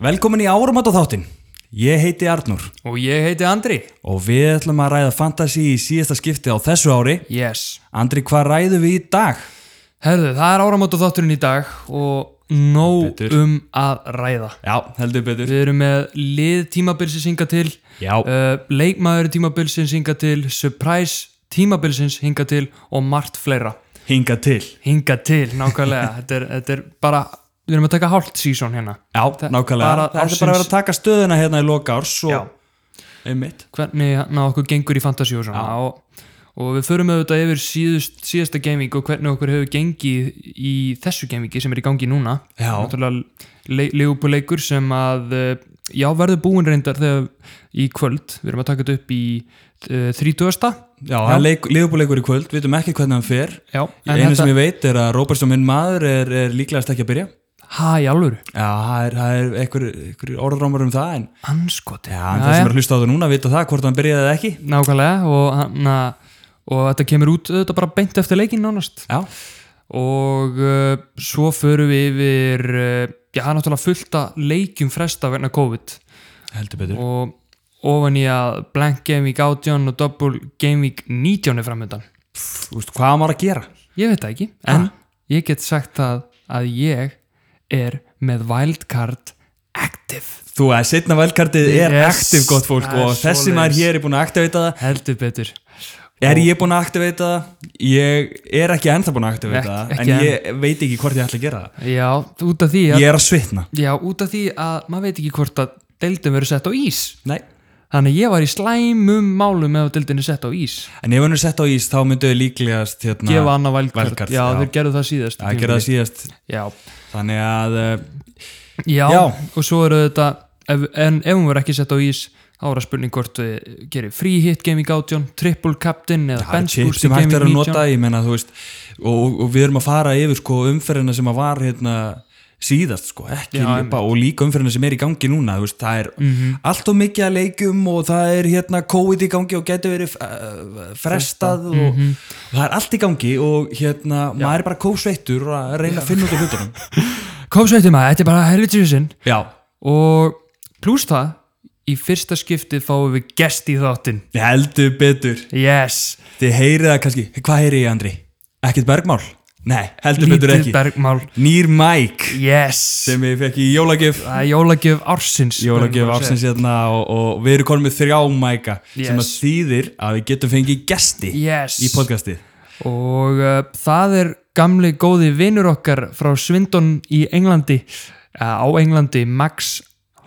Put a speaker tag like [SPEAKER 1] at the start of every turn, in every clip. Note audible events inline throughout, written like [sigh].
[SPEAKER 1] Velkomin í árumat þáttinn. Ég heiti Arnur
[SPEAKER 2] Og ég heiti Andri.
[SPEAKER 1] og við ætlum að ræða fantasy í síðasta skipti á þessu ári.
[SPEAKER 2] Yes.
[SPEAKER 1] Andri, hvað ræðum við í dag?
[SPEAKER 2] Herðu, það er áramóta þátturinn í dag og nóg
[SPEAKER 1] Betur.
[SPEAKER 2] um að ræða.
[SPEAKER 1] Já, heldur betur.
[SPEAKER 2] Við erum með lið tímabilsins hinga til,
[SPEAKER 1] Já.
[SPEAKER 2] uh, leikmaður tímabilsins hinga til, surprise tímabilsins hinga til og margt fleira.
[SPEAKER 1] Hinga til.
[SPEAKER 2] Hinga til,
[SPEAKER 1] [laughs]
[SPEAKER 2] nákvæmlega. þetta, er, þetta er bara, við erum að taka hálft sísón hérna.
[SPEAKER 1] Já, nákvæmlega.
[SPEAKER 2] bara
[SPEAKER 1] það
[SPEAKER 2] ársins-
[SPEAKER 1] er bara að vera að taka stöðuna hérna í loka árs
[SPEAKER 2] Já.
[SPEAKER 1] og... Einmitt.
[SPEAKER 2] Hvernig hérna okkur gengur í fantasy og svona. Og, og við förum auðvitað yfir síðust, síðasta gaming og hvernig okkur hefur gengið í þessu gamingi sem er í gangi núna.
[SPEAKER 1] Já.
[SPEAKER 2] náttúrulega Leopold-leikur sem að eh, já, verður búin reyndar þegar í kvöld, við erum að taka þetta upp í uh, 30.
[SPEAKER 1] Já, það er leik, liðbúleikur í kvöld, við veitum ekki hvernig hann fer.
[SPEAKER 2] Já, en
[SPEAKER 1] Einu
[SPEAKER 2] þetta,
[SPEAKER 1] sem ég veit er að Róbertsson minn maður er, er líklegast ekki að byrja.
[SPEAKER 2] hæ, alvöru
[SPEAKER 1] Já, það er, það er einhver, einhver orðrámar um það en
[SPEAKER 2] anskoti,
[SPEAKER 1] já, en þeir sem er að hlusta á það núna vita það hvort hann byrjaði eða ekki.
[SPEAKER 2] nákvæmlega og, hana, og þetta kemur út þetta bara beint eftir leikinn nánast
[SPEAKER 1] Já,
[SPEAKER 2] og uh, svo förum við yfir uh, já, það er náttúrulega fullt að leikjum fresta vegna COVID
[SPEAKER 1] heldur betur.
[SPEAKER 2] og ofan í að Blank Game Week 18 og Double Game Week 19 er framöndan
[SPEAKER 1] Þú veist, hvað á maður að gera?
[SPEAKER 2] Ég veit það ekki, en ég get sagt það að ég er með wildcard active.
[SPEAKER 1] Þú að setna velkartið er
[SPEAKER 2] Yes.
[SPEAKER 1] aktiv gott fólk
[SPEAKER 2] Það er
[SPEAKER 1] og þessi
[SPEAKER 2] svoleiðis.
[SPEAKER 1] maður hér er búin að aktiveita það
[SPEAKER 2] Heldur betur.
[SPEAKER 1] Er ég búin að aktiveita það? Ég er ekki ennþá búin að aktiveita
[SPEAKER 2] Ekki-
[SPEAKER 1] það
[SPEAKER 2] ekki
[SPEAKER 1] en ég veit ekki hvort ég ætla að gera það
[SPEAKER 2] Já, út af því að,
[SPEAKER 1] Ég er að svitna
[SPEAKER 2] já, út af því að maður veit ekki hvort að deildin verður sett á ís.
[SPEAKER 1] Nei.
[SPEAKER 2] Þannig að ég var í slæmum málum með að deildin er sett á ís.
[SPEAKER 1] En ef hann er sett á ís þá myndu þau líklegast hérna,
[SPEAKER 2] Gefa annað wildcard.
[SPEAKER 1] Wildcard,
[SPEAKER 2] já,
[SPEAKER 1] já.
[SPEAKER 2] þeir gerðu það síðast.
[SPEAKER 1] að gera það síðast
[SPEAKER 2] Já.
[SPEAKER 1] Þannig að uh,
[SPEAKER 2] Já,
[SPEAKER 1] Já.
[SPEAKER 2] og svo eru þetta, ef, en ef hún verður ekki sett á ís, þá er að spurning hvort við gerir free hit gaming 18, triple captain
[SPEAKER 1] það
[SPEAKER 2] eða
[SPEAKER 1] er
[SPEAKER 2] bench
[SPEAKER 1] chip
[SPEAKER 2] boost
[SPEAKER 1] sem hægt
[SPEAKER 2] gaming
[SPEAKER 1] er að
[SPEAKER 2] 19.
[SPEAKER 1] nota ég meina, þú veist, og, og við erum að fara yfir sko, umferðina sem að var hérna, síðast sko, ekki
[SPEAKER 2] Já, Mhm.
[SPEAKER 1] lípa, og líka umferðina sem er í gangi núna þú veist, það er allt og mikið að leikum og það er hérna COVID í gangi og getur verið uh, frestað og,
[SPEAKER 2] Mhm.
[SPEAKER 1] það er allt í gangi og hérna maður er bara kósveittur að reyna að finna út af
[SPEAKER 2] [laughs]
[SPEAKER 1] hlutunum
[SPEAKER 2] Kópsveitum að þetta er bara helvitsvísinn
[SPEAKER 1] já,
[SPEAKER 2] og pluss það, í fyrsta skiptið fáum við gest í þáttinn.
[SPEAKER 1] heldur betur
[SPEAKER 2] Yes,
[SPEAKER 1] þið heyrið það kannski, hvað heyrið ég Andri? ekkert bergmál? Nei, heldur betur
[SPEAKER 2] lítið
[SPEAKER 1] ekki
[SPEAKER 2] bergmál.
[SPEAKER 1] nýr mæk
[SPEAKER 2] Yes,
[SPEAKER 1] sem ég fekk í jólagjöf
[SPEAKER 2] það er jólagjöf ársins.
[SPEAKER 1] jólagjöf ársins hérna og, og við erum konum með þrjá mæka sem að
[SPEAKER 2] Yes.
[SPEAKER 1] þýðir að við getum fengið gesti
[SPEAKER 2] Yes,
[SPEAKER 1] í podcastið
[SPEAKER 2] og uh, það er gamli góði vinnur okkar frá Svindon í Englandi, uh, á Englandi, Max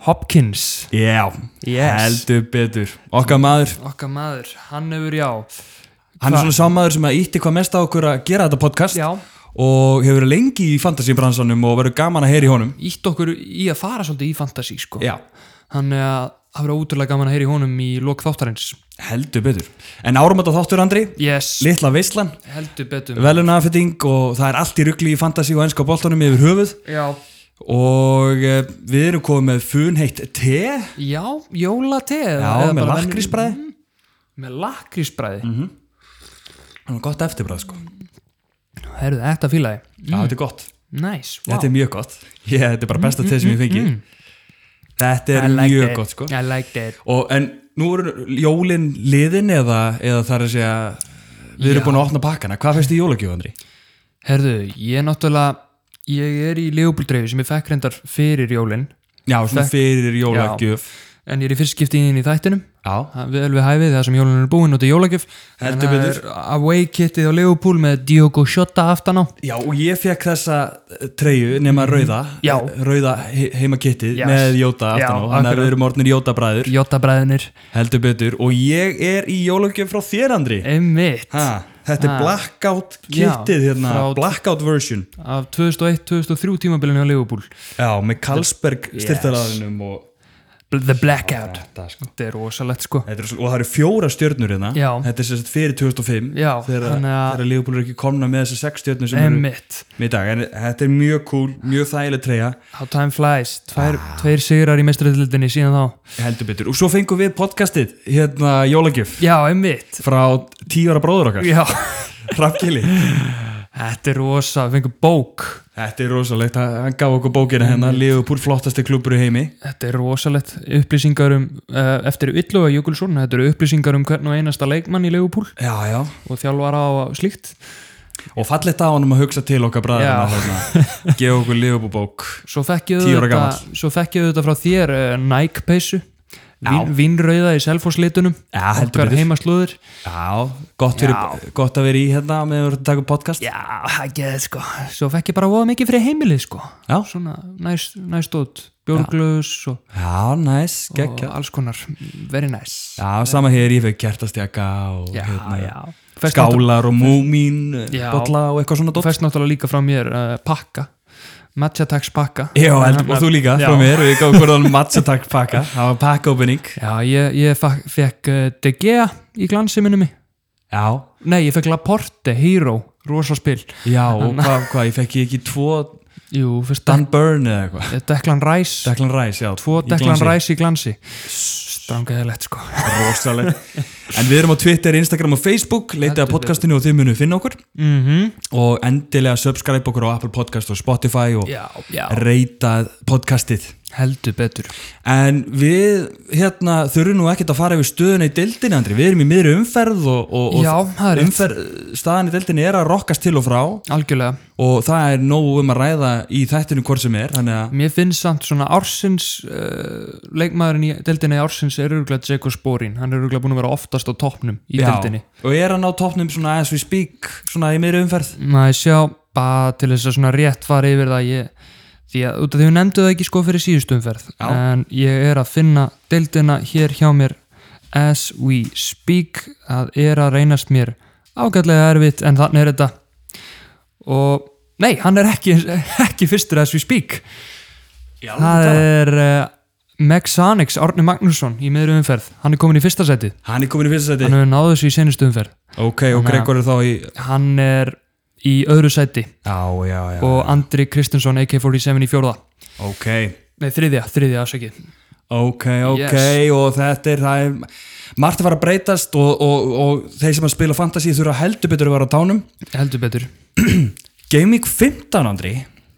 [SPEAKER 2] Hopkins.
[SPEAKER 1] Já,
[SPEAKER 2] Yes.
[SPEAKER 1] heldur betur Okkar maður,
[SPEAKER 2] Okkar maður, hann hefur já,
[SPEAKER 1] hann er svona sámaður sem að ítti hvað mest á okkur að gera þetta podcast
[SPEAKER 2] já,
[SPEAKER 1] og hefur verið lengi í fantasíbransanum og verður gaman að heyra í honum
[SPEAKER 2] ítt okkur í að fara svolítið í fantasy, sko.
[SPEAKER 1] Já,
[SPEAKER 2] Þannig að það verður ótrúlega gaman að heyra í honum í lok þáttarins.
[SPEAKER 1] heldur betur En árum að þáttur Andri,
[SPEAKER 2] Yes,
[SPEAKER 1] litla veislan
[SPEAKER 2] heldur betur.
[SPEAKER 1] velunaðafitting og það er allt í rugli í fantasí og ennska boltanum yfir höfuð
[SPEAKER 2] Já,
[SPEAKER 1] og eh, við erum komið með funheitt te
[SPEAKER 2] já, jólate.
[SPEAKER 1] Já, með Mhm. lakrísbræði
[SPEAKER 2] Mhm. Með lakrísbræði.
[SPEAKER 1] Hann er gott eftirbræð sko
[SPEAKER 2] Herðu, þetta fílaði.
[SPEAKER 1] Já,
[SPEAKER 2] Mm.
[SPEAKER 1] þetta er gott
[SPEAKER 2] Næs, nice,
[SPEAKER 1] Þetta er mjög gott Ég, þetta er bara besta teð sem ég fengi Þetta er mjög gott sko
[SPEAKER 2] Mm, I like that.
[SPEAKER 1] og, En nú eru jólin liðin eða, eða það er að segja Við erum
[SPEAKER 2] Já.
[SPEAKER 1] búin að opna pakkana Hvað fæst í jólagjöf, Andri?
[SPEAKER 2] Herðu, ég náttúrulega, ég er í legubuldreifu sem ég fekk reyndar fyrir jólinn,
[SPEAKER 1] Já, svona fyrir jólagjöf
[SPEAKER 2] en ég er í fyrst skiptið inn í þættinum.
[SPEAKER 1] Já,
[SPEAKER 2] Það er vel við hæfið þar sem jólun er búin og þetta er jólagjöf en
[SPEAKER 1] Heldur
[SPEAKER 2] það er away kitið á Leopold með Diogo Shota aftan á
[SPEAKER 1] Já, og ég fekk þessa treyju nema rauða
[SPEAKER 2] Mm, Já.
[SPEAKER 1] Rauða he- heimakittið
[SPEAKER 2] Yes.
[SPEAKER 1] með jóta
[SPEAKER 2] Já,
[SPEAKER 1] aftan á Þannig að
[SPEAKER 2] akkurat.
[SPEAKER 1] við erum orðnir jótabræður
[SPEAKER 2] Jota bræðinir
[SPEAKER 1] Heldur betur Og ég er í jólagjöf frá þér, Andri
[SPEAKER 2] einmitt
[SPEAKER 1] ha, Þetta er
[SPEAKER 2] Ha.
[SPEAKER 1] blackout
[SPEAKER 2] Já,
[SPEAKER 1] kittið hérna
[SPEAKER 2] frá-
[SPEAKER 1] Blackout version
[SPEAKER 2] af 2001-2003 tímabilinu á Leopold
[SPEAKER 1] Já, með Carlsberg styrtaraðinum og
[SPEAKER 2] The Blackout
[SPEAKER 1] þetta sko.
[SPEAKER 2] þetta er rosalegt sko
[SPEAKER 1] Þetta er, svo- og það eru fjóra stjörnur hérna
[SPEAKER 2] Já.
[SPEAKER 1] þetta er sérst fyrir 2005
[SPEAKER 2] Já,
[SPEAKER 1] þegar,
[SPEAKER 2] þannig að-
[SPEAKER 1] þegar Leopold er ekki komna með þessar sex stjörnur sem
[SPEAKER 2] einmitt
[SPEAKER 1] eru með í dag en þetta er mjög cool, mjög þægileg treyja
[SPEAKER 2] How Time Flies tveir,
[SPEAKER 1] Ah.
[SPEAKER 2] tveir sigrar í mestræðildinni síðan þá
[SPEAKER 1] heldur betur og svo fengum við podcastið hérna jólagjöf
[SPEAKER 2] já einmitt
[SPEAKER 1] frá tíu ára bróður okkar
[SPEAKER 2] já
[SPEAKER 1] Hrafnkili
[SPEAKER 2] [laughs] Þetta er rosa, við fengum bók
[SPEAKER 1] Þetta er rosalegt, hann hann gaf okkur bókina hennar Liverpool flottasti klubur í heimi
[SPEAKER 2] Þetta er rosalegt upplýsingar um uh, eftir Ylluga Jökulsson, þetta eru upplýsingar um hvern og einasta leikmann í Leifupúl
[SPEAKER 1] Já, já,
[SPEAKER 2] og þjálfara og slíkt
[SPEAKER 1] og fallegt á honum að hugsa til okkar
[SPEAKER 2] Já.
[SPEAKER 1] bræðina Gefa okkur Liverpool bók
[SPEAKER 2] Svo fekk ég
[SPEAKER 1] Tíu ára
[SPEAKER 2] þetta,
[SPEAKER 1] gamall.
[SPEAKER 2] svo fekk ég þetta frá þér uh, Nike peysu
[SPEAKER 1] Já.
[SPEAKER 2] Vín, Vínrauða í selfoslitunum
[SPEAKER 1] Já, heldur
[SPEAKER 2] okkar
[SPEAKER 1] betur.
[SPEAKER 2] heimaslúður
[SPEAKER 1] Já, gott, fyrir, gott að vera í hérna með að taka upp podcast
[SPEAKER 2] Já, ekki það sko Svo fekk ég bara voða mikið fyrir heimilið sko
[SPEAKER 1] Já.
[SPEAKER 2] Svona næst, næst út Björglöðs og,
[SPEAKER 1] Já, næs,
[SPEAKER 2] og
[SPEAKER 1] geggja
[SPEAKER 2] alls konar Very nice
[SPEAKER 1] Já, sama hér, ég fekk kertastjaka og
[SPEAKER 2] Já,
[SPEAKER 1] hérna,
[SPEAKER 2] já Fest
[SPEAKER 1] skálar og múmín, eh,
[SPEAKER 2] Já.
[SPEAKER 1] bolla og eitthvað svona
[SPEAKER 2] Þú
[SPEAKER 1] dótt
[SPEAKER 2] fæst náttúrulega líka frá mér uh, pakka Matchatax pakka
[SPEAKER 1] Já, heldur, og þú líka
[SPEAKER 2] Já.
[SPEAKER 1] frá mér og ég gaf hverðan matchatak
[SPEAKER 2] [laughs]
[SPEAKER 1] pakka það var pakkaopening
[SPEAKER 2] Já, ég, ég fekk, fekk uh, De Gea í glansi minni mig
[SPEAKER 1] Já,
[SPEAKER 2] Nei, ég fekk Laporte, Hero, rosa spil
[SPEAKER 1] já, og hvað, hva, ég fekk ég ekki tvo
[SPEAKER 2] Jú, fyrst Dan
[SPEAKER 1] Dan Burn eða eitthvað
[SPEAKER 2] Declan Rice
[SPEAKER 1] Declan Rice, já
[SPEAKER 2] Tvo
[SPEAKER 1] í
[SPEAKER 2] Declan
[SPEAKER 1] glansi.
[SPEAKER 2] Rice í glansi Strangaðilegt sko
[SPEAKER 1] Rosaleg En við erum á Twitter, Instagram og Facebook leitið að
[SPEAKER 2] Heldur
[SPEAKER 1] podcastinu og þið munu finna okkur
[SPEAKER 2] mm
[SPEAKER 1] og endilega subscribe okkur á Apple Podcast og Spotify og
[SPEAKER 2] Já, já
[SPEAKER 1] reyta podcastið
[SPEAKER 2] Heldur betur
[SPEAKER 1] En við hérna þurfum nú ekkert að fara yfir stöðuna í deildinni Andri, við erum í miðri umferð og, og,
[SPEAKER 2] Já, það er
[SPEAKER 1] og
[SPEAKER 2] rétt.
[SPEAKER 1] umferð, staðan í deildinni er að rokkast til og frá
[SPEAKER 2] Algjörlega
[SPEAKER 1] og það er nógu um að ræða í þættinu hvort sem er, þannig að
[SPEAKER 2] Mér finnst samt svona ársins uh, leikmaðurinn í deildinni í ársins er örgulega Dzeko Sporín Hann er örgulega búin að vera oftast á toppnum í deildinni
[SPEAKER 1] Já, og er hann á toppnum svona as we speak svona í miðri umferð
[SPEAKER 2] maður sjá bara til þess að svona rétt fara yfir það ég, því að út af því að nefndu það ekki sko fyrir síðustu umferð
[SPEAKER 1] Já.
[SPEAKER 2] en ég er að finna deildina hér hjá mér as we speak það er að reynast mér ágætlega erfitt en þannig er þetta og nei, hann er ekki, [laughs] ekki fyrstur as we speak
[SPEAKER 1] Já,
[SPEAKER 2] það er uh, Mexanix Árni Magnússon í miðru umferð hann er komin í fyrsta seti
[SPEAKER 1] Hann er komin í fyrsta seti
[SPEAKER 2] hann hefur náðu þessu í senustu umferð
[SPEAKER 1] Ok, og
[SPEAKER 2] Þannig að-
[SPEAKER 1] Gregor er þá í
[SPEAKER 2] hann er í öðru seti
[SPEAKER 1] Já, já, já,
[SPEAKER 2] og Andri Kristinsson AK-47 í fjórða
[SPEAKER 1] ok
[SPEAKER 2] Nei, þriðja, þriðja afsakið
[SPEAKER 1] Ok, ok, og þetta er, það er margt að fara að breytast og, og, og þeir sem að spila fantasy þurfa heldur betur að vera á tánum
[SPEAKER 2] Heldur betur
[SPEAKER 1] Game Week 15, Andri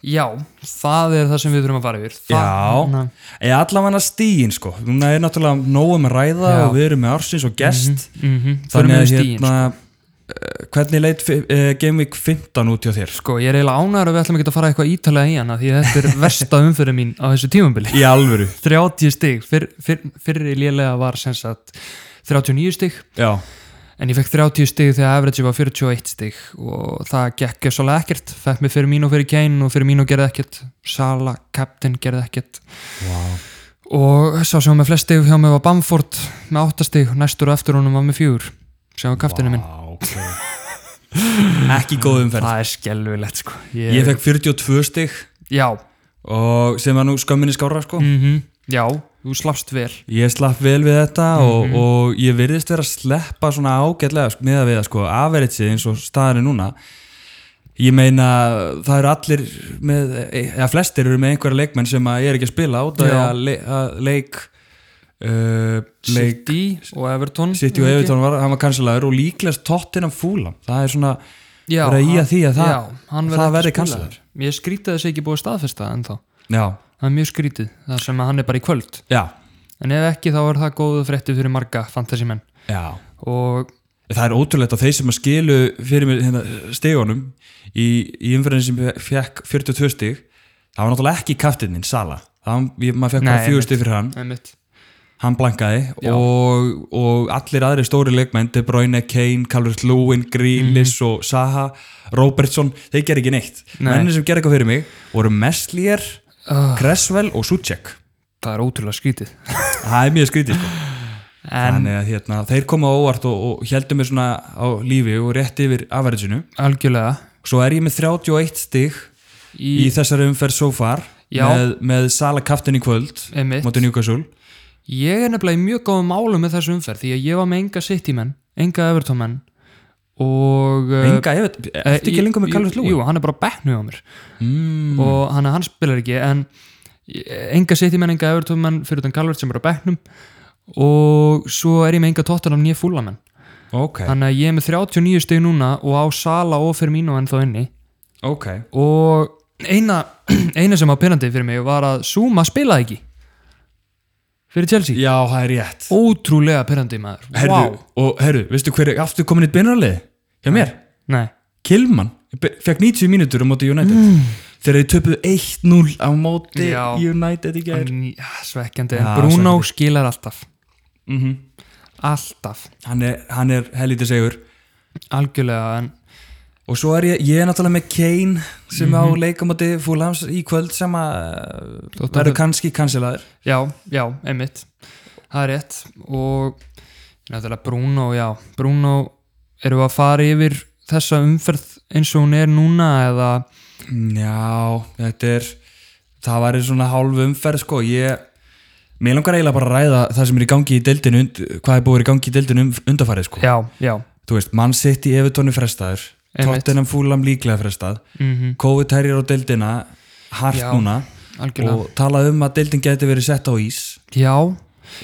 [SPEAKER 2] Já, það er það sem við þurfum að fara yfir það, na,
[SPEAKER 1] Já, eða allavega stíin sko Núna er náttúrulega nógum að ræða
[SPEAKER 2] Já.
[SPEAKER 1] og við erum með ársins og gest
[SPEAKER 2] mm -hmm,
[SPEAKER 1] Þannig að
[SPEAKER 2] stíin,
[SPEAKER 1] hérna eh, Hvernig leit fi- eh, Game Week 15 út hjá þér?
[SPEAKER 2] Sko, ég er eiginlega ánæður að við ætlum ekki að fara eitthvað ítalega í hana því að
[SPEAKER 1] [laughs]
[SPEAKER 2] þetta er versta umfyrir mín á þessu tímambili
[SPEAKER 1] Í alvöru
[SPEAKER 2] 30 stig, fyrr, fyrr, fyrri lélega var sem sagt 39 stig
[SPEAKER 1] Já,
[SPEAKER 2] en ég fekk 30 stig þegar average var 41 stig og það gekk gjössalega ekkert fekk mig fyrir mín og fyrir Kane og fyrir mín og gerði ekkert Sala, Captain gerði ekkert
[SPEAKER 1] wow.
[SPEAKER 2] og sá sem var með flest stig hjá mig var Bamford með 8 stig, næstur og eftir honum var með 4 sem var kaftinu minn
[SPEAKER 1] Ah, Ekki góð umferð
[SPEAKER 2] það er skelvilegt sko
[SPEAKER 1] Ég fekk 42 stig
[SPEAKER 2] já,
[SPEAKER 1] og sem var nú skömminni skára sko
[SPEAKER 2] mm já, þú slappst vel
[SPEAKER 1] Ég slapp vel við þetta
[SPEAKER 2] Mhm.
[SPEAKER 1] og, og ég virðist vera að sleppa svona ágætlega sko, með að við það sko, afveritsið eins og staðan er núna ég meina það eru allir með, eða flestir eru með einhverja leikmenn sem að ég er ekki að spila át að,
[SPEAKER 2] Já.
[SPEAKER 1] að, le, að leik uh, leik
[SPEAKER 2] City og Everton
[SPEAKER 1] City og Everton var, hann var kansalaður og líklegast tóttina fúla, það er svona
[SPEAKER 2] já,
[SPEAKER 1] vera í að því að það-
[SPEAKER 2] já, hann
[SPEAKER 1] það verði
[SPEAKER 2] ekki spilaður.
[SPEAKER 1] kansalaður.
[SPEAKER 2] ég skrítið að þessi ekki búið að staðfesta ennþá
[SPEAKER 1] já,
[SPEAKER 2] það er mjög skrítið, það sem að hann er bara í kvöld
[SPEAKER 1] já,
[SPEAKER 2] en ef ekki þá er það góðu frétti fyrir marga fantasymenn
[SPEAKER 1] já
[SPEAKER 2] og
[SPEAKER 1] það er ótrúlegt að þeir sem að skilu fyrir mér hérna, stegunum í, í umferðin sem fekk 42 stig það var náttúrulega ekki kaftininn Sala, það, ég, maður fekk
[SPEAKER 2] Nei,
[SPEAKER 1] bara
[SPEAKER 2] einmitt.
[SPEAKER 1] fjögur stig fyrir hann,
[SPEAKER 2] einmitt,
[SPEAKER 1] hann blankaði
[SPEAKER 2] Já.
[SPEAKER 1] og, og allir aðri stóri leikmenn De Bruyne, Kane, Calvert-Lewin Grealish og Saha Robertson, þeir gerði ekki neitt
[SPEAKER 2] Mhm. Nei. Ah.
[SPEAKER 1] mennir sem gerði eitthvað fyrir mig voru Messlier, Cresswell og Suchek
[SPEAKER 2] það er ótrúlega skrítið
[SPEAKER 1] það er mjög skrítið sko.
[SPEAKER 2] en
[SPEAKER 1] þannig að hérna, þeir koma á óvart og, og heldum mér svona á lífi og rétt yfir afverðsinu
[SPEAKER 2] algjörlega
[SPEAKER 1] Svo er ég með 31 stig í,
[SPEAKER 2] í,
[SPEAKER 1] þessari umferð so far
[SPEAKER 2] Já.
[SPEAKER 1] með, með Sala kaftin í kvöld
[SPEAKER 2] einmitt,
[SPEAKER 1] móti Newcastle
[SPEAKER 2] ég er nefnilega í mjög góðum málum með þessu umferð því að ég var með enga City-menn, enga Everton-menn og uh,
[SPEAKER 1] Enga, ég veit, eftir
[SPEAKER 2] eh,
[SPEAKER 1] ekki lengur með Calvert Lúi
[SPEAKER 2] Jú, hann er bara bæknuð á mér
[SPEAKER 1] mm,
[SPEAKER 2] og hann, hann spilar ekki en enga City-menn, enga Everton-menn fyrir utan Calvert sem er á bæknum og svo er ég með enga Tottenham nýja fúlamenn
[SPEAKER 1] ok,
[SPEAKER 2] þannig að ég er með 39 stig núna og á Sala og Firmino ennþá inni
[SPEAKER 1] ok
[SPEAKER 2] og eina, [clears throat] eina sem var penandi fyrir mig var að Zuma spilaði ekki fyrir Chelsea
[SPEAKER 1] já, það er rétt
[SPEAKER 2] ótrúlega penandi maður
[SPEAKER 1] herðu,
[SPEAKER 2] wow.
[SPEAKER 1] og herðu, veistu hver er aftur komin eitt beinarlið hjá mér,
[SPEAKER 2] Nei.
[SPEAKER 1] Kilman fekk 90 mínútur á móti United þegar þau töpuðu 1-0 á móti
[SPEAKER 2] Mm. Já.
[SPEAKER 1] United í gær
[SPEAKER 2] En, ja, ah, svekkjandi, en
[SPEAKER 1] Ja,
[SPEAKER 2] Bruno skilar alltaf
[SPEAKER 1] Mhm.
[SPEAKER 2] alltaf,
[SPEAKER 1] hann er, hann er helítið segur
[SPEAKER 2] algjörlega en
[SPEAKER 1] og svo er ég, ég er náttúrulega með Kane sem á leikamóti fúlhams í kvöld sem að
[SPEAKER 2] Mhm. Þótt að-
[SPEAKER 1] verður kannski kanselaður
[SPEAKER 2] Já, já, einmitt Það er rétt og náttúrulega Bruno, já Bruno, erum við að fara yfir þessa umferð eins og hún er núna eða
[SPEAKER 1] já, þetta er það var svona hálf umferð sko ég, mér langar eiginlega bara að ræða það sem er í gangi í deildinu und- hvað er búið að vera í gangi í deildinu um, undarfærið sko
[SPEAKER 2] Já, já,
[SPEAKER 1] þú veist, mann sitt í Evertónu frestaður
[SPEAKER 2] Einmitt.
[SPEAKER 1] Tottenham fúlam líklega frestað
[SPEAKER 2] mhm,
[SPEAKER 1] COVID herjar á deildina hart
[SPEAKER 2] Já,
[SPEAKER 1] núna
[SPEAKER 2] algjörlega
[SPEAKER 1] og talað um að deildin geti verið sett á ís
[SPEAKER 2] Já,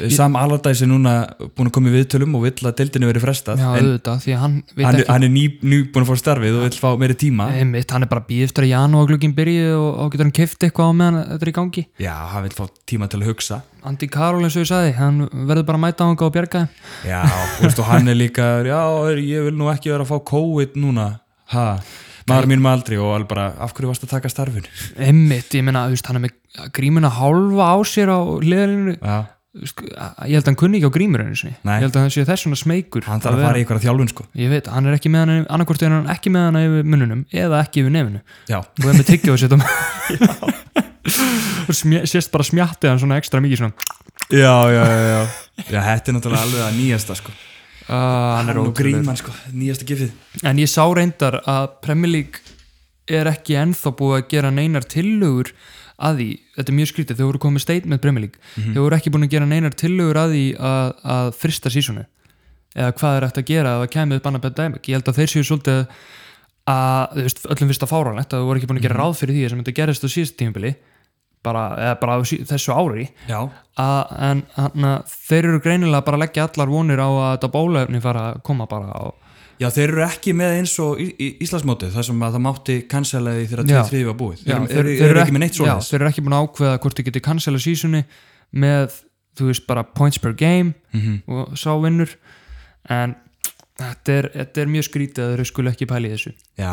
[SPEAKER 1] Sam Allardyce er núna búin að koma í viðtölum og vill að deildinu verið frestað
[SPEAKER 2] já,
[SPEAKER 1] en
[SPEAKER 2] auðvitað því að hann veit
[SPEAKER 1] hann, er-
[SPEAKER 2] ekki
[SPEAKER 1] hann er ný, ný búin að fá starfið og vill fá meiri tíma
[SPEAKER 2] einmitt, hann er bara að býð eftir að janúarglugginn byrju og, og getur hann keft eitthvað á meðan þetta er í gangi
[SPEAKER 1] já, hann vill fá tíma til að hugsa
[SPEAKER 2] Andi Karol eins og ég sagði, hann verður bara að mæta á hann og bjarga þeim.
[SPEAKER 1] já, þú veist, og hann er líka já, er, ég vil nú ekki vera að fá COVID núna ha, maður mínum aldrei og alveg bara, af hverju varst að taka starfin
[SPEAKER 2] einmitt, ég meina, þú veist, hann er með grímuna hálfa á sér á hliðarinu
[SPEAKER 1] já,
[SPEAKER 2] Sk- að- ég held að hann kunni ekki á grímur einu sinni
[SPEAKER 1] Nei.
[SPEAKER 2] ég held að hann sé þess vegna smeykur
[SPEAKER 1] hann þarf að fara í einhverja þjálfun sko
[SPEAKER 2] ég veit, hann er ekki með hann annarkvort er hann ekki með hann yfir mununum eða ekki yfir nefinu
[SPEAKER 1] já,
[SPEAKER 2] og það með tyggjóð að setja
[SPEAKER 1] [laughs]
[SPEAKER 2] [laughs] og smj- sést bara smjattið hann svona ekstra mikið svona
[SPEAKER 1] já, já, já, já. já þetta er náttúrulega alveg að nýjasta sko
[SPEAKER 2] uh, hann er
[SPEAKER 1] og
[SPEAKER 2] ótrúlegur.
[SPEAKER 1] gríman sko, nýjasta gifið
[SPEAKER 2] en ég sá reyndar að Premier League er ekki ennþá búið að gera neinar tillögur að því, þetta er mjög skrítið, þau voru komið statement Premier League, þau voru ekki búin að gera neinar tillögur að því að, að frista sísonu eða hvað er hægt að gera að það kemur upp annað pandemic, ég held að þeir séu svolítið að, þú veist, öllum fyrst að fáránlegt að þau voru ekki búin að gera ráð fyrir því sem þetta gerist á síðast tímabili bara, eða bara á sí- þessu ári
[SPEAKER 1] já,
[SPEAKER 2] að, en hann að þeir eru greinilega bara að leggja allar vonir á að þetta bólefni fara að koma bara á
[SPEAKER 1] já, þeir eru ekki með eins og í, í Íslandsmótið, þar sem að það mátti kanselaði þegar
[SPEAKER 2] Já.
[SPEAKER 1] 2-3 var búið þeir,
[SPEAKER 2] Já,
[SPEAKER 1] eru- eru, eru ekki með neitt
[SPEAKER 2] já,
[SPEAKER 1] svoleiðis
[SPEAKER 2] þeir eru ekki búin að ákveða hvort þið getur cancela seasoni með, þú veist, bara points per game
[SPEAKER 1] Mhm.
[SPEAKER 2] og sá vinnur en þetta er, þetta er mjög skrítið að þeir skulu ekki pæli í þessu
[SPEAKER 1] Já,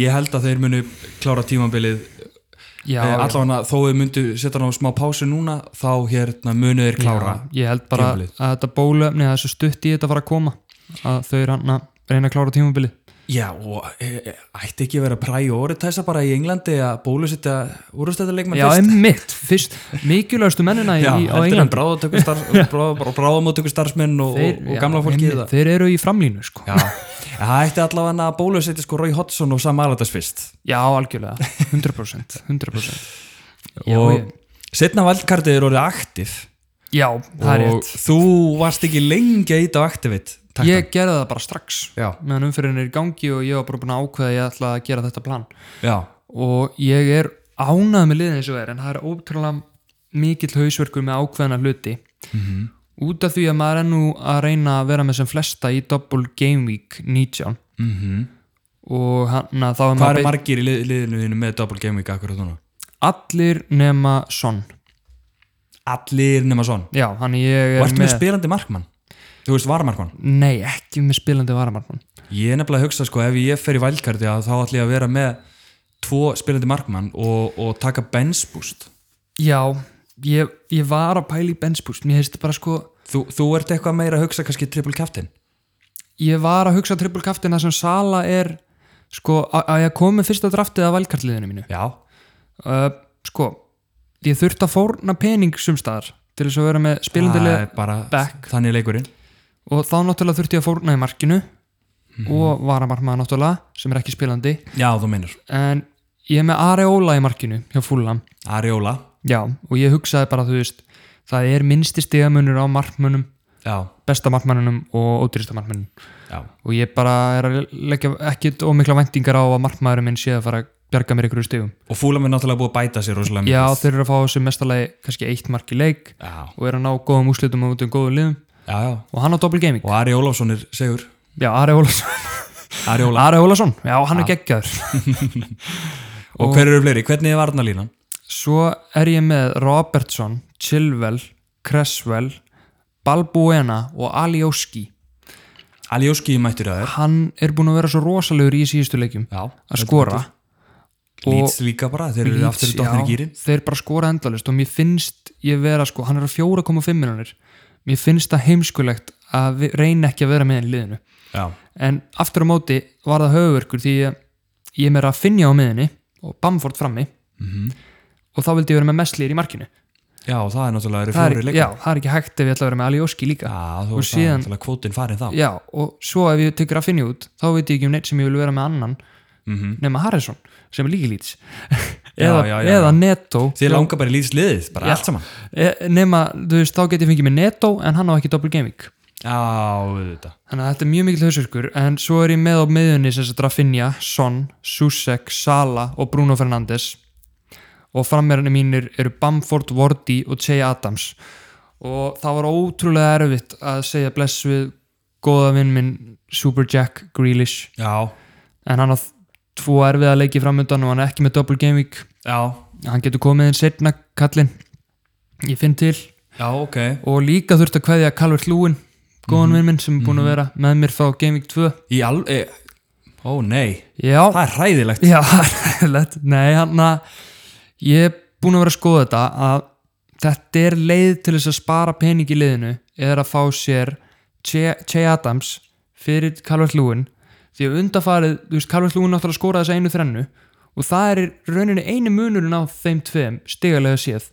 [SPEAKER 1] ég held að þeir munu klára tímabilið
[SPEAKER 2] já,
[SPEAKER 1] eh, allavega þó þau myndu setja hann á smá pásu núna þá hérna munu þeir klára
[SPEAKER 2] já, ég held bara
[SPEAKER 1] tímabilið.
[SPEAKER 2] að þetta bólefni að þessu stutt í þetta fara að koma að þau er hann að reyna að klára tímabilið
[SPEAKER 1] Já, og e, e, ætti ekki að vera prioritæsa bara í Englandi að bólusetja úrstættarleikmann
[SPEAKER 2] já, einmitt, fyrst mikilvægastu mennina í, á England [laughs]
[SPEAKER 1] bráðamóttöku starfsmenn og, og, og gamla fólki
[SPEAKER 2] einmitt, þeir eru í framlínu sko.
[SPEAKER 1] Já, En það ætti allavega að bólusetja sko Rói Hodgson og Sam Allardyce fyrst
[SPEAKER 2] já, algjörlega, 100% 100% Já,
[SPEAKER 1] og
[SPEAKER 2] ég-
[SPEAKER 1] setna valdkartið er orðið aktiv
[SPEAKER 2] já, það er rétt
[SPEAKER 1] og þú varst ekki lengi að íta á aktivit
[SPEAKER 2] ég gerði það bara strax
[SPEAKER 1] Já,
[SPEAKER 2] meðan umferðin er í gangi og ég var bara búin að ákveða að ég ætla að gera þetta plan
[SPEAKER 1] já,
[SPEAKER 2] og ég er ánað með liðin eins og er en það er ótrúlega mikill hausverkur með ákveðna hluti
[SPEAKER 1] Mhm.
[SPEAKER 2] út af því að maður er nú að reyna að vera með sem flesta í Double Game Week 19
[SPEAKER 1] mhm
[SPEAKER 2] og hann að þá er
[SPEAKER 1] Hvað eru
[SPEAKER 2] beinn-
[SPEAKER 1] margir í lið, liðinu þínu með Double Game Week akkurat núna?
[SPEAKER 2] allir nema Son
[SPEAKER 1] Allir nema svon
[SPEAKER 2] já, hann ég
[SPEAKER 1] Og
[SPEAKER 2] er
[SPEAKER 1] ertu með spilandi markmann? Þú veist varmarkmann?
[SPEAKER 2] nei, ekki með spilandi varamarmann
[SPEAKER 1] Ég er nefnilega að hugsa sko ef ég fer í valdkarti að þá ætla ég að vera með tvo spilandi markmann og, og taka bench boost
[SPEAKER 2] já, ég, ég var að pæla í benchboost, mér hefðist bara sko
[SPEAKER 1] Þú, þú ert eitthvað meira að hugsa kannski triple captain
[SPEAKER 2] ég var að hugsa triple captain þar sem Sala er sko, að- að ég kom með fyrsta draftið af valkartliðinu mínu
[SPEAKER 1] Já
[SPEAKER 2] uh, sko, ég þurfti að fórna pening sumstaðar til þess að vera með
[SPEAKER 1] Það er
[SPEAKER 2] spilandilega
[SPEAKER 1] bara
[SPEAKER 2] back.
[SPEAKER 1] þannig er leikurinn
[SPEAKER 2] og þá náttúrulega þurfti ég að fórna í markinu
[SPEAKER 1] Mhm.
[SPEAKER 2] og varamarmaða náttúrulega sem er ekki spilandi
[SPEAKER 1] Já, þú meinar
[SPEAKER 2] en ég er með Areola í markinu hjá Fulham
[SPEAKER 1] Ariola
[SPEAKER 2] já, og ég hugsaði bara þú veist það er minnsti stigamunur á markmunum
[SPEAKER 1] Já,
[SPEAKER 2] besta markmannunum og ódýrista markmannunum
[SPEAKER 1] já
[SPEAKER 2] og ég bara er að leggja ekkit ómikla væntingar á að markmaðurinn minn sé að fara að bjarga mér ykkur stigum.
[SPEAKER 1] Og Fúlam er náttúrulega búið að bæta sér rosalega
[SPEAKER 2] Já,
[SPEAKER 1] mikið
[SPEAKER 2] þeir eru að fá þessu mestalagi kannski eitt mark í leik
[SPEAKER 1] Já,
[SPEAKER 2] og eru að ná góðum úslitum og út um góðu liðum
[SPEAKER 1] já, já
[SPEAKER 2] og hann á doppelgaming.
[SPEAKER 1] Og Ari Ólafsson er segur
[SPEAKER 2] já, Ari Ólafsson
[SPEAKER 1] Ari
[SPEAKER 2] [laughs]
[SPEAKER 1] Óla
[SPEAKER 2] Ari Ólafsson, já, hann er geggjaður
[SPEAKER 1] Og hver eru fleiri? Hvernig er varnalínan?
[SPEAKER 2] Svo er ég með Robertson, Chilwell, Cresswell, Balbuena og Alioski.
[SPEAKER 1] Aljóski mættur að þér
[SPEAKER 2] Hann er búin að vera svo rosalegur í síðustu leikjum
[SPEAKER 1] Já,
[SPEAKER 2] að skora.
[SPEAKER 1] Líts líka bara, þeir eru aftur í dottinu
[SPEAKER 2] já,
[SPEAKER 1] gýrin
[SPEAKER 2] þeir bara skora endalist og mér finnst ég vera sko, hann er á 4,5 miljonir. Mér finnst það heimskulegt að við- reyna ekki að vera með hann í liðinu.
[SPEAKER 1] Já,
[SPEAKER 2] En aftur á móti var það höfverkur því ég, ég er meira að finja á miðinni og Bamford frammi
[SPEAKER 1] Mhm.
[SPEAKER 2] og þá vildi ég vera með mestlýr í markinu.
[SPEAKER 1] já það er náttúrulega eru
[SPEAKER 2] það
[SPEAKER 1] fjóri
[SPEAKER 2] er,
[SPEAKER 1] leikar
[SPEAKER 2] já, það er ekki hægt ef ég ætla að vera með Alioski líka
[SPEAKER 1] Já, þú
[SPEAKER 2] Og
[SPEAKER 1] veist það er
[SPEAKER 2] síðan-
[SPEAKER 1] náttúrulega kvótin farin þá
[SPEAKER 2] já, og svo ef ég tekur að finna út þá veit ég ekki um neitt sem ég vil vera með annan nema Harrison, sem er líka lýts
[SPEAKER 1] Mhm. Já,
[SPEAKER 2] eða,
[SPEAKER 1] já, já,
[SPEAKER 2] eða Neto
[SPEAKER 1] Þið langar bara í Líts liðið, bara
[SPEAKER 2] Já.
[SPEAKER 1] allt saman
[SPEAKER 2] e, nema, þú veist, þá get ég fengið með Neto en hann á ekki doppel gaming
[SPEAKER 1] Já, við þetta
[SPEAKER 2] þannig að þetta er mjög mikill hausverkur en svo er ég með á miðunni sem sagt Rafinha, Son, Susek, Sala og Bruno Fernandes og frammerðinni mínir eru Bamford, Vordi og Jay Adams og það var ótrúlega erfitt að segja bless við góða vinn minn Super Jack Grealish
[SPEAKER 1] Já,
[SPEAKER 2] en hann á þ- tvo erfiða leiki framöndan og hann er ekki með double game week
[SPEAKER 1] já,
[SPEAKER 2] hann getur komið inn setna kallinn ég finn til
[SPEAKER 1] já, ok
[SPEAKER 2] og líka þurft að kveðja Calvert Lúin góðan vinn minn sem er búin að vera með mér frá game week 2
[SPEAKER 1] Í alveg, e... ó nei
[SPEAKER 2] já,
[SPEAKER 1] Það er hræðilegt
[SPEAKER 2] Já, [laughs] lett. Nei, hann að ég er búin að vera að skoða þetta að þetta er leið til þess að spara pening í leiðinu eða að fá sér Che Adams fyrir Calvert Lúin því að undafarið, þú veist, Calvert Lúin náttúrulega skoraði þessa einu þrennu og það er í rauninni einu munurinn á þeim tveim stigalega séð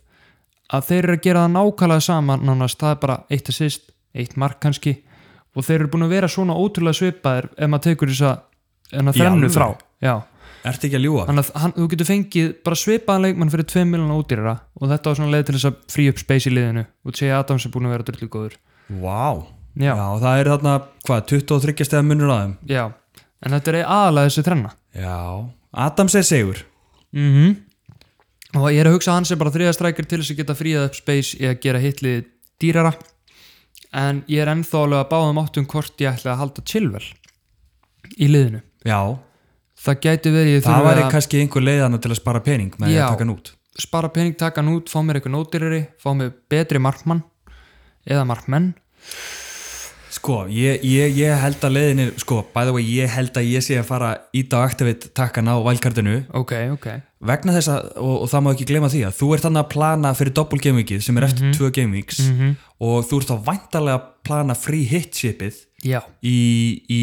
[SPEAKER 2] að þeir eru að gera það nákvæmlega sama nánast, það er bara eitt assist, eitt mark kannski og þeir eru búin að vera svona ótrúlega svipaðir ef maður tekur þess að
[SPEAKER 1] Í
[SPEAKER 2] þrennu frá
[SPEAKER 1] alvöru?
[SPEAKER 2] Já.
[SPEAKER 1] Ertu ekki að ljúga?
[SPEAKER 2] Þannig að hann, þú getur fengið bara svipaðan leikmann fyrir 2 miljón ódýrara og þetta var svona leið til þess að frí upp space í liðinu og Jay Adams er búin að vera drullu góður.
[SPEAKER 1] Vá
[SPEAKER 2] Já, já.
[SPEAKER 1] það er þarna, hvað, 23 stegar munur á þeim
[SPEAKER 2] En þetta er aðalega þessi þrenna.
[SPEAKER 1] Já, Adams er sigur
[SPEAKER 2] Mm
[SPEAKER 1] Mhm.
[SPEAKER 2] Og ég er að hugsa að hann sem bara þriða strækir til þess að geta fríðað upp space í að gera hitlið dýrara. En ég er ennþá alveg að báðum áttum hvort ég ætla að halda Chilwell í liðinu.
[SPEAKER 1] Já,
[SPEAKER 2] Það gæti verið ég
[SPEAKER 1] það
[SPEAKER 2] þurfi
[SPEAKER 1] væri
[SPEAKER 2] að
[SPEAKER 1] kannski einhver leiðana til að spara pening með því
[SPEAKER 2] Já.
[SPEAKER 1] að taka hann út
[SPEAKER 2] spara pening, taka hann út, fá mér eitthvað nódýrari, fá mér betri markmann eða markmenn.
[SPEAKER 1] Sko, ég, ég, ég held að leiðinir, sko, by the way, ég held að ég sé að fara íta á Activate takkan á valkartinu
[SPEAKER 2] Ok, ok.
[SPEAKER 1] vegna þess að, og, og það má ekki glema því að þú ert þannig að plana fyrir doppul gamevikið sem er
[SPEAKER 2] Mhm.
[SPEAKER 1] eftir tvö gameviks og þú ert þá væntalega að plana free hit shipið
[SPEAKER 2] Já,
[SPEAKER 1] í, í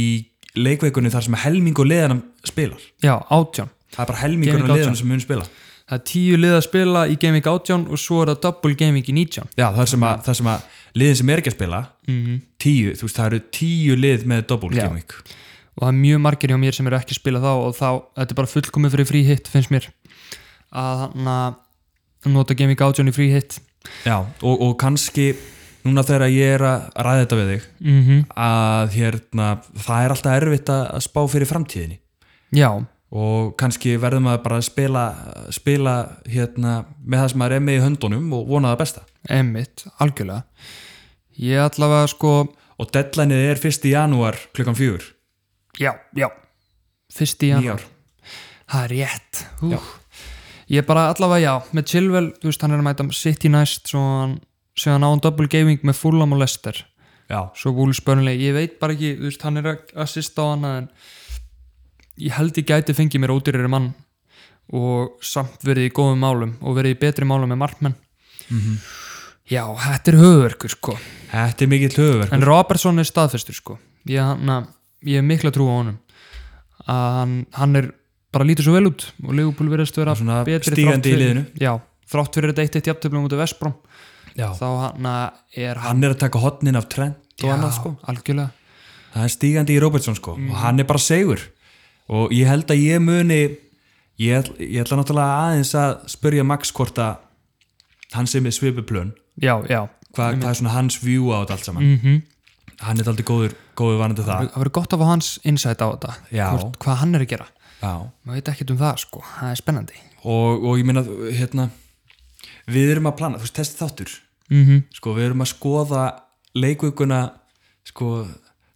[SPEAKER 1] leikveikunni þar sem helmingu leiðanum spilar
[SPEAKER 2] já, átján.
[SPEAKER 1] það er bara helmingur
[SPEAKER 2] Gaming
[SPEAKER 1] af
[SPEAKER 2] átján.
[SPEAKER 1] leiðanum sem mun spila
[SPEAKER 2] Það er tíu lið að spila í gaming átján og svo er það double gaming í nítján.
[SPEAKER 1] Já, það er sem að, það sem að liðin sem er ekki að spila tíu, þú veist, það eru tíu lið með doppul
[SPEAKER 2] Mhm. Já.
[SPEAKER 1] gamevik
[SPEAKER 2] Og það er mjög margir hjá mér sem eru ekki að spila þá og þá, þetta er bara fullkomið fyrir frí hitt, finnst mér. Að hann að nota gaming átján í frí hitt.
[SPEAKER 1] Já, og, og kannski núna þegar ég er að ræða þetta við þig
[SPEAKER 2] Mm -hmm.
[SPEAKER 1] að hérna, það er alltaf erfitt að að spá fyrir framtíðinni
[SPEAKER 2] Já,
[SPEAKER 1] og kannski verðum að bara spila, spila hérna, með það sem maður er með í höndunum og vona það besta
[SPEAKER 2] emmitt, algjörlega. Ég allavega sko,
[SPEAKER 1] og deadlineið er 1. janúar klukkan fjögur
[SPEAKER 2] já, já, fyrst í janúar.
[SPEAKER 1] nýjár
[SPEAKER 2] Það er rétt. Hú. Ég bara allavega, já, með Chilwell, þú veist, hann er að mæta City næst, svo hann, svo hann á hann double gaming með Fulham og Leicester.
[SPEAKER 1] Já,
[SPEAKER 2] svo Wolves Burnley, ég veit bara ekki þú veist, hann er að assista á hana en ég held ég gæti fengið mér ódýrari mann og samt verið í góðum málum og verið í betri málum með markmenn
[SPEAKER 1] Mhm.
[SPEAKER 2] já, þetta er höfverkur sko
[SPEAKER 1] þetta er mikið hlöfuverk
[SPEAKER 2] en Robertson er staðfestur sko ég, hann, að- ég hef mikla trú á honum að hann, hann er bara lítið svo vel út og Leopold verðist vera
[SPEAKER 1] Svona
[SPEAKER 2] betri
[SPEAKER 1] stígandi
[SPEAKER 2] þrátt
[SPEAKER 1] í
[SPEAKER 2] fyrir-
[SPEAKER 1] liðinu.
[SPEAKER 2] já, þrátt fyrir þetta eitt eitt jafntöflum út af Vesprám
[SPEAKER 1] Já.
[SPEAKER 2] þá hann að er hann
[SPEAKER 1] Hann er að taka hotnin af Trent og annað sko
[SPEAKER 2] algjörlega
[SPEAKER 1] Það er stígandi í Robertson sko og hann er bara segur og ég held að ég muni ég, ætl- ég ætla náttúrulega aðeins að spurja Max hvort að hann sem er svipuplun
[SPEAKER 2] já, já
[SPEAKER 1] hvað, hvað er svona hans view á þetta allt saman -hmm. hann er aldrei góður, góður vanandi það
[SPEAKER 2] það verður gott að fá hans insight á þetta
[SPEAKER 1] Já.
[SPEAKER 2] Hvort, hvað hann er að gera
[SPEAKER 1] Já.
[SPEAKER 2] maður veit ekkert um það sko, það er spennandi
[SPEAKER 1] og, og ég meina hérna, við erum að plana, þú veist, þessi þáttur
[SPEAKER 2] mm -hmm.
[SPEAKER 1] sko, við erum að skoða leikvíkuna sko,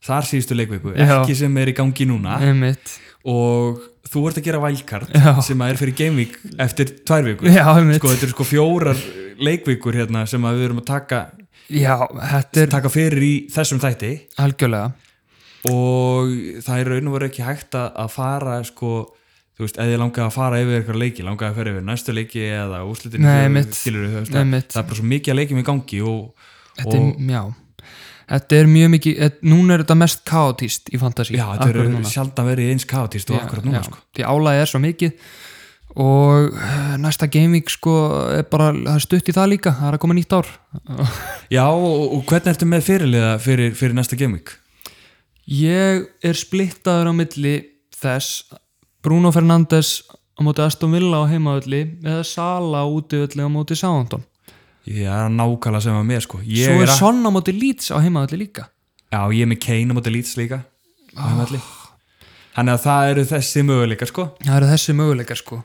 [SPEAKER 1] þar síðustu leikviku,
[SPEAKER 2] Já.
[SPEAKER 1] ekki sem er í gangi
[SPEAKER 2] Ah.
[SPEAKER 1] núna
[SPEAKER 2] einmitt
[SPEAKER 1] og þú ert að gera vælkart
[SPEAKER 2] Já.
[SPEAKER 1] sem að er fyrir gamevík eftir tvær vikur
[SPEAKER 2] já, einmitt
[SPEAKER 1] sko, þetta eru sko fjórar leikvikur hérna sem að við erum að taka,
[SPEAKER 2] já, þetta er
[SPEAKER 1] taka fyrir í þessum þætti
[SPEAKER 2] algjörlega
[SPEAKER 1] og það er raun og veru ekki hægt að, að fara sko þú veist, eða ég langaði að fara yfir eitthvað leiki langaði að fara yfir næstu leiki eða úslitin
[SPEAKER 2] Nei, einmitt.
[SPEAKER 1] það,
[SPEAKER 2] Einmitt.
[SPEAKER 1] það er bara svo mikið að leikjum í gangi og,
[SPEAKER 2] þetta
[SPEAKER 1] og
[SPEAKER 2] er, já þetta er mjög mikið, et, núna er þetta mest kaotist í fantasy,
[SPEAKER 1] já, þetta
[SPEAKER 2] akkurat
[SPEAKER 1] eru
[SPEAKER 2] núna.
[SPEAKER 1] sjaldan verið eins kaotist og akkurat núna
[SPEAKER 2] já,
[SPEAKER 1] sko
[SPEAKER 2] því álæði er svo mikið og eh, næsta gaming sko er bara, það er stutt í það líka það er að koma nýtt ár
[SPEAKER 1] já, og, og hvernig ertu með fyrirliða fyrir, fyrir næsta gameweek?
[SPEAKER 2] ég er splittaður á milli þess Bruno Fernandes á móti Aston Villa á heimaðulli eða Sala útiðulli á móti Southampton
[SPEAKER 1] ég er nákvæmlega sem að með sko ég
[SPEAKER 2] svo
[SPEAKER 1] er
[SPEAKER 2] er
[SPEAKER 1] að,
[SPEAKER 2] Son á móti Leeds á heimaðulli líca
[SPEAKER 1] já, ég er með Kane á móti Leeds líka oh. þannig að það eru þessi möguleika sko
[SPEAKER 2] það eru þessi möguleikar sko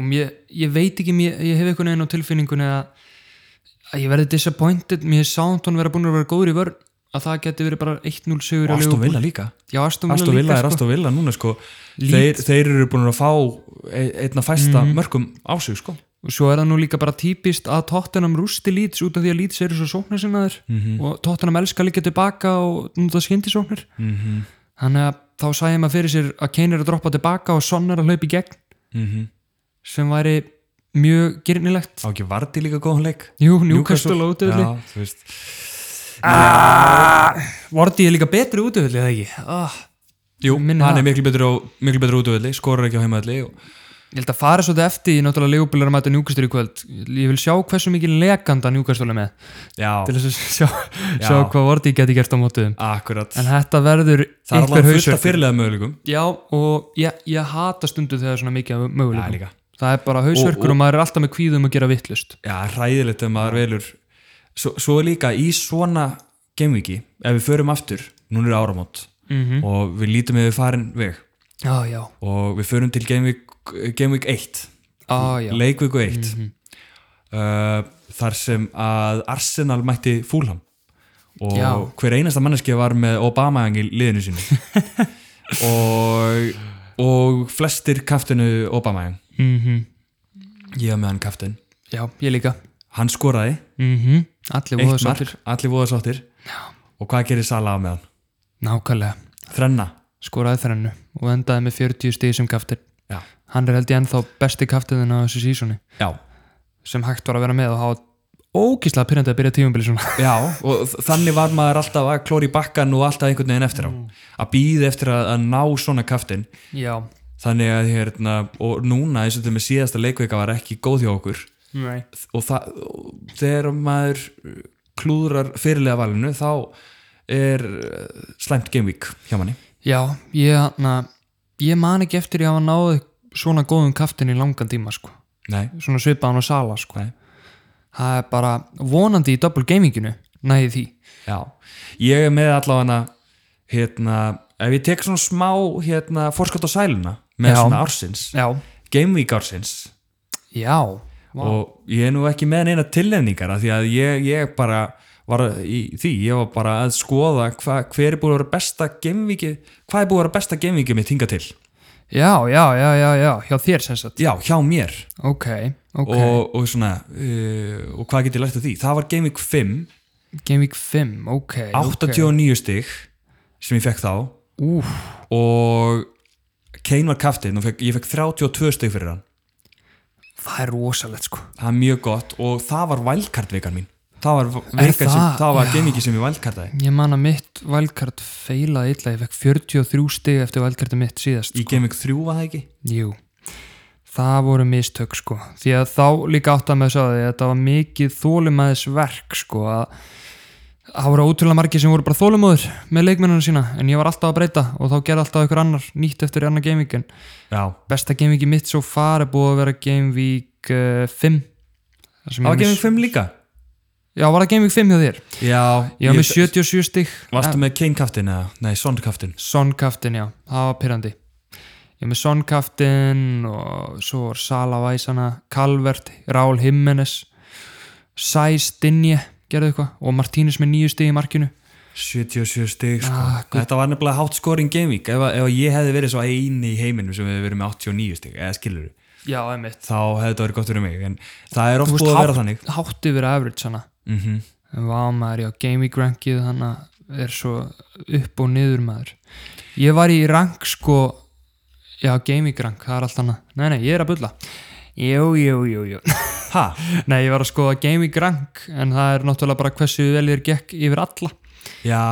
[SPEAKER 2] og mér, ég veit ekki, mér, ég hef einhvern veginn á tilfinningunni að, að ég verði disappointed, mér er Soundon vera búin að vera góður í vörn að það geti verið bara 1-0 sigur
[SPEAKER 1] og
[SPEAKER 2] á
[SPEAKER 1] Aston
[SPEAKER 2] Liverpool.
[SPEAKER 1] Villa líka
[SPEAKER 2] já, Aston Villa,
[SPEAKER 1] Aston Villa
[SPEAKER 2] líka
[SPEAKER 1] er
[SPEAKER 2] sko.
[SPEAKER 1] Aston Villa núna sko þeir, þeir eru búin að fá e- einna fæsta
[SPEAKER 2] Mhm.
[SPEAKER 1] mörgum á sig sko
[SPEAKER 2] og svo er það nú líka bara típist að Tottenham rústi Leeds út af því að Leeds eru svo sóknarsinnaður
[SPEAKER 1] Mhm.
[SPEAKER 2] -hmm. og Tottenham elskar líka tilbaka og nú það skyndi sóknir mm
[SPEAKER 1] Mhm.
[SPEAKER 2] -hmm. þannig að þá sæði maður fyrir sér að Kane er að droppa tilbaka og Son er að hlaupa í gegn
[SPEAKER 1] mm -hmm.
[SPEAKER 2] sem væri mjög gyrnilegt
[SPEAKER 1] á ekki Vardy líka góðan leik
[SPEAKER 2] Jú, Newcastle á útöðli [laughs]
[SPEAKER 1] Já, þú veist.
[SPEAKER 2] Vorti er líka betri útöðli eða ekki oh,
[SPEAKER 1] Jú,
[SPEAKER 2] Minna
[SPEAKER 1] hann
[SPEAKER 2] það.
[SPEAKER 1] er miklu betur, á, miklu betur útöðli skorar ekki á heimaðli og
[SPEAKER 2] Ég held að fara svolítið eftir í náttúrulega legubilar að mæta njúkastur í kvöld Ég vil sjá hversu mikið leganda njúkastur er með
[SPEAKER 1] já,
[SPEAKER 2] til þess að sjá, sjá hvað Vorti geti gert á mótuðum
[SPEAKER 1] akkurat
[SPEAKER 2] En þetta verður
[SPEAKER 1] það er
[SPEAKER 2] einhver
[SPEAKER 1] alltaf fullt af
[SPEAKER 2] hausverkur
[SPEAKER 1] fyrirlega möguleikum
[SPEAKER 2] Já og ég, ég hata stundu þegar svona mikið af
[SPEAKER 1] já,
[SPEAKER 2] möguleikum
[SPEAKER 1] líka
[SPEAKER 2] Það er bara hausverkur og,
[SPEAKER 1] Og-
[SPEAKER 2] maður er alltaf með kvíðum að gera vittlust
[SPEAKER 1] já, hræðilegt ef maður velur svo, svo er líka í svona gameweeki, ef við förum aftur núna er áramót
[SPEAKER 2] Mhm.
[SPEAKER 1] og við lítum yfir farin veg
[SPEAKER 2] Já, já,
[SPEAKER 1] og við förum til gameweek, gameweek 1
[SPEAKER 2] á, já. Mhm.
[SPEAKER 1] leikviku 1 uh, þar sem að Arsenal mætti Fúlham og
[SPEAKER 2] Já.
[SPEAKER 1] hver einasta manneski var með Obama í liðinu sínu
[SPEAKER 2] [laughs]
[SPEAKER 1] og, og flestir kaftinu Obama
[SPEAKER 2] Mm
[SPEAKER 1] ég var með hann kaftin
[SPEAKER 2] já ég líka
[SPEAKER 1] hann skoraði,
[SPEAKER 2] mm Allir voru
[SPEAKER 1] Mhm. eitt mark
[SPEAKER 2] sáttir
[SPEAKER 1] allir voða sáttir og hvað gerir Salah með hann?
[SPEAKER 2] Nákvæmlega,
[SPEAKER 1] þrenna
[SPEAKER 2] skoraði þrennu og endaði með 40 stíð sem kaftir
[SPEAKER 1] já,
[SPEAKER 2] hann er held ég ennþá besti kaftiðin á þessu sísoni
[SPEAKER 1] já.
[SPEAKER 2] sem hægt var að vera með og hafa ógíslega pyrrandi að byrja tífumbili svona
[SPEAKER 1] já og þ- þannig var maður alltaf að klóri bakkan og alltaf einhvern veginn eftir á að býða eftir að, að ná svona kaftin
[SPEAKER 2] [laughs] já,
[SPEAKER 1] þannig að hérna og núna eins og þetta með síðasta leikveika var ekki góð hjá okkur
[SPEAKER 2] nei
[SPEAKER 1] og, það, og þegar maður uh, klúðrar fyrirlega valinu þá er uh, slæmt gameweek hjá manni
[SPEAKER 2] já, ég, na, ég man ekki eftir ég hafa náði svona góðum kaftin í langan tíma sko.
[SPEAKER 1] Nei,
[SPEAKER 2] svona svipaðan og sala sko.
[SPEAKER 1] Nei.
[SPEAKER 2] það er bara vonandi í double gaminginu næði því
[SPEAKER 1] já ég er með allavega hérna, ef ég tek svona smá hérna, fórskott á sæluna með
[SPEAKER 2] Já.
[SPEAKER 1] svona ársins,
[SPEAKER 2] já,
[SPEAKER 1] gameweek ársins
[SPEAKER 2] já Vá.
[SPEAKER 1] og ég er nú ekki með neina tilnefningar af því að ég, ég bara var í því, ég var bara að skoða hva, hver er búið að vera besta gamevikið hvað er búið að vera besta gamevikið mitt hinga til
[SPEAKER 2] já, já, já, já, já, hjá þér sem sagt
[SPEAKER 1] já, hjá mér
[SPEAKER 2] ok, ok,
[SPEAKER 1] og, og svona uh, og hvað get ég lært af því, það var gamevik 5
[SPEAKER 2] gaming 5 ok,
[SPEAKER 1] 89 stig sem ég fekk þá
[SPEAKER 2] ok úf,
[SPEAKER 1] og Kane var kaftinn og fekk, ég fekk 32 stig fyrir hann
[SPEAKER 2] það er rosalegt sko
[SPEAKER 1] það er mjög gott og það var valkartvikan mín það var, vikan sem,
[SPEAKER 2] það?
[SPEAKER 1] það var
[SPEAKER 2] Já.
[SPEAKER 1] gamevikið sem ég valkartaði
[SPEAKER 2] Ég man að mitt valkart feilaði illa, ég fekk 43 stig eftir valkartu mitt síðast.
[SPEAKER 1] í gamevík 3 var það ekki
[SPEAKER 2] Jú, það voru mistök sko, því að þá líka átt að með þess að því að þetta var mikið þólimaðis verk sko að það voru ótrúlega margir sem voru bara þólumöður með leikmennuna sína en ég var alltaf að breyta og þá gerði alltaf ykkur annar nýtt eftir annar gaming en
[SPEAKER 1] já,
[SPEAKER 2] besta gaming mitt svo far er búið að vera gaming uh, 5 Þar
[SPEAKER 1] Það
[SPEAKER 2] sem
[SPEAKER 1] var
[SPEAKER 2] ég
[SPEAKER 1] Gaming 5 líka
[SPEAKER 2] Já, var það gaming 5 hjá þér?
[SPEAKER 1] Já,
[SPEAKER 2] Ég var með 77 stig Eh,
[SPEAKER 1] Varstu með Kane kaftin eða? Nei, Son kaftin
[SPEAKER 2] Son Kaftin, já, það var pyrrandi ég er með Son Kaftin og svo var Sala Væsana Calvert, Raúl Jiménez Sæ Stinje gerðu eitthvað og Martínez með nýju stig í markinu
[SPEAKER 1] 77 stig sko.
[SPEAKER 2] Ah, guð.
[SPEAKER 1] þetta var nefnilega hátt scoring gaming ef, að- ef að ég hefði verið svo eini í heiminum sem hefði verið með 89 stig eða skilur
[SPEAKER 2] já, einmitt
[SPEAKER 1] þá hefði þetta verið gott fyrir mig en það er oft
[SPEAKER 2] Þú veist,
[SPEAKER 1] búið að vera
[SPEAKER 2] hátt-
[SPEAKER 1] þannig
[SPEAKER 2] hátt yfir average hana
[SPEAKER 1] mm
[SPEAKER 2] en vá maður, já, gaming rankið hana er svo upp og niður maður ég var í rank sko já, gaming rank, það er allt hana nei, nei, ég er að bulla jú, jú, jú, jú
[SPEAKER 1] ha,
[SPEAKER 2] nei, ég var að skoða gaming rank en það er náttúrulega bara hversu vel þér gekk yfir alla
[SPEAKER 1] já,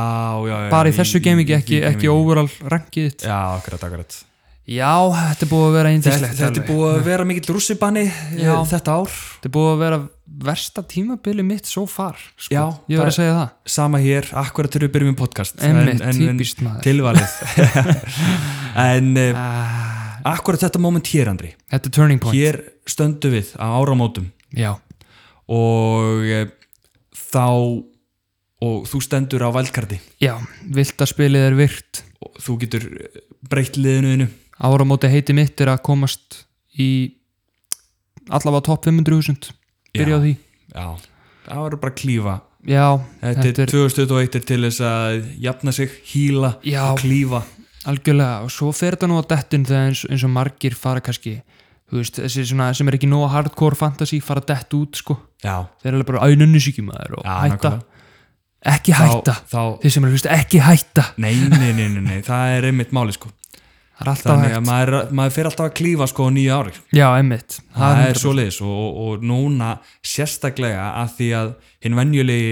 [SPEAKER 1] já, já
[SPEAKER 2] bara í þessu gaming,
[SPEAKER 1] því
[SPEAKER 2] ekki, ekki
[SPEAKER 1] gamingi.
[SPEAKER 2] overall rankið þitt.
[SPEAKER 1] já, akkurat, akkurat
[SPEAKER 2] já, þetta er búið að vera
[SPEAKER 1] þetta,
[SPEAKER 2] eindislegt
[SPEAKER 1] þetta er búið að vera mikill rússibanni eh,
[SPEAKER 2] Já.
[SPEAKER 1] þetta ár
[SPEAKER 2] Þetta er búið að vera versta tímabili mitt svo far sko.
[SPEAKER 1] Já,
[SPEAKER 2] Ég var að segja það
[SPEAKER 1] sama hér, akkurat þegar við byrjum með podcast
[SPEAKER 2] Einmitt, típist maður [laughs]
[SPEAKER 1] tilvalið en uh,
[SPEAKER 2] ah,
[SPEAKER 1] akkurat þetta moment hér Andri
[SPEAKER 2] Þetta er turning point
[SPEAKER 1] hér stöndu við á áramótum
[SPEAKER 2] Já,
[SPEAKER 1] og eh, þá og þú stendur á valdkarti
[SPEAKER 2] já, viltaspilið er virt
[SPEAKER 1] og þú getur eh, breytt liðinuðinu
[SPEAKER 2] Áramóti heiti mitt er að komast í allavega topp 500.000 Byrja á því
[SPEAKER 1] já, það verður bara að klífa
[SPEAKER 2] Já,
[SPEAKER 1] þetta,
[SPEAKER 2] Þetta er-
[SPEAKER 1] er 2021 er til þess að jafna sig, híla
[SPEAKER 2] Já.
[SPEAKER 1] og klífa
[SPEAKER 2] algjörlega og svo fer þetta nú á dettin þegar eins, eins og margir fara kannski þú veist, þessi svona sem er ekki nóg hardcore fantasy fara dett út sko
[SPEAKER 1] já,
[SPEAKER 2] þeir eru alveg bara auðnunnusíkjumæður og
[SPEAKER 1] já
[SPEAKER 2] hætta
[SPEAKER 1] nákvæmlega.
[SPEAKER 2] ekki hætta,
[SPEAKER 1] þá, þá
[SPEAKER 2] þeir sem eru að hlusta ekki hætta
[SPEAKER 1] nei, nei, nei, nei, nei, það er einmitt máli sko
[SPEAKER 2] það er alltaf
[SPEAKER 1] þannig
[SPEAKER 2] hægt
[SPEAKER 1] að maður, maður fer alltaf að klífa sko á nýja ári
[SPEAKER 2] Já, emmitt
[SPEAKER 1] það er svoleiðis og, og, og núna sérstaklega að því að hinn venjulegi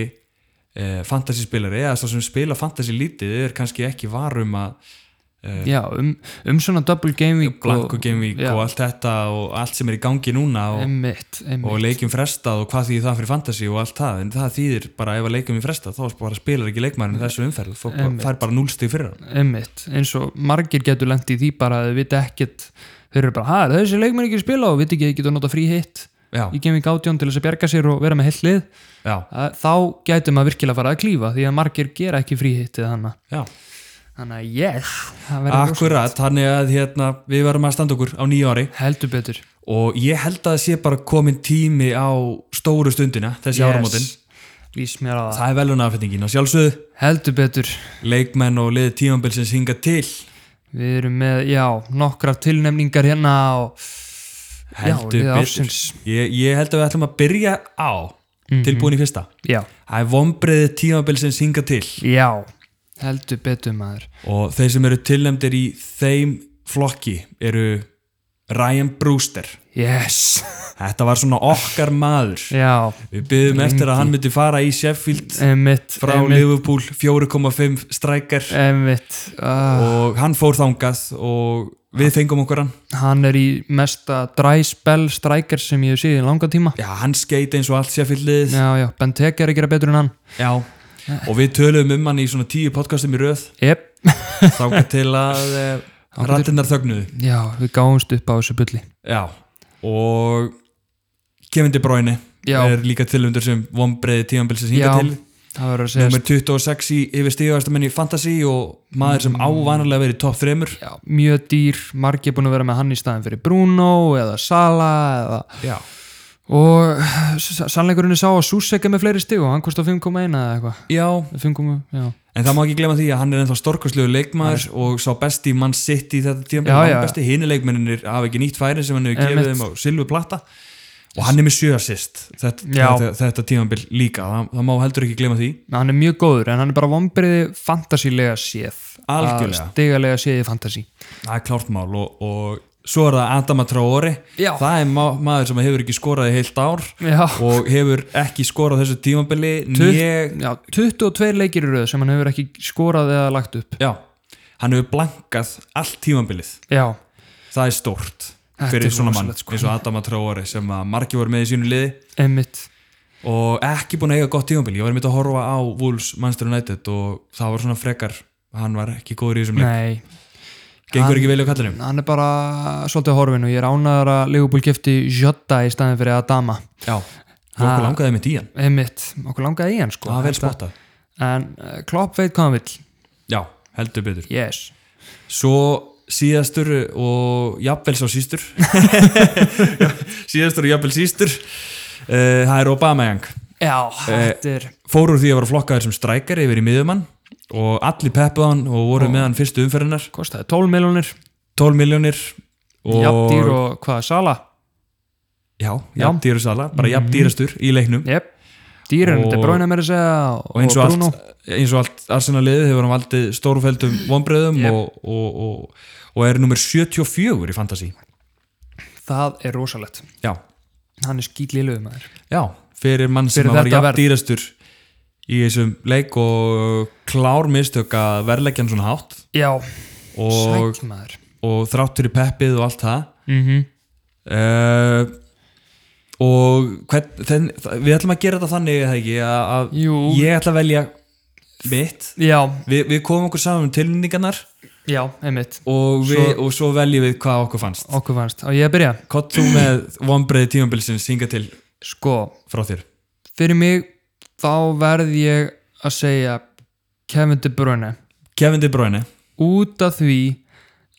[SPEAKER 1] eh, fantasyspilari eða svo sem spila fantasy lítið er kannski ekki varum að
[SPEAKER 2] Já, um, um svona double game week
[SPEAKER 1] blanku game week
[SPEAKER 2] já,
[SPEAKER 1] og allt þetta og allt sem er í gangi núna og,
[SPEAKER 2] Emmitt,
[SPEAKER 1] og
[SPEAKER 2] emmitt
[SPEAKER 1] leikjum frestað og hvað þýðir það fyrir fantasy og allt það en það þýðir bara ef að leikjum er frestað þá bara spilar ekki leikmærin þessu umferð og
[SPEAKER 2] Einmitt.
[SPEAKER 1] fær bara núlstig fyrir hann
[SPEAKER 2] Emmitt, eins og margir getur lengt í því bara að þau vita ekkert Þeir eru bara, hæ, þessi leikmenn ekki að spila og viti ekki að þau getur nota frí hitt í
[SPEAKER 1] já,
[SPEAKER 2] game week átjón til þess að bjarga sér og vera með heilt lið
[SPEAKER 1] já,
[SPEAKER 2] Að- Þá getur maður virkilega fara að klífa því að margir gera ekki frí hittið hana
[SPEAKER 1] já
[SPEAKER 2] Þannig að yes, það verður rosa-
[SPEAKER 1] akkurat, þannig að hérna, við verðum að standa okkur á nýja ári
[SPEAKER 2] heldur betur
[SPEAKER 1] og ég held að það sé bara komin tími á stóru stundina þessi yes. áramótin
[SPEAKER 2] Lýs mér á það
[SPEAKER 1] Það er velunafettingin og sjálfsögðu
[SPEAKER 2] Heldur betur
[SPEAKER 1] leikmenn og liðið tímambil sem synga til
[SPEAKER 2] Við erum með, já, nokkrar tilnefningar hérna og
[SPEAKER 1] heldur
[SPEAKER 2] já,
[SPEAKER 1] betur ég, ég held að við ætlum að byrja á
[SPEAKER 2] Mhm.
[SPEAKER 1] tilbúin í fyrsta
[SPEAKER 2] Já,
[SPEAKER 1] Það er vombriðið tímambil sem synga til
[SPEAKER 2] já, heldur betur maður.
[SPEAKER 1] og þeir sem eru tilnæmdir í þeim flokki eru Ryan Brewster
[SPEAKER 2] Yes,
[SPEAKER 1] Þetta var svona okkar maður
[SPEAKER 2] já,
[SPEAKER 1] Við byggðum eftir að hann myndi fara í Sheffield
[SPEAKER 2] emitt,
[SPEAKER 1] frá Liverpool 4,5 strækar
[SPEAKER 2] emitt. Uh,
[SPEAKER 1] og hann fór þangað og við fengum okkur hann
[SPEAKER 2] hann er í mesta dry spell striker sem ég hef séð í langa tíma.
[SPEAKER 1] Já, hann skeit eins og allt Sheffieldlið
[SPEAKER 2] Já, já, Ben Teke er að gera betur en hann.
[SPEAKER 1] Já, og við töluðum um hann í svona tíu podcastum í röð
[SPEAKER 2] Jep,
[SPEAKER 1] þáka til að eh, rattinnar þögnuðu
[SPEAKER 2] já, við gáumst upp á þessu bulli.
[SPEAKER 1] Já, og Kevin De Bruyne
[SPEAKER 2] Já.
[SPEAKER 1] er líka tilundur sem vonbreiði tímanbilsins
[SPEAKER 2] Já,
[SPEAKER 1] hinga til
[SPEAKER 2] það verður að segja,
[SPEAKER 1] Númer 26 í yfir stíðvægastamenn í Fantasy og maður sem
[SPEAKER 2] Mm.
[SPEAKER 1] ávanalega verið í topp þremur
[SPEAKER 2] já, mjög dýr, margir búin að vera með hann í staðin fyrir Bruno eða Sala eða
[SPEAKER 1] Já,
[SPEAKER 2] og s- sannleikurinn er sá að Susek er með fleiri stig og hann kostar 5,1 eða eitthvað
[SPEAKER 1] já
[SPEAKER 2] 5,1, já,
[SPEAKER 1] En það má ekki glemma því að hann er ennþá storkoslegu leikmaður og sá besti mann sitt í þetta tíma
[SPEAKER 2] Já, já, já.
[SPEAKER 1] hann besti hinn leikmenninir hafa ekki nýtt færi sem hann hefur gefið
[SPEAKER 2] Einmitt.
[SPEAKER 1] þeim á silfu plata og hann er með sjö assist þetta,
[SPEAKER 2] Já.
[SPEAKER 1] þetta, þetta tímabil líka það, það má heldur ekki glemma því
[SPEAKER 2] hann er mjög góður en hann er bara vonbyrði fantasílega séð
[SPEAKER 1] Algjörlega.
[SPEAKER 2] Að stigalega séð í fantasí
[SPEAKER 1] það er klárt mál og, og svo er það Adama Traore
[SPEAKER 2] Já.
[SPEAKER 1] það er ma maður sem hefur ekki skorað í heilt ár
[SPEAKER 2] já,
[SPEAKER 1] og hefur ekki skorað þessu tímabili
[SPEAKER 2] Tutt-
[SPEAKER 1] né,
[SPEAKER 2] já, 22 leikir í röð sem hann hefur ekki skorað eða lagt upp
[SPEAKER 1] já, hann hefur blankað allt tímabilið
[SPEAKER 2] já,
[SPEAKER 1] það er stórt
[SPEAKER 2] Þetta
[SPEAKER 1] fyrir
[SPEAKER 2] er
[SPEAKER 1] svona mann
[SPEAKER 2] rosalegt, sko.
[SPEAKER 1] eins og Adama Traore sem að margir voru með í sínu liði
[SPEAKER 2] emmitt
[SPEAKER 1] og ekki búin að eiga gott tímanbíl ég var einmitt að horfa á Wolves Manchester United og það var svona frekar hann var ekki góður í þessum leik,
[SPEAKER 2] nei,
[SPEAKER 1] gengur ekki vel á kallinum
[SPEAKER 2] hann er bara svolítið horfin og ég er ánæður að Leopold kefti Jota í staðin fyrir Adama
[SPEAKER 1] já, og okkur langaði með díjan
[SPEAKER 2] emmitt, okkur langaði í hann sko
[SPEAKER 1] það var vel
[SPEAKER 2] Þetta-
[SPEAKER 1] spottað,
[SPEAKER 2] en eh, Klopp veit hvað hann vill
[SPEAKER 1] já, heldur betur
[SPEAKER 2] yes
[SPEAKER 1] svo síðastur og jafnvel sá [laughs] sístur síðastur og jafnvel sístur uh, það er Obama Young
[SPEAKER 2] Já, þetta er
[SPEAKER 1] Eh. fór úr því að vera flokkaður sem strækari yfir í miðumann og allir peppuð hann og voru með hann fyrstu umferðinar
[SPEAKER 2] kostaði 12 miljonir
[SPEAKER 1] 12 miljónir og
[SPEAKER 2] jafndýr og hvað sala
[SPEAKER 1] já, Mhm. jafndýru sala, bara jafndýrastur í leiknum
[SPEAKER 2] yep. dýrin,
[SPEAKER 1] Og-
[SPEAKER 2] þetta bráinu meira að segja og,
[SPEAKER 1] og eins og,
[SPEAKER 2] Bruno
[SPEAKER 1] allt, eins og allt Arsenal-liðið hefur hann valdið stórfældum vonbröðum
[SPEAKER 2] Yep.
[SPEAKER 1] og, og, og, og er nummer 74 í Fantasí
[SPEAKER 2] það er rosalegt,
[SPEAKER 1] já,
[SPEAKER 2] hann er skýtliluðu maður
[SPEAKER 1] já, fyrir mann sem
[SPEAKER 2] Fyrir
[SPEAKER 1] að var
[SPEAKER 2] þetta verð.
[SPEAKER 1] jafndýrastur í þessum leik og klár mistök að verleggja hann svona hátt
[SPEAKER 2] já,
[SPEAKER 1] og,
[SPEAKER 2] sæk maður
[SPEAKER 1] og þráttur í peppið og allt það
[SPEAKER 2] mm
[SPEAKER 1] uh, og hvern, þen, þa- við ætlum að gera þetta þannig eða ekki að, að
[SPEAKER 2] Jú.
[SPEAKER 1] ég ætla að velja mitt
[SPEAKER 2] já,
[SPEAKER 1] Vi, við komum okkur saman um tilnýningarnar
[SPEAKER 2] já, einmitt
[SPEAKER 1] og, við, og svo veljum við hvað okkur fannst
[SPEAKER 2] okkur fannst, og ég að byrja
[SPEAKER 1] hvað þú með vonbreiði tímambilsins hinga til
[SPEAKER 2] sko,
[SPEAKER 1] frá þér
[SPEAKER 2] fyrir mig þá verð ég að segja Kevin De Bruyne
[SPEAKER 1] Kevin De Bruyne
[SPEAKER 2] út af því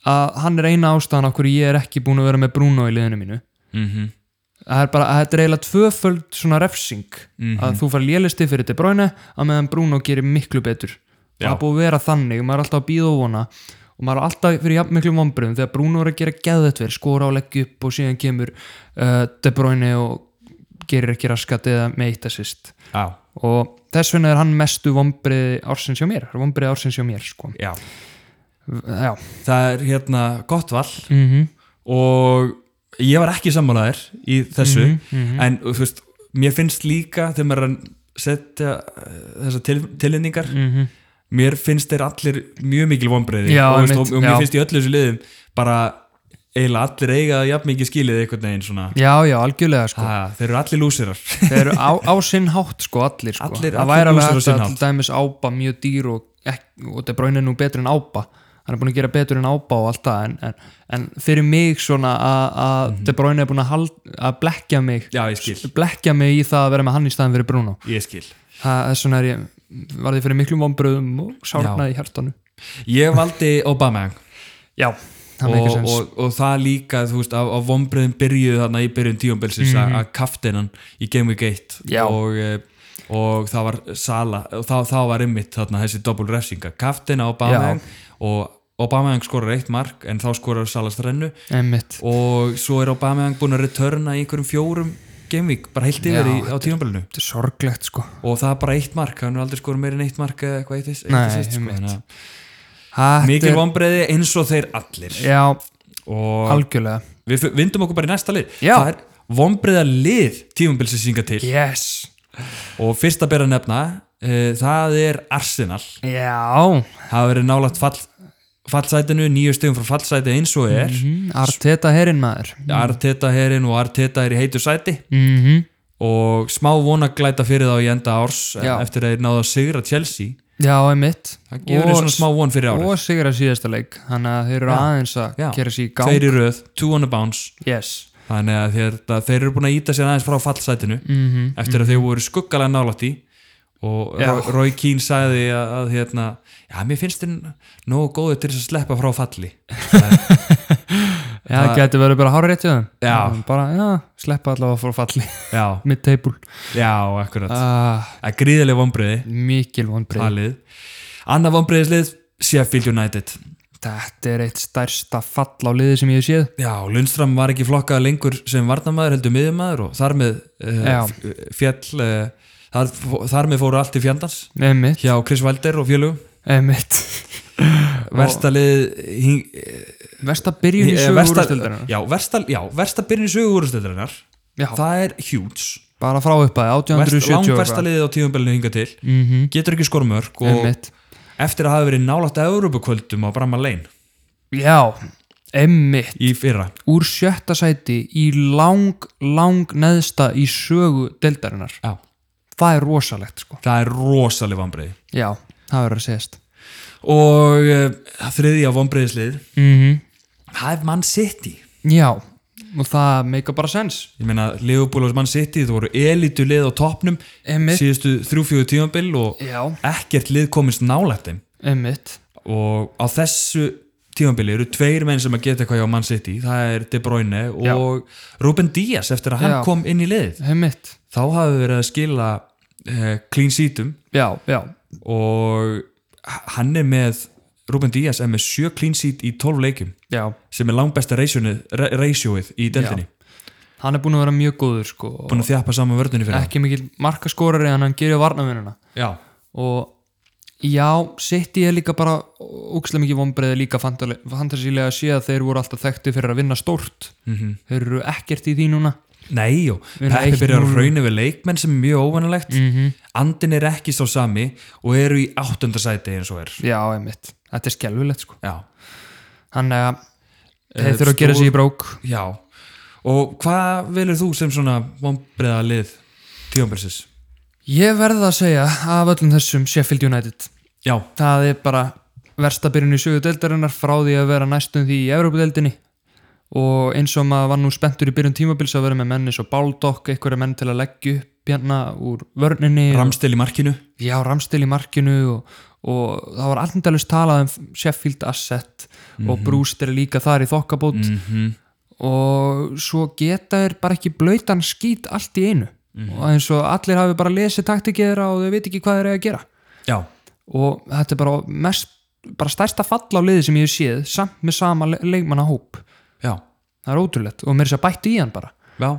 [SPEAKER 2] að hann er eina ástæðan okkur ég er ekki búin að vera með Bruno í liðinu mínu
[SPEAKER 1] mm -hmm.
[SPEAKER 2] það er bara, að þetta er eiginlega tvöföld svona refsing að þú fær lélisti fyrir De Bruyne að meðan Bruno gerir miklu betur og
[SPEAKER 1] Já.
[SPEAKER 2] það er búið að vera þannig, maður er alltaf að býða og vona og maður er alltaf fyrir jafn miklu vombriðum þegar Bruno er að gera geðvetver, skora og leggja upp og síðan kemur uh, De Bruyne og gerir ekki raskat eða með eitt assist
[SPEAKER 1] já,
[SPEAKER 2] og þess vegna er hann mestu vombriði ársins hjá mér, vombriði ársins hjá mér sko.
[SPEAKER 1] já,
[SPEAKER 2] já,
[SPEAKER 1] það er hérna gott val
[SPEAKER 2] mm
[SPEAKER 1] Mhm.
[SPEAKER 2] -hmm.
[SPEAKER 1] og ég var ekki sammálaðir í þessu
[SPEAKER 2] Mhm,
[SPEAKER 1] en þú veist, mér finnst líka þegar maður er að setja eh, þessar til, tilhenningar mér finnst þeir allir mjög mikil vonbreiði
[SPEAKER 2] Mhm. Já,
[SPEAKER 1] og, veist,
[SPEAKER 2] einmitt,
[SPEAKER 1] og, og mér
[SPEAKER 2] já.
[SPEAKER 1] finnst í öllu þessu liðum bara eiginlega allir eiga jafn mikið skilið einhvern veginn svona
[SPEAKER 2] já, já, algjörlega sko.
[SPEAKER 1] ha, þeir eru allir lúsirar
[SPEAKER 2] þeir eru á, á sinn hátt sko allir sko
[SPEAKER 1] Allir-
[SPEAKER 2] það
[SPEAKER 1] allir
[SPEAKER 2] væri alveg
[SPEAKER 1] lúsir á
[SPEAKER 2] hægt
[SPEAKER 1] sinn
[SPEAKER 2] að
[SPEAKER 1] hátt.
[SPEAKER 2] til dæmis ápa mjög dýr og, ekki, og það bráinu nú betur en ápa hann er búin að gera betur en ápa og allt það en, en, en fyrir mig svona að mm -hmm. bráinu er búin að, hald, að blekja mig
[SPEAKER 1] [laughs] Mhm. já, ég skil,
[SPEAKER 2] blekja mig í það að vera með hann í staðin fyrir Bruno
[SPEAKER 1] ég skil
[SPEAKER 2] það er svona er ég varði fyrir miklum vombröðum og sárnaði í hjartanu
[SPEAKER 1] ég valdi Obama
[SPEAKER 2] já, það
[SPEAKER 1] og,
[SPEAKER 2] meikir sens
[SPEAKER 1] og, og það líka þú veist, á, á vonbreiðin byrjuðu þarna í byrjun tíumbilsins mm að kaftinan í Game Week 1
[SPEAKER 2] Mhm. Já.
[SPEAKER 1] og, eh, og það var Sala, og þá, þá var ymmit þarna þessi doppul refsinga, kaftina Obama og Obama skorar eitt mark en þá skorar Sala strennu
[SPEAKER 2] einmitt
[SPEAKER 1] og svo er Obama búin að returna í einhverjum fjórum Game Week, bara heilt yfir
[SPEAKER 2] Já,
[SPEAKER 1] í, á tíumbilinu
[SPEAKER 2] þetta er sorglegt sko
[SPEAKER 1] og það er bara eitt mark, hann er aldrei skorað meira en eitt mark eða eitthvað eitt, eitt, eitt,
[SPEAKER 2] Nei,
[SPEAKER 1] eitt, eitt,
[SPEAKER 2] einmitt.
[SPEAKER 1] eitt, eitt,
[SPEAKER 2] Þetta
[SPEAKER 1] mikil
[SPEAKER 2] er-
[SPEAKER 1] vonbreiði eins og þeir allir
[SPEAKER 2] já,
[SPEAKER 1] og
[SPEAKER 2] algjörlega
[SPEAKER 1] Við f- vindum okkur bara í næsta lið
[SPEAKER 2] Já.
[SPEAKER 1] Það er vonbreiða lið tímumbilsins hinga til
[SPEAKER 2] yes
[SPEAKER 1] og fyrst að bera að nefna uh, það er Arsenal
[SPEAKER 2] já,
[SPEAKER 1] það verið nálagt fall, fallsætinu nýju stegum frá fallsæti eins og er
[SPEAKER 2] Mm, Arteta herinn maður
[SPEAKER 1] Arteta herinn og Arteta er í heitu sæti
[SPEAKER 2] mm
[SPEAKER 1] Mhm. og smá vonaglæta fyrir þá í enda árs eh,
[SPEAKER 2] Já.
[SPEAKER 1] eftir að þeir náðu að sigra Chelsea
[SPEAKER 2] Já, einmitt
[SPEAKER 1] það gefur þeir svona smá von fyrir árið
[SPEAKER 2] Og sigra síðasta leik Þannig að þeir eru aðeins að
[SPEAKER 1] Já.
[SPEAKER 2] gera sér í gang
[SPEAKER 1] Tveir í röð, two on a bounce
[SPEAKER 2] Yes
[SPEAKER 1] þannig að þeir, að þeir eru búin að íta sér aðeins frá fallsætinu
[SPEAKER 2] Mhm.
[SPEAKER 1] eftir að þeir voru skuggalega nálætt í og
[SPEAKER 2] Já.
[SPEAKER 1] Roy- Roy Keane sagði að, að hérna, já, mér finnst þeir nógu góðu til þess að sleppa frá falli
[SPEAKER 2] Já, það getur verið bara hárið réttið þeim
[SPEAKER 1] Já.
[SPEAKER 2] Bara, já, sleppa allavega frá
[SPEAKER 1] [laughs]
[SPEAKER 2] falli
[SPEAKER 1] [laughs] já,
[SPEAKER 2] Mitt teipul
[SPEAKER 1] já, akkurat
[SPEAKER 2] ah,
[SPEAKER 1] að gríðileg vonbriði,
[SPEAKER 2] Mikil vonbrið
[SPEAKER 1] talið annað vonbriðislið, Sheffield United
[SPEAKER 2] Þetta er eitt stærsta fall á liði sem ég hef séð
[SPEAKER 1] já, Lundström var ekki flokkað lengur sem varnamaður heldur miðjumæður og þar með
[SPEAKER 2] Já.
[SPEAKER 1] uh, fjall uh, þar, þar með fóru allt í fjandans
[SPEAKER 2] Einmitt
[SPEAKER 1] hjá Chris Valder og fjölugum
[SPEAKER 2] Einmitt
[SPEAKER 1] versta lið hing-
[SPEAKER 2] Versta byrjun í
[SPEAKER 1] eh,
[SPEAKER 2] sögur
[SPEAKER 1] versta-
[SPEAKER 2] úrstöldar
[SPEAKER 1] já, versta, já, versta byrjun í sögu úrstöldarinar
[SPEAKER 2] Já.
[SPEAKER 1] það er huge
[SPEAKER 2] Bara frá uppaði
[SPEAKER 1] Verst,
[SPEAKER 2] 1870 og
[SPEAKER 1] langversta
[SPEAKER 2] eitthvað.
[SPEAKER 1] liðið á tíumbelinu hinga til
[SPEAKER 2] Mhm.
[SPEAKER 1] getur ekki skormörk og
[SPEAKER 2] Einmitt
[SPEAKER 1] eftir að hafa verið nálægt að Europakvöldum á Bramma Lane
[SPEAKER 2] Já, einmitt
[SPEAKER 1] í fyrra
[SPEAKER 2] úr sjötta sæti í lang, lang neðsta í sögu deildarinnar.
[SPEAKER 1] já.
[SPEAKER 2] Það er rosalegt sko.
[SPEAKER 1] það er rosaleg vombrið
[SPEAKER 2] Já, það verður að segjast.
[SPEAKER 1] og uh, þriðja vombriðislið
[SPEAKER 2] Mm
[SPEAKER 1] það er Man City
[SPEAKER 2] Já, og það meika bara sens.
[SPEAKER 1] ég meina Liverpool og Man City þú voru elitu lið á topnum
[SPEAKER 2] Einmitt.
[SPEAKER 1] síðustu þrjú-fjögur tíumbil og
[SPEAKER 2] Já,
[SPEAKER 1] ekkert lið komist nálægt þeim
[SPEAKER 2] einmitt.
[SPEAKER 1] og á þessu tímanbili eru tveir menn sem að geta eitthvað hjá Man City það er De Bruyne og Ruben Díaz eftir að hann
[SPEAKER 2] Já.
[SPEAKER 1] kom inn í liðið
[SPEAKER 2] Einmitt.
[SPEAKER 1] þá hafi verið að skila eh, clean seatum
[SPEAKER 2] Já, já.
[SPEAKER 1] og hann er með Ruben Díaz er með sjö clean sheet í 12 leikjum
[SPEAKER 2] já,
[SPEAKER 1] sem er langbesta ratioið í delfinni
[SPEAKER 2] hann er búin að vera mjög góður sko, og
[SPEAKER 1] búin að þjappa saman vördunni fyrir
[SPEAKER 2] ekki mikil markaskorari en hann gerir varnavinnuna
[SPEAKER 1] það já,
[SPEAKER 2] og já, City er líka bara ógstlega mikið vonbreiði líka fantale- fantasílega að sé að þeir voru alltaf þekkti fyrir að vinna stórt -hmm. þeir eru ekkert í því núna
[SPEAKER 1] nei, jú,
[SPEAKER 2] erum Mhm.
[SPEAKER 1] Peppi
[SPEAKER 2] 1-0.
[SPEAKER 1] byrjar að hrauna við leikmenn sem er mjög óvanalegt andin er ekki sá sami og eru í áttundasæti eins og er
[SPEAKER 2] já, einmitt, þetta er skelfilegt sko
[SPEAKER 1] já,
[SPEAKER 2] þannig að
[SPEAKER 1] Eh,
[SPEAKER 2] þeir þurfa að gera
[SPEAKER 1] stór-
[SPEAKER 2] sér í brók
[SPEAKER 1] já og hvað velur þú sem svona vonbreiða lið tíðanbilsis?
[SPEAKER 2] ég verða að segja af öllum þessum Sheffield United
[SPEAKER 1] Já,
[SPEAKER 2] það er bara versta byrjun í sögu deildarinnar frá því að vera næstum því í Evrópudeildinni og eins og maður var nú spenntur í byrjun tímabils að vera með menn eins og Baldokk, einhverja menn til að leggja upp hérna úr vörninni
[SPEAKER 1] Ramstil í markinu
[SPEAKER 2] já, Ramstil í markinu og, og það var allindalust talað um Sheffield Asset og Brewster er líka þar í þokkabót og svo geta þeir bara ekki blöytan skít allt í einu og eins og allir hafi bara lesið taktikiðra og þau veit ekki hvað þeir eiga að gera
[SPEAKER 1] Já,
[SPEAKER 2] og þetta er bara mest bara stærsta fall á liði sem ég hef séð samt með sama le leikmannahóp
[SPEAKER 1] já,
[SPEAKER 2] það er ótrúlegt og mér er þess að bættu í hann bara
[SPEAKER 1] já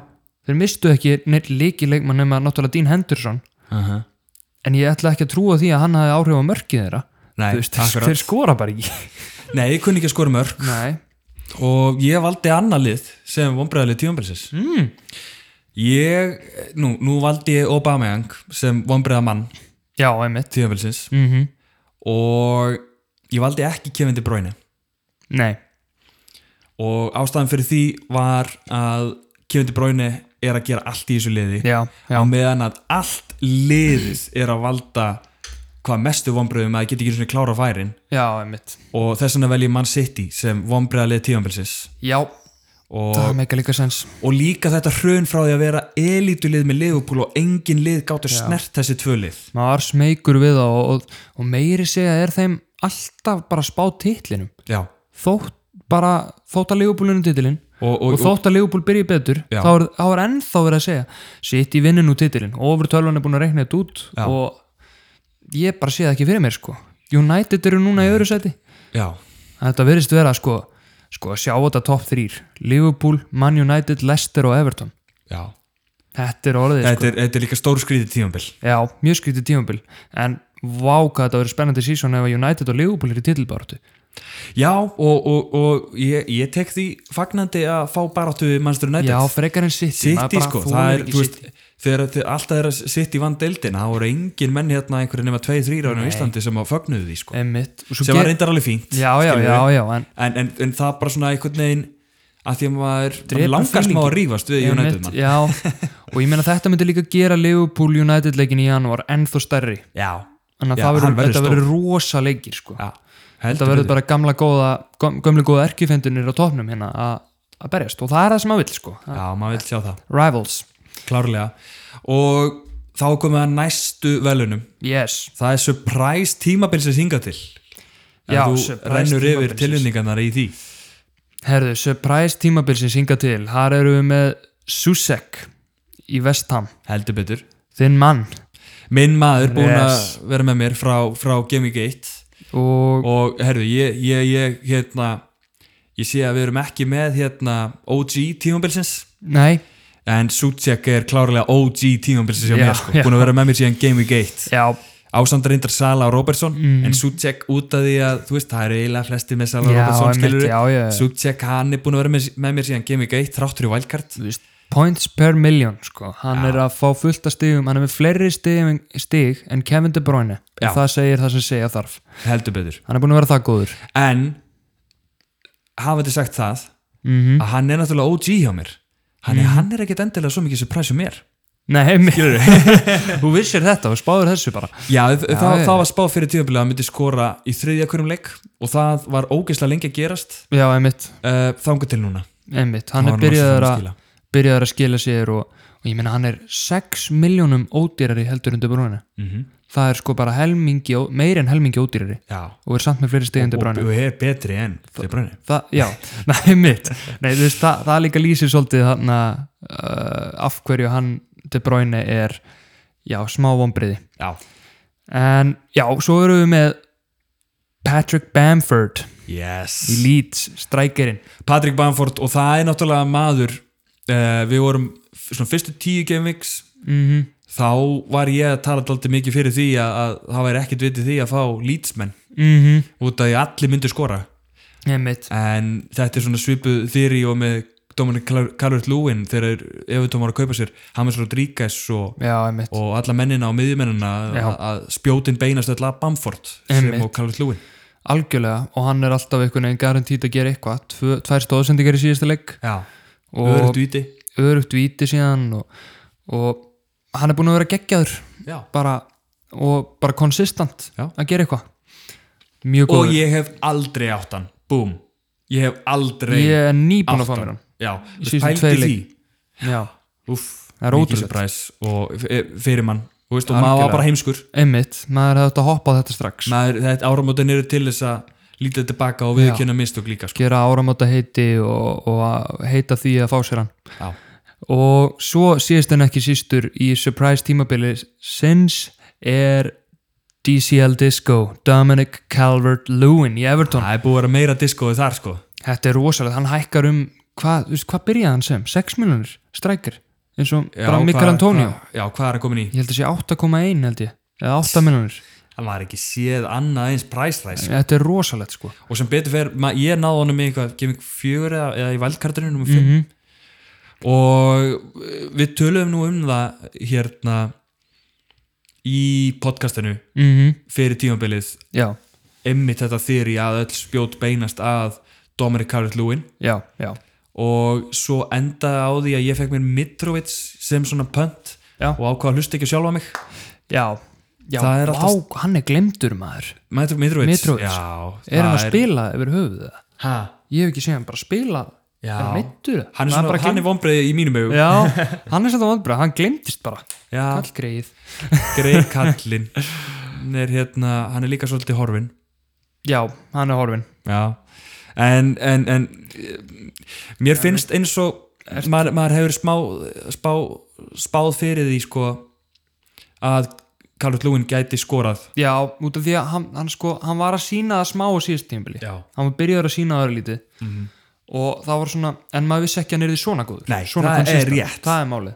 [SPEAKER 2] þeir mistu ekki neitt leiki leikmann nema náttúrulega Dean Henderson
[SPEAKER 1] uh -huh.
[SPEAKER 2] en ég ætla ekki að trúa því að hann hafi áhrif á mörkið þeirra
[SPEAKER 1] Nei,
[SPEAKER 2] Þú veist, þeir,
[SPEAKER 1] akkurat.
[SPEAKER 2] þeir skora bara ekki
[SPEAKER 1] Nei, ég kunni ekki að skora mörg
[SPEAKER 2] Nei.
[SPEAKER 1] og ég valdi annað lið sem vonbreiðalið tíðanbilsis mm. Ég, nú, nú valdi ég Obameyang sem vonbreiða mann
[SPEAKER 2] já, einmitt
[SPEAKER 1] tíðanbilsis
[SPEAKER 2] mm
[SPEAKER 1] og ég valdi ekki Kevin De Bruyne
[SPEAKER 2] Nei.
[SPEAKER 1] og ástæðan fyrir því var að Kevin De Bruyne er að gera allt í þessu liði
[SPEAKER 2] Já, já.
[SPEAKER 1] á meðan að allt liðið er að valda hvað mestu vonbreiðum að það geti ekki svona klára færin
[SPEAKER 2] já, einmitt
[SPEAKER 1] og þess vegna vel ég Man City sem vonbreiðalið tíðanbilsis
[SPEAKER 2] já,
[SPEAKER 1] og
[SPEAKER 2] það meika líka sens
[SPEAKER 1] og líka þetta hrun frá því að vera elítulið með Liverpool og engin lið gáttu snert þessi tvö lið
[SPEAKER 2] maður var smeykur við það og, og, og meiri segja er þeim alltaf bara spáð titlinum
[SPEAKER 1] já,
[SPEAKER 2] þótt bara þótt að Leopoldinu titilinn
[SPEAKER 1] Og-
[SPEAKER 2] og,
[SPEAKER 1] og-
[SPEAKER 2] þótt að Leopold byrji betur
[SPEAKER 1] Já.
[SPEAKER 2] þá er, þá er ennþá verið að segja sitt í vinninu titilinn, ofur tölvan er búin að reikna þetta út
[SPEAKER 1] Já.
[SPEAKER 2] og ég bara sé það ekki fyrir mér sko United eru núna í öðru seti
[SPEAKER 1] já,
[SPEAKER 2] þetta verðist vera sko, sko sjá þetta top 3 Liverpool, Man United, Leicester og Everton
[SPEAKER 1] já.
[SPEAKER 2] þetta er sko- orðið
[SPEAKER 1] Þetta, er, þetta er líka stór skrítið tímabil
[SPEAKER 2] sko já, mjög skrítið tímabil en vá hvað þetta verið spennandi sísón ef að United og Liverpool eru í titilbáratu
[SPEAKER 1] já, og, og, og ég, ég tek því fagnandi að fá baráttu við mannstur nættið
[SPEAKER 2] já, frekar en City maður
[SPEAKER 1] City
[SPEAKER 2] bara
[SPEAKER 1] sko,
[SPEAKER 2] þolir
[SPEAKER 1] það er,
[SPEAKER 2] ekki
[SPEAKER 1] þú
[SPEAKER 2] City.
[SPEAKER 1] veist þegar þegar alltaf er að City vann deildina þá voru engin menn hérna einhverju nema 2-3 ráðinu í Íslandi sem að fögnuðu því sko
[SPEAKER 2] Einmitt. Og svo
[SPEAKER 1] sem var
[SPEAKER 2] ger-
[SPEAKER 1] reyndar alveg fínt
[SPEAKER 2] já, já,
[SPEAKER 1] skilurðu.
[SPEAKER 2] já, já, en
[SPEAKER 1] en, en, en það bara svona einhvern veginn að því að maður, maður
[SPEAKER 2] Drepur
[SPEAKER 1] langar smá að
[SPEAKER 2] feelingin.
[SPEAKER 1] rífast við United
[SPEAKER 2] Einmitt,
[SPEAKER 1] mann
[SPEAKER 2] já, og ég meina þetta myndi líka gera Liverpool United leikin í janúar ennþá stærri
[SPEAKER 1] Já,
[SPEAKER 2] þannig
[SPEAKER 1] Já,
[SPEAKER 2] að það
[SPEAKER 1] hann
[SPEAKER 2] verður,
[SPEAKER 1] verður
[SPEAKER 2] þetta
[SPEAKER 1] stór.
[SPEAKER 2] verður rosa leikir sko.
[SPEAKER 1] já
[SPEAKER 2] þetta verður bara gamla góða göm- gömlu góða erkifendunir á topnum hérna að- að berjast og það er það sem maður vill sko.
[SPEAKER 1] Já, maður vil sjá það,
[SPEAKER 2] rivals,
[SPEAKER 1] klárlega og þá komum við að næstu velunum
[SPEAKER 2] yes
[SPEAKER 1] það er surprise tímabilsins hinga til en
[SPEAKER 2] Já,
[SPEAKER 1] þú
[SPEAKER 2] surprise
[SPEAKER 1] rennur yfir
[SPEAKER 2] tímabilsins.
[SPEAKER 1] tilvinningarnar í því
[SPEAKER 2] herðu, surprise tímabilsins hinga til þar eru við með Susek í Vestham,
[SPEAKER 1] heldur betur
[SPEAKER 2] þinn mann
[SPEAKER 1] minn maður búin að
[SPEAKER 2] Yes.
[SPEAKER 1] vera með mér frá, frá Gaming 1
[SPEAKER 2] og
[SPEAKER 1] og herðu, ég, ég, ég hérna ég sé að við erum ekki með hérna OG tímabilsins
[SPEAKER 2] nei,
[SPEAKER 1] en Suchek er klárlega OG tímabilsins hjá
[SPEAKER 2] Já,
[SPEAKER 1] mér sko,
[SPEAKER 2] já.
[SPEAKER 1] búin að vera með mér síðan Gaming 1
[SPEAKER 2] já,
[SPEAKER 1] ásand reyndar Sala og Robertson en Suchek út af því að þú veist, það eru eiginlega flesti með Sala og
[SPEAKER 2] Mm. Já,
[SPEAKER 1] Robertson
[SPEAKER 2] einmitt,
[SPEAKER 1] skilur
[SPEAKER 2] já, já, já.
[SPEAKER 1] Suchek hann er búin að vera með, með mér síðan Game Week 1 þráttur í Wildcard
[SPEAKER 2] þú veist, points per million sko. hann er að fá fullt af stigum hann er með fleiri stigum, stig en Kevin De Bruyne
[SPEAKER 1] Já.
[SPEAKER 2] og það segir það sem segja þarf
[SPEAKER 1] heldur betur
[SPEAKER 2] hann er búin að vera það góður
[SPEAKER 1] en hafandi sagt það
[SPEAKER 2] Mhm.
[SPEAKER 1] að hann er náttúrulega OG hjá mér hann, er, hann er ekkit endilega svo mikið surprise hjá mér
[SPEAKER 2] Nei, mér, [laughs] þú vissir þetta og spáður þessu bara
[SPEAKER 1] já, já það,
[SPEAKER 2] já.
[SPEAKER 1] það var spáð fyrir tíðanbíla að hann myndi skora í þriðja hverjum leik og það var ógeðslega lengi að gerast
[SPEAKER 2] já, einmitt,
[SPEAKER 1] uh, þanga til núna
[SPEAKER 2] einmitt. hann
[SPEAKER 1] Það
[SPEAKER 2] er
[SPEAKER 1] var nú
[SPEAKER 2] byrjaður
[SPEAKER 1] sem hann
[SPEAKER 2] að, byrjaður að skila sér og, og ég meina hann er 6 miljónum ódýrari heldur en De Bruyne
[SPEAKER 1] Mhm.
[SPEAKER 2] það er sko bara helmingi, ó- meir en helmingi ódýrari
[SPEAKER 1] já,
[SPEAKER 2] og er samt með fleiri stig en De
[SPEAKER 1] og,
[SPEAKER 2] Bruyne
[SPEAKER 1] og er betri en De Bruyne
[SPEAKER 2] Þa, já, [laughs] nei mitt nei, þú veist, það, það líka lýsir svolítið þarna, uh, af hverju hann De Bruyne er já, smá vonbriði
[SPEAKER 1] já,
[SPEAKER 2] en já, svo erum við með Patrick Bamford
[SPEAKER 1] yes.
[SPEAKER 2] í Leeds, strækirinn
[SPEAKER 1] Patrick Bamford og það er náttúrulega maður uh, við vorum f- svona fyrstu tíu Game Weeks -hmm. þá var ég að tala alltaf mikið fyrir því að, að það væri ekkert vitið því að fá Leedsmenn
[SPEAKER 2] mm -hmm.
[SPEAKER 1] út af því að allir myndu skora
[SPEAKER 2] einmitt
[SPEAKER 1] en þetta er svona svipuð þýri og með Dominic Calvert Lewin þegar Evertón var að kaupa sér Hames Rodríguez og,
[SPEAKER 2] já, einmitt
[SPEAKER 1] og alla mennina og miðjumennina
[SPEAKER 2] Já.
[SPEAKER 1] að- að spjótin beinast öll að Bamford sem
[SPEAKER 2] Einmitt.
[SPEAKER 1] og Calvert Lewin
[SPEAKER 2] algjörlega og hann er alltaf einhvern veginn garantít að gera eitthvað Tvö, tvær stóðsendingar í síðasta leik
[SPEAKER 1] Já,
[SPEAKER 2] og
[SPEAKER 1] öðrugt viti
[SPEAKER 2] örugt víti síðan og, og hann er búin að vera geggjaður
[SPEAKER 1] Já.
[SPEAKER 2] bara, og bara konsistant
[SPEAKER 1] Já.
[SPEAKER 2] að gera eitthvað mjög góður
[SPEAKER 1] og ég hef aldrei átt hann búm, ég hef aldrei
[SPEAKER 2] Ég er nýbúin að fá
[SPEAKER 1] átt
[SPEAKER 2] mér hann
[SPEAKER 1] já,
[SPEAKER 2] síðustu
[SPEAKER 1] pældi
[SPEAKER 2] tveir
[SPEAKER 1] því
[SPEAKER 2] leik. Já,
[SPEAKER 1] Úf,
[SPEAKER 2] Það er ótrúlegt.
[SPEAKER 1] præs og f- fyrir mann þú veist, og maður var
[SPEAKER 2] Algjörlega.
[SPEAKER 1] bara heimskur
[SPEAKER 2] einmitt, maður hefði átt að hoppa á þetta strax
[SPEAKER 1] maður, þetta áramótin eru til þess að lítið tilbaka og við kynna mistök líka sko.
[SPEAKER 2] gera áramóta heiti og, og að heita því að fá sér hann
[SPEAKER 1] já,
[SPEAKER 2] og svo síðast en ekki sístur í surprise tímabili sinns er DCL Disco Dominic Calvert-Lewin í Everton
[SPEAKER 1] það er búið að vera meira diskoðu þar sko
[SPEAKER 2] þetta er rosalega, hann hækkar um hvað, þú veist, hvað byrjaði hann sem? 6 miljonir strækir, eins og
[SPEAKER 1] já,
[SPEAKER 2] bara Mikael
[SPEAKER 1] hvað-
[SPEAKER 2] Antonio
[SPEAKER 1] hvað- já, hvað er að komin í?
[SPEAKER 2] ég held að sé 8,1 held ég eða 8 miljonir,
[SPEAKER 1] það var ekki séð annað eins præsræs
[SPEAKER 2] þetta er rosalegt sko
[SPEAKER 1] og sem betur fer, ma- ég náði honum í eitthvað gefing fjögur eða, eða í valdkartinu nummer fimm
[SPEAKER 2] Mhm.
[SPEAKER 1] og eh, við töluðum nú um það hérna í podcastinu
[SPEAKER 2] mm
[SPEAKER 1] fyrir tímabilið
[SPEAKER 2] já,
[SPEAKER 1] einmitt þetta þýri að öll spjót beinast að Dominic Carrett Lewin
[SPEAKER 2] já, já
[SPEAKER 1] og svo endaði á því að ég fekk mér Mitrovic sem svona pönt
[SPEAKER 2] Já.
[SPEAKER 1] og ákvaða að hlusta ekki á sjálfa mig
[SPEAKER 2] Já, já
[SPEAKER 1] Það er alltaf-
[SPEAKER 2] vá, hann er glemdur maður
[SPEAKER 1] Mitro- Mitrovic,
[SPEAKER 2] Mitrovic.
[SPEAKER 1] Já,
[SPEAKER 2] Er hann að
[SPEAKER 1] það
[SPEAKER 2] spila yfir höfuð það?
[SPEAKER 1] ha,
[SPEAKER 2] Ég hef ekki séð hann bara spila
[SPEAKER 1] Já.
[SPEAKER 2] Er hann meittur?
[SPEAKER 1] hann er, svona, hann er vonbreið í mínum augum
[SPEAKER 2] Já,
[SPEAKER 1] [laughs]
[SPEAKER 2] hann er svolítið vandbra, hann glemdist bara
[SPEAKER 1] Já,
[SPEAKER 2] Kallgreið
[SPEAKER 1] grei kallinn hann er hérna, hann er líka svolítið horfin
[SPEAKER 2] Já, hann er horfin
[SPEAKER 1] já en, en, en eh, mér finnst eins og maður, maður hefur smá, spá, spáð fyrir því sko að Carlos Lúin gæti skorað
[SPEAKER 2] Já, út af því að hann, hann, sko, hann var að sína það smá á síðast tímbili
[SPEAKER 1] Já. Mhm.
[SPEAKER 2] Hann var byrjaður að sína það örlítið -hmm. Og það var svona, en maður vissi ekki að hann er því svona góður
[SPEAKER 1] Nei,
[SPEAKER 2] svona
[SPEAKER 1] það er
[SPEAKER 2] consistent.
[SPEAKER 1] rétt.
[SPEAKER 2] Það er málið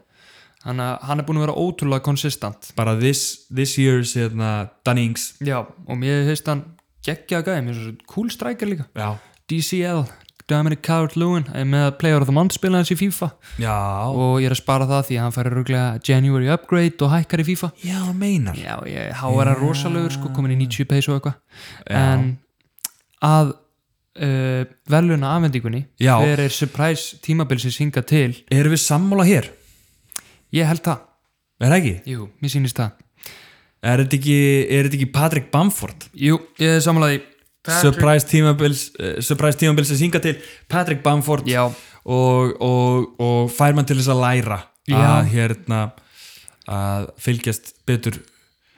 [SPEAKER 2] Þannig að hann er búin að vera ótrúlega konsistant
[SPEAKER 1] bara this, this year's hérna, Dunnings
[SPEAKER 2] Já, og mér hefðist hann geggja að gæði, mér finnst svo cool striker líka
[SPEAKER 1] já,
[SPEAKER 2] DCL, Dominic Calvert-Lewin ég er með að Player of the Month spila hans í FIFA
[SPEAKER 1] já,
[SPEAKER 2] og ég er að spara það því að hann færi rúglega January upgrade og hækkar í FIFA
[SPEAKER 1] já meinar
[SPEAKER 2] Já, ég háar hann rosalegur sko, komin í 90 pace og eitthvað en að uh, veluna afvendingunni
[SPEAKER 1] Já.
[SPEAKER 2] hver er surprise tímabil sem synga til
[SPEAKER 1] erum við sammála hér,
[SPEAKER 2] ég held það,
[SPEAKER 1] er það ekki
[SPEAKER 2] jú, mér sýnist það
[SPEAKER 1] er þetta ekki, er þetta ekki Patrick Bamford
[SPEAKER 2] Jú, ég er samlaði
[SPEAKER 1] surprise tímabils uh, surprise tímabils að synga til Patrick Bamford
[SPEAKER 2] Já,
[SPEAKER 1] og, og, og fær mann til þess að læra
[SPEAKER 2] Já.
[SPEAKER 1] að hérna að fylgjast betur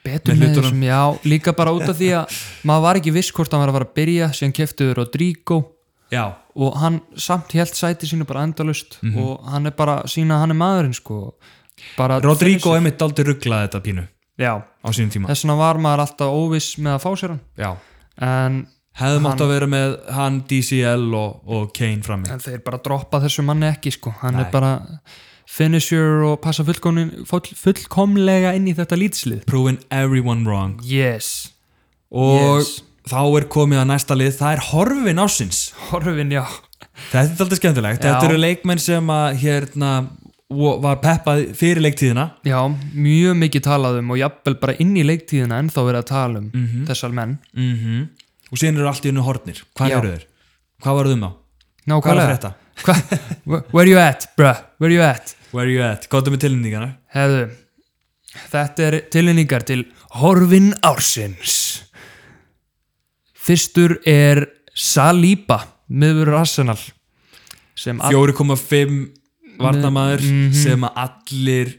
[SPEAKER 2] betur
[SPEAKER 1] Með
[SPEAKER 2] með
[SPEAKER 1] hlutunum.
[SPEAKER 2] þessum, já, líka bara út af því [laughs] að maður var ekki viss hvort hann var að fara að byrja síðan keftuður Rodrigo
[SPEAKER 1] já,
[SPEAKER 2] og hann samt held sæti sínu bara endalust og hann er bara sína að hann er maðurinn sko bara
[SPEAKER 1] Rodrigo emitt aldrei rugglaði þetta pínu á
[SPEAKER 2] já,
[SPEAKER 1] sínum tíma
[SPEAKER 2] þess vegna var maður alltaf óviss með að fá sér hann
[SPEAKER 1] já.
[SPEAKER 2] en,
[SPEAKER 1] hefði mátt að vera með hann DCL og, og Kane frammi
[SPEAKER 2] en þeir bara droppa þessu manni ekki sko hann er bara finisher og passa fullkomin, full, fullkomlega inn í þetta lítslið
[SPEAKER 1] proven everyone wrong
[SPEAKER 2] yes,
[SPEAKER 1] og
[SPEAKER 2] Yes.
[SPEAKER 1] þá er komið að næsta lið það er horfin ásins
[SPEAKER 2] horfin já
[SPEAKER 1] þetta er aldrei skemmtilegt,
[SPEAKER 2] Já.
[SPEAKER 1] þetta eru leikmenn sem að hérna vo- var peppað fyrir leiktíðina
[SPEAKER 2] já, mjög mikið talað um og jafnvel bara inn í leiktíðina ennþá verið að tala um þessar menn
[SPEAKER 1] mm og síðan eru allt í hennu hornir hvað
[SPEAKER 2] Já.
[SPEAKER 1] eru þeir? hvað um var þeim á? Hvað er að
[SPEAKER 2] nákvæmlega
[SPEAKER 1] frétta?
[SPEAKER 2] Hva- [laughs] where you at bruh, where you at
[SPEAKER 1] Where you at? Góðum við tilnýtingana
[SPEAKER 2] Hefðu, þetta er tilningar til Horfin Ársins. Fyrstur er Saliba, miður Arsenal. Sem all...
[SPEAKER 1] 4,5 varnamaður sem að allir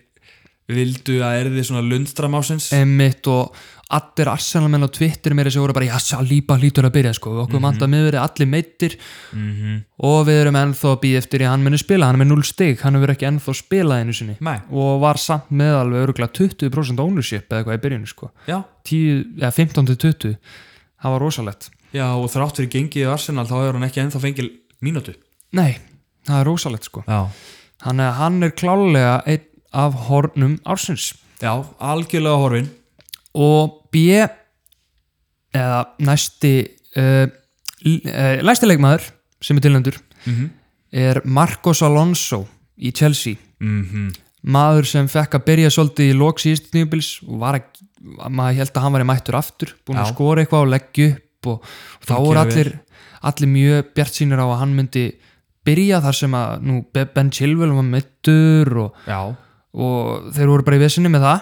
[SPEAKER 1] vildu að erði svona lundstram ásins
[SPEAKER 2] emitt og allir Arsenal menn á Twitter meira sem voru bara, já Saliba hlýtur að byrja sko, við okkur mm -hmm. manta miður allir meittir og við erum ennþá að býja eftir í að hann muni spila, hann er með 0 stig, hann hefur ekki ennþá spilað einu sinni
[SPEAKER 1] Nei.
[SPEAKER 2] og var samt með alveg öruglega 20% ownership eða eitthvað í byrjunu sko.
[SPEAKER 1] Já,
[SPEAKER 2] 10, eða 15 til 20 það var rosalegt
[SPEAKER 1] Já, og þrátt fyrir gengið í Arsenal þá er hann ekki ennþá fengið mínútu
[SPEAKER 2] nei, það er rosalegt sko
[SPEAKER 1] Já,
[SPEAKER 2] þannig að hann er klálega einn af hornum ársins
[SPEAKER 1] Já algjörlega horfin
[SPEAKER 2] og B eða næsti uh, uh, næsti leikmaður sem er tilnendur
[SPEAKER 1] Mhm.
[SPEAKER 2] er Marcos Alonso í Chelsea
[SPEAKER 1] mm
[SPEAKER 2] maður sem fekk að byrja svolítið í lok síðust nýjubils og var að, maður held að hann var í mættur aftur búin að
[SPEAKER 1] Já.
[SPEAKER 2] skora eitthvað og leggja upp og, og þá
[SPEAKER 1] Búinn að
[SPEAKER 2] voru
[SPEAKER 1] gera
[SPEAKER 2] allir, allir mjög bjart sínir á að hann myndi byrja þar sem að nú Be- Ben Chilwell var mittur og,
[SPEAKER 1] Já,
[SPEAKER 2] og þeir voru bara í vesinni með það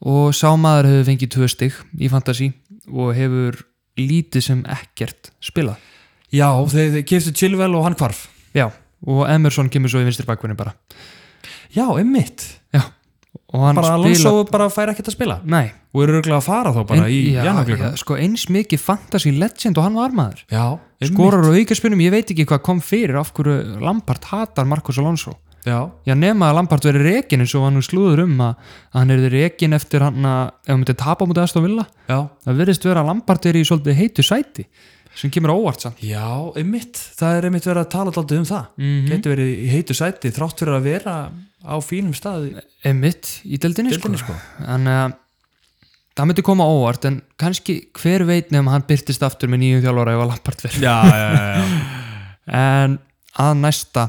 [SPEAKER 2] og sámaður hefur fengið tvö stig í Fantasí og hefur lítið sem ekkert spilað
[SPEAKER 1] Já þeir, þeir keftu Chilwell og hann hvarf
[SPEAKER 2] já, og Emerson kemur svo í vinstri bakvinni bara
[SPEAKER 1] Já, emmitt
[SPEAKER 2] já, og hann
[SPEAKER 1] Bara
[SPEAKER 2] spila
[SPEAKER 1] Alonso bara fær ekkert að spila
[SPEAKER 2] nei,
[SPEAKER 1] og eru örgulega að fara þá bara í
[SPEAKER 2] já,
[SPEAKER 1] janúarglugganum.
[SPEAKER 2] já, sko eins mikið Fantasí legend og hann var maður
[SPEAKER 1] Já, einmitt.
[SPEAKER 2] skorar og aukaspunum, ég veit ekki hvað kom fyrir af hverju Lampard hatar Marcos Alonso
[SPEAKER 1] Já,
[SPEAKER 2] Já, nema að Lampard verið rekin eins og hann nú slúður um að, að hann er rekin eftir hann að, ef hann myndi tapa á mútið aðstof vilja
[SPEAKER 1] já
[SPEAKER 2] það verðist vera að Lampard er í svolítið heitu sæti sem kemur á óvart samt
[SPEAKER 1] Já, einmitt, það er einmitt verið að tala alltaf um það mm Getur verið í heitu sæti þrátt fyrir að vera á fínum staði
[SPEAKER 2] emitt í deildinni sko.
[SPEAKER 1] Deildinni, sko.
[SPEAKER 2] en uh, það myndi koma á óvart en kannski hver veit nefn hann byrtist aftur með nýju þjálfara ef að Lampard verið
[SPEAKER 1] Já, já, [laughs] já, já.
[SPEAKER 2] en að næsta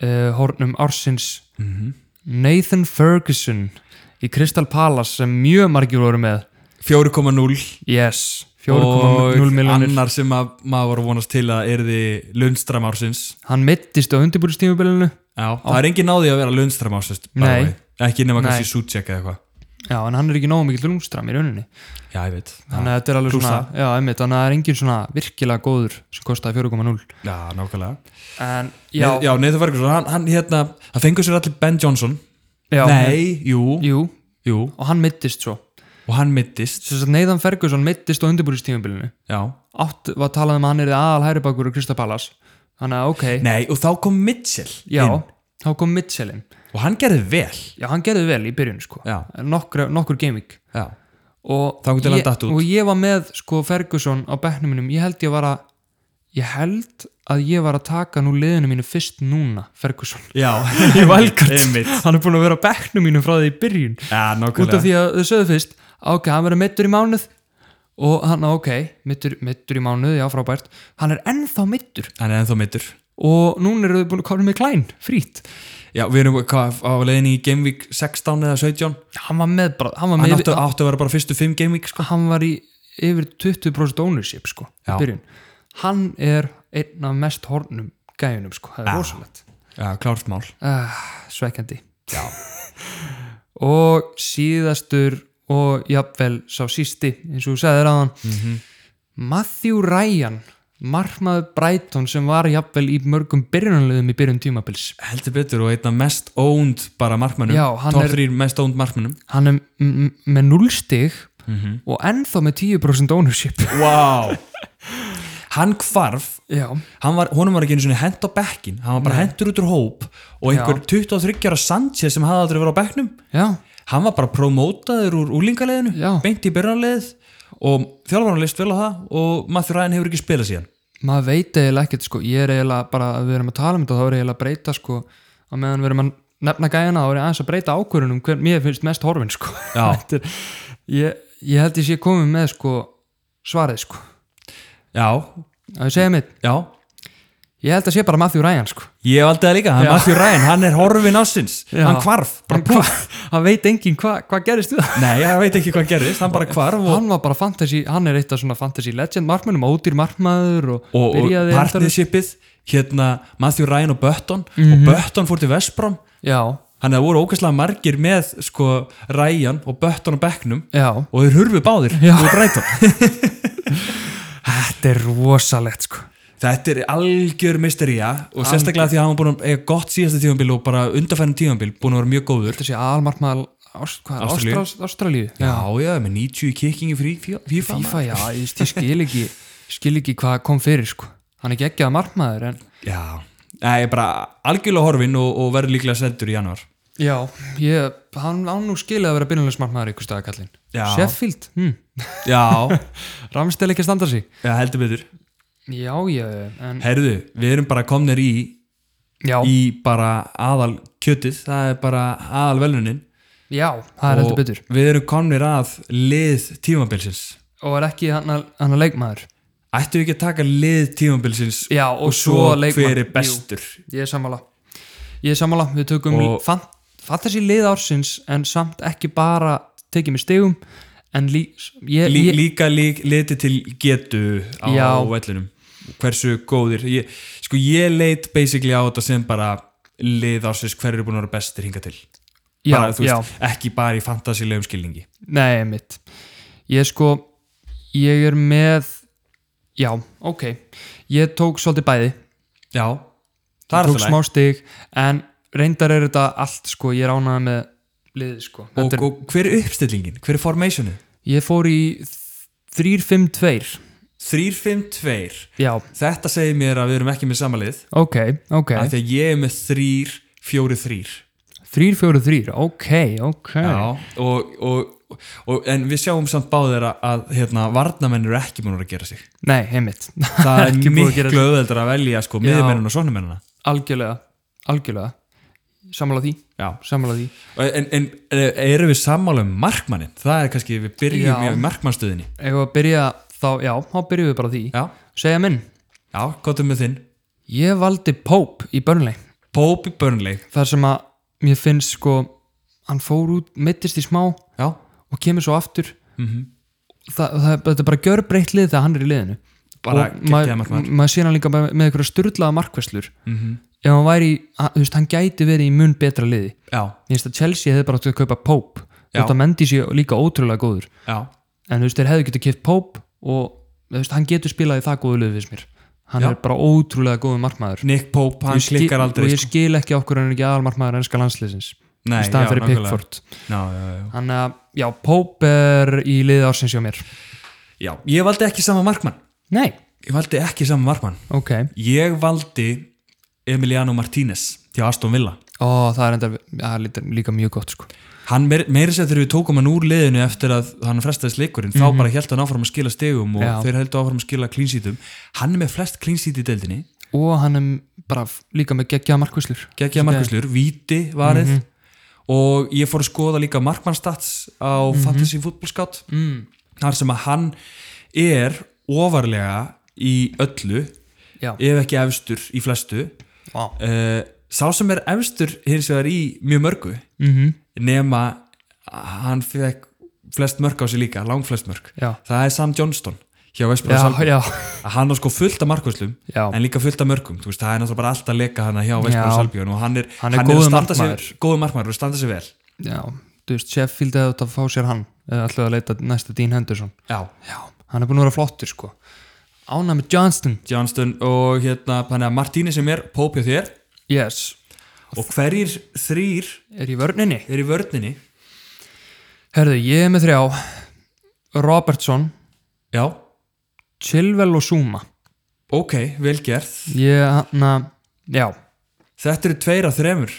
[SPEAKER 2] uh, hornum ársins
[SPEAKER 1] Mhm.
[SPEAKER 2] Nathan Ferguson í Crystal Palace sem mjög margir voru með
[SPEAKER 1] 4,0
[SPEAKER 2] yes, 4,0
[SPEAKER 1] og
[SPEAKER 2] miljonir
[SPEAKER 1] annar sem að, maður var að vonast til að erði Lundstram ársins
[SPEAKER 2] hann mittist á undirbúrstímubilinu
[SPEAKER 1] Já, það er engin náði að vera Lundstram ársins by the
[SPEAKER 2] Nei.
[SPEAKER 1] way. ekki nema
[SPEAKER 2] Nei.
[SPEAKER 1] kannski Sucek eða eitthvað
[SPEAKER 2] já, en hann er ekki nógu mikill lúmstram í rauninni
[SPEAKER 1] Já, ég veit
[SPEAKER 2] þannig að þetta er alveg
[SPEAKER 1] Plús
[SPEAKER 2] svona já, einmitt, þannig að það er engin svona virkilega góður sem kostaði 4,0
[SPEAKER 1] Já, nákvæmlega
[SPEAKER 2] en já,
[SPEAKER 1] Já, já Nathan Ferguson, hann, hann hérna það fengur sér allir Ben Johnson
[SPEAKER 2] já,
[SPEAKER 1] Nei, jú, jú,
[SPEAKER 2] jú, og hann mittist svo
[SPEAKER 1] og hann mittist
[SPEAKER 2] sem sagt Nathan Ferguson mittist á undirbúrstímubilinu
[SPEAKER 1] Já
[SPEAKER 2] átt var talað um að hann er aðal hæri bakur í Crystal Palace þannig að ok,
[SPEAKER 1] Nei, og þá kom Mitchell
[SPEAKER 2] já,
[SPEAKER 1] inn
[SPEAKER 2] þá kom Mitchellin
[SPEAKER 1] og hann gerði vel
[SPEAKER 2] já, hann gerði vel í byrjun sko
[SPEAKER 1] Já.
[SPEAKER 2] nokkur, nokkur gaming
[SPEAKER 1] Já,
[SPEAKER 2] og
[SPEAKER 1] Þangað til hann
[SPEAKER 2] ég-
[SPEAKER 1] datt út.
[SPEAKER 2] og ég var með sko Ferguson á bekknum mínum ég held ég var að ég held að ég var að taka nú liðinu mínu fyrst núna, Ferguson
[SPEAKER 1] já.
[SPEAKER 2] [laughs] í valkart,
[SPEAKER 1] [laughs] Einmitt.
[SPEAKER 2] hann er búin að vera á bekknum mínum frá því í byrjun
[SPEAKER 1] Já,
[SPEAKER 2] út af
[SPEAKER 1] nákvæmlega
[SPEAKER 2] því að þau sögðu fyrst ok, hann verður mittur í mánuð og hann, ok, mittur, mittur í mánuð já, frábært, hann er ennþá mittur
[SPEAKER 1] Hann er ennþá mittur
[SPEAKER 2] og núna eru þau búin að koma með klæn, frýtt
[SPEAKER 1] Já, við erum hvað, á leiðinni í Game Week 16 eða 17
[SPEAKER 2] hann var með, bara, hann var
[SPEAKER 1] Hann
[SPEAKER 2] með
[SPEAKER 1] áttu, áttu að vera bara fyrstu 5 Game Week sko.
[SPEAKER 2] hann var í yfir 20% ownership sko, í
[SPEAKER 1] Já.
[SPEAKER 2] byrjun hann er einn af mest hornum gæjunum sko, það er
[SPEAKER 1] Já.
[SPEAKER 2] rosalegt
[SPEAKER 1] Já, klárt mál
[SPEAKER 2] uh, svekkjandi [laughs] og síðastur og jafnvel sá sísti eins og þú sagðir að hann Matthew Ryan marmaður Brighton sem var jafnvel í mörgum byrjunanlegum í byrjun tímabils
[SPEAKER 1] heldur betur og einna mest owned bara markmannum,
[SPEAKER 2] Já, hann
[SPEAKER 1] top
[SPEAKER 2] er-
[SPEAKER 1] 3 mest owned markmannum
[SPEAKER 2] hann er m- m- með 0 stig
[SPEAKER 1] Mhm.
[SPEAKER 2] og ennþá með 10%
[SPEAKER 1] [laughs]
[SPEAKER 2] ownership
[SPEAKER 1] wow. hann hvarf
[SPEAKER 2] já,
[SPEAKER 1] hann var, honum var ekki einu sinni hent á bekkin hann var bara hentur út úr hóp og einhver 23 ára Sanchez sem hafði aldrei verið á bekknum
[SPEAKER 2] já,
[SPEAKER 1] hann var bara promótaður úr úlingaleðinu
[SPEAKER 2] Já.
[SPEAKER 1] beint í byrjanleð og þjálfarnar leist vel á það og Matthew Ryan hefur ekki spilað síðan
[SPEAKER 2] maður veit eiginlega ekkert sko, ég er eiginlega bara að við erum að tala um þetta, þá er eiginlega að breyta sko, að meðan við erum að nefna gæjana þá er ég aðeins að breyta ákvörunum hver mér finnst mest horfin sko
[SPEAKER 1] Já.
[SPEAKER 2] [laughs] Þetta er, ég, ég held ég sé komið með sko svarið sko,
[SPEAKER 1] já,
[SPEAKER 2] að ég segja mitt
[SPEAKER 1] já,
[SPEAKER 2] ég held að sé bara Matthew Ryan sko
[SPEAKER 1] ég valdi það líka hann Matthew Ryan, hann er horfin ásins
[SPEAKER 2] Já.
[SPEAKER 1] hann hvarf, bara
[SPEAKER 2] hann, hva, [laughs] hann veit enginn hvað hva
[SPEAKER 1] [laughs]
[SPEAKER 2] gerist við það
[SPEAKER 1] nei, ég veit ekki hvað gerist, hann bara hvarf og,
[SPEAKER 2] hann var bara fantasy, hann er eitt af svona fantasy legend markmannum, ódýr markmaður og,
[SPEAKER 1] og, og
[SPEAKER 2] byrjaði endalaust-
[SPEAKER 1] partnershipið hérna Matthew Ryan og Button og Button fór til Vesprom
[SPEAKER 2] já,
[SPEAKER 1] þannig að það voru ókvæslega margir með sko Ryan og Button á bekknum
[SPEAKER 2] já,
[SPEAKER 1] og þeir hurfu báðir
[SPEAKER 2] Já.
[SPEAKER 1] úr Brighton
[SPEAKER 2] þetta er rosalegt sko
[SPEAKER 1] þetta er algjör mystería og sérstaklega því að hann var búin að eiga gott síðasta tífambil og bara undarfærin tífambil búin að vera mjög góður
[SPEAKER 2] þetta sé almarkmaður Ást, hvað er
[SPEAKER 1] Ástralíu.
[SPEAKER 2] Ástrals- Ástralíu
[SPEAKER 1] já, já, með 90 í kicking í frí fí- FIFA maður.
[SPEAKER 2] FIFA, já, ég, veist, ég skil ekki skil ekki hvað kom fyrir sko. hann er ekki ekki að markmaður en
[SPEAKER 1] já, það er bara algjörlega horfin og, og verður líklega seldur í januar
[SPEAKER 2] já, ég, hann án nú skilið að vera byrjunlegs markmaður ykkur staðakallin
[SPEAKER 1] Já.
[SPEAKER 2] Sheffield, hm.
[SPEAKER 1] [laughs] já,
[SPEAKER 2] Ramstil ekki að standa sig
[SPEAKER 1] já, heldur betur
[SPEAKER 2] já, já, en,
[SPEAKER 1] herðu, við erum bara komnir í
[SPEAKER 2] já,
[SPEAKER 1] í bara aðal kjötið það er bara aðal velunin
[SPEAKER 2] já það er heldur betur
[SPEAKER 1] við erum komnir að lið tímabilsins
[SPEAKER 2] og er ekki hann að, hann að leikmaður
[SPEAKER 1] ættum við ekki að taka lið tímabilsins
[SPEAKER 2] já, og, svo,
[SPEAKER 1] svo
[SPEAKER 2] leikmaður
[SPEAKER 1] hver er
[SPEAKER 2] Jú,
[SPEAKER 1] bestur
[SPEAKER 2] ég er sammála ég er sammála, við tökum
[SPEAKER 1] Og-
[SPEAKER 2] og... fantasy lið ársins en samt ekki bara tekið með stegum en lí, ég,
[SPEAKER 1] Lí,
[SPEAKER 2] ég,
[SPEAKER 1] líka lí, liti til getu á
[SPEAKER 2] Já.
[SPEAKER 1] vellinum hversu góðir ég, sko ég leit basically á þetta sem bara lið ársins hverju er búin að vera bestir hinga til
[SPEAKER 2] já,
[SPEAKER 1] bara, þú
[SPEAKER 2] já,
[SPEAKER 1] veist, ekki bara í fantasilegum skilningi
[SPEAKER 2] nei, mitt ég sko, ég er með já, ok ég tók svolítið bæði
[SPEAKER 1] já, það er
[SPEAKER 2] tók
[SPEAKER 1] alltaf
[SPEAKER 2] smá stig en reyndar er þetta allt sko, ég ránaði með liðið sko
[SPEAKER 1] og,
[SPEAKER 2] Þetta er,
[SPEAKER 1] og hver er uppstillingin, hver er formationu
[SPEAKER 2] ég fór í 3-5-2
[SPEAKER 1] 3-5-2
[SPEAKER 2] já,
[SPEAKER 1] þetta segir mér að við erum ekki með samalið
[SPEAKER 2] ok, ok
[SPEAKER 1] af því að ég er með 3-4-3
[SPEAKER 2] 3-4-3, ok, ok
[SPEAKER 1] Já, og, og, og en við sjáum samt báðir að, að hérna, varnamenn eru ekki búin að gera
[SPEAKER 2] [laughs]
[SPEAKER 1] sig
[SPEAKER 2] Nei, heimitt
[SPEAKER 1] það er
[SPEAKER 2] Ekki búið að gera
[SPEAKER 1] miklu auðveldur að velja sko, miðjumennina og sonumennina
[SPEAKER 2] Algjörlega, algjörlega Sammála því,
[SPEAKER 1] Já.
[SPEAKER 2] sammála því
[SPEAKER 1] en, en erum við sammála um markmannin það er kannski, við byrjum
[SPEAKER 2] Já.
[SPEAKER 1] í markmannstöðinni
[SPEAKER 2] Ef að byrja þá, já, þá byrjum við bara á því
[SPEAKER 1] já,
[SPEAKER 2] Segja minn,
[SPEAKER 1] já, gotum með þinn
[SPEAKER 2] ég valdi Pope í Burnley
[SPEAKER 1] Pope í Burnley
[SPEAKER 2] Þar sem að mér finnst sko Hann fór út, mittist í smá og
[SPEAKER 1] já,
[SPEAKER 2] kemur svo aftur mm -hmm. Þa, það, Þetta er bara gjörbreytt lið þegar hann er í liðinu
[SPEAKER 1] Bara
[SPEAKER 2] Og
[SPEAKER 1] geggjaður
[SPEAKER 2] maður
[SPEAKER 1] markmaður.
[SPEAKER 2] ma sé hann líka með, með einhverja sturlaða markverslur mm -hmm. Ef hann væri, í- hann- þú veist, hann gæti verið í mun betra liði
[SPEAKER 1] já,
[SPEAKER 2] Ég finnst að Chelsea hefði bara átt að kaupa Pope
[SPEAKER 1] Já.
[SPEAKER 2] Þetta mendi sér líka ótrúlega góður
[SPEAKER 1] já,
[SPEAKER 2] En þú veist, þeir hefðu getið kipt Pope og þú veist, hann getur spilað í það góðu löðu fyrst mér Hann
[SPEAKER 1] Já.
[SPEAKER 2] er bara ótrúlega góður markmaður
[SPEAKER 1] Nick Pope, hann
[SPEAKER 2] Ég skil-
[SPEAKER 1] klikkar aldrei
[SPEAKER 2] Og ég
[SPEAKER 1] sko.
[SPEAKER 2] skil ekki okkur hann er ekki aðal markmaður ennska landsliðsins
[SPEAKER 1] Nei,
[SPEAKER 2] Í staðan
[SPEAKER 1] já,
[SPEAKER 2] fyrir
[SPEAKER 1] nákvæmlega.
[SPEAKER 2] Pickford
[SPEAKER 1] já, já, já.
[SPEAKER 2] Þannig að, já, Pope er í liði ársins hjá mér
[SPEAKER 1] já, ég valdi ekki sama markmann
[SPEAKER 2] Nei,
[SPEAKER 1] ég valdi ekki sama markmann
[SPEAKER 2] ok
[SPEAKER 1] ég valdi Emiliano Martínez til Aston Villa
[SPEAKER 2] Ó, það er enda, það er líka- líka mjög gott sko
[SPEAKER 1] hann meir, meira sér þegar við tókum hann úr liðinu eftir að hann frestaðist leikurinn, þá bara held hann áfram að skila stegum og
[SPEAKER 2] Já.
[SPEAKER 1] þeir heldur áfram að skila klínsítum hann er með flest klínsít í deildinni
[SPEAKER 2] Og hann er bara f- líka með geggjaða markvæslur
[SPEAKER 1] geggja markuslur, víti varið og ég fór að skoða líka markmannstats á Fantasy Football Scout mm. þar sem að hann er ofarlega í öllu
[SPEAKER 2] Já,
[SPEAKER 1] ef ekki efstur í flestu
[SPEAKER 2] vá
[SPEAKER 1] uh, sá sem er efstur hins vegar í mjög mörgu
[SPEAKER 2] Mhm.
[SPEAKER 1] -hmm. nema hann fekk flest mörg á sig líka, langflest mörg
[SPEAKER 2] Já.
[SPEAKER 1] það er Sam Johnston hjá Vespur
[SPEAKER 2] Já,
[SPEAKER 1] Salbjörn
[SPEAKER 2] já,
[SPEAKER 1] að hann á sko fullt af markvöslum
[SPEAKER 2] Já.
[SPEAKER 1] en líka fullt af mörgum, þú veist, það er náttúrulega bara alltaf leka hann hjá Vespur
[SPEAKER 2] Já.
[SPEAKER 1] Salbjörn og hann er,
[SPEAKER 2] Hann er góður
[SPEAKER 1] að standa
[SPEAKER 2] markmaður.
[SPEAKER 1] sig, góður markmaður og standa sig vel
[SPEAKER 2] já Þú veist, Sheffield hefði átt að fá sér hann eða ætlaði að leita næsta Dean Henderson
[SPEAKER 1] Já.
[SPEAKER 2] Já, hann er búin að vera flottur sko Ána með Johnston
[SPEAKER 1] Johnston og hérna þannig að Martíni sem er pópja þér
[SPEAKER 2] Yes,
[SPEAKER 1] og hverjir þrýr
[SPEAKER 2] er í vörninni
[SPEAKER 1] er í vörninni
[SPEAKER 2] Herðu, ég er með þrjá Robertson,
[SPEAKER 1] Já,
[SPEAKER 2] Chilwell og Zuma
[SPEAKER 1] ok, vel gert
[SPEAKER 2] Ég, hann að, já
[SPEAKER 1] Þetta eru tveir af þremur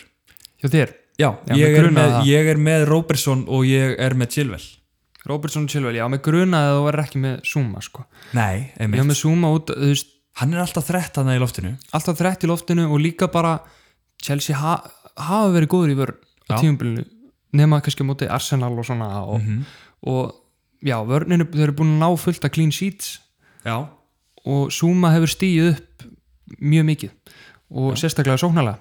[SPEAKER 2] Hjá þér,
[SPEAKER 1] Já,
[SPEAKER 2] Já, mig
[SPEAKER 1] ég, er
[SPEAKER 2] grunaði
[SPEAKER 1] með,
[SPEAKER 2] það.
[SPEAKER 1] ég er með Robertson og ég er með Chilwell
[SPEAKER 2] Robertson og Chilwell Já, með grunaði að þú verður ekki með Zuma sko
[SPEAKER 1] Nei,
[SPEAKER 2] Ég
[SPEAKER 1] einmitt
[SPEAKER 2] er með Zuma út, þú veist
[SPEAKER 1] Hann er alltaf þrett hann í loftinu
[SPEAKER 2] Alltaf þrett í loftinu og líka bara Chelsea ha, hafa verið góður í vörn
[SPEAKER 1] Já.
[SPEAKER 2] á tímabilinu nema kannski á móti Arsenal og svona og, og já, vörninu, þau eru búin að ná fullt að clean sheets
[SPEAKER 1] Já,
[SPEAKER 2] og Zuma hefur stíð upp mjög mikið og sérstaklega sóknarlega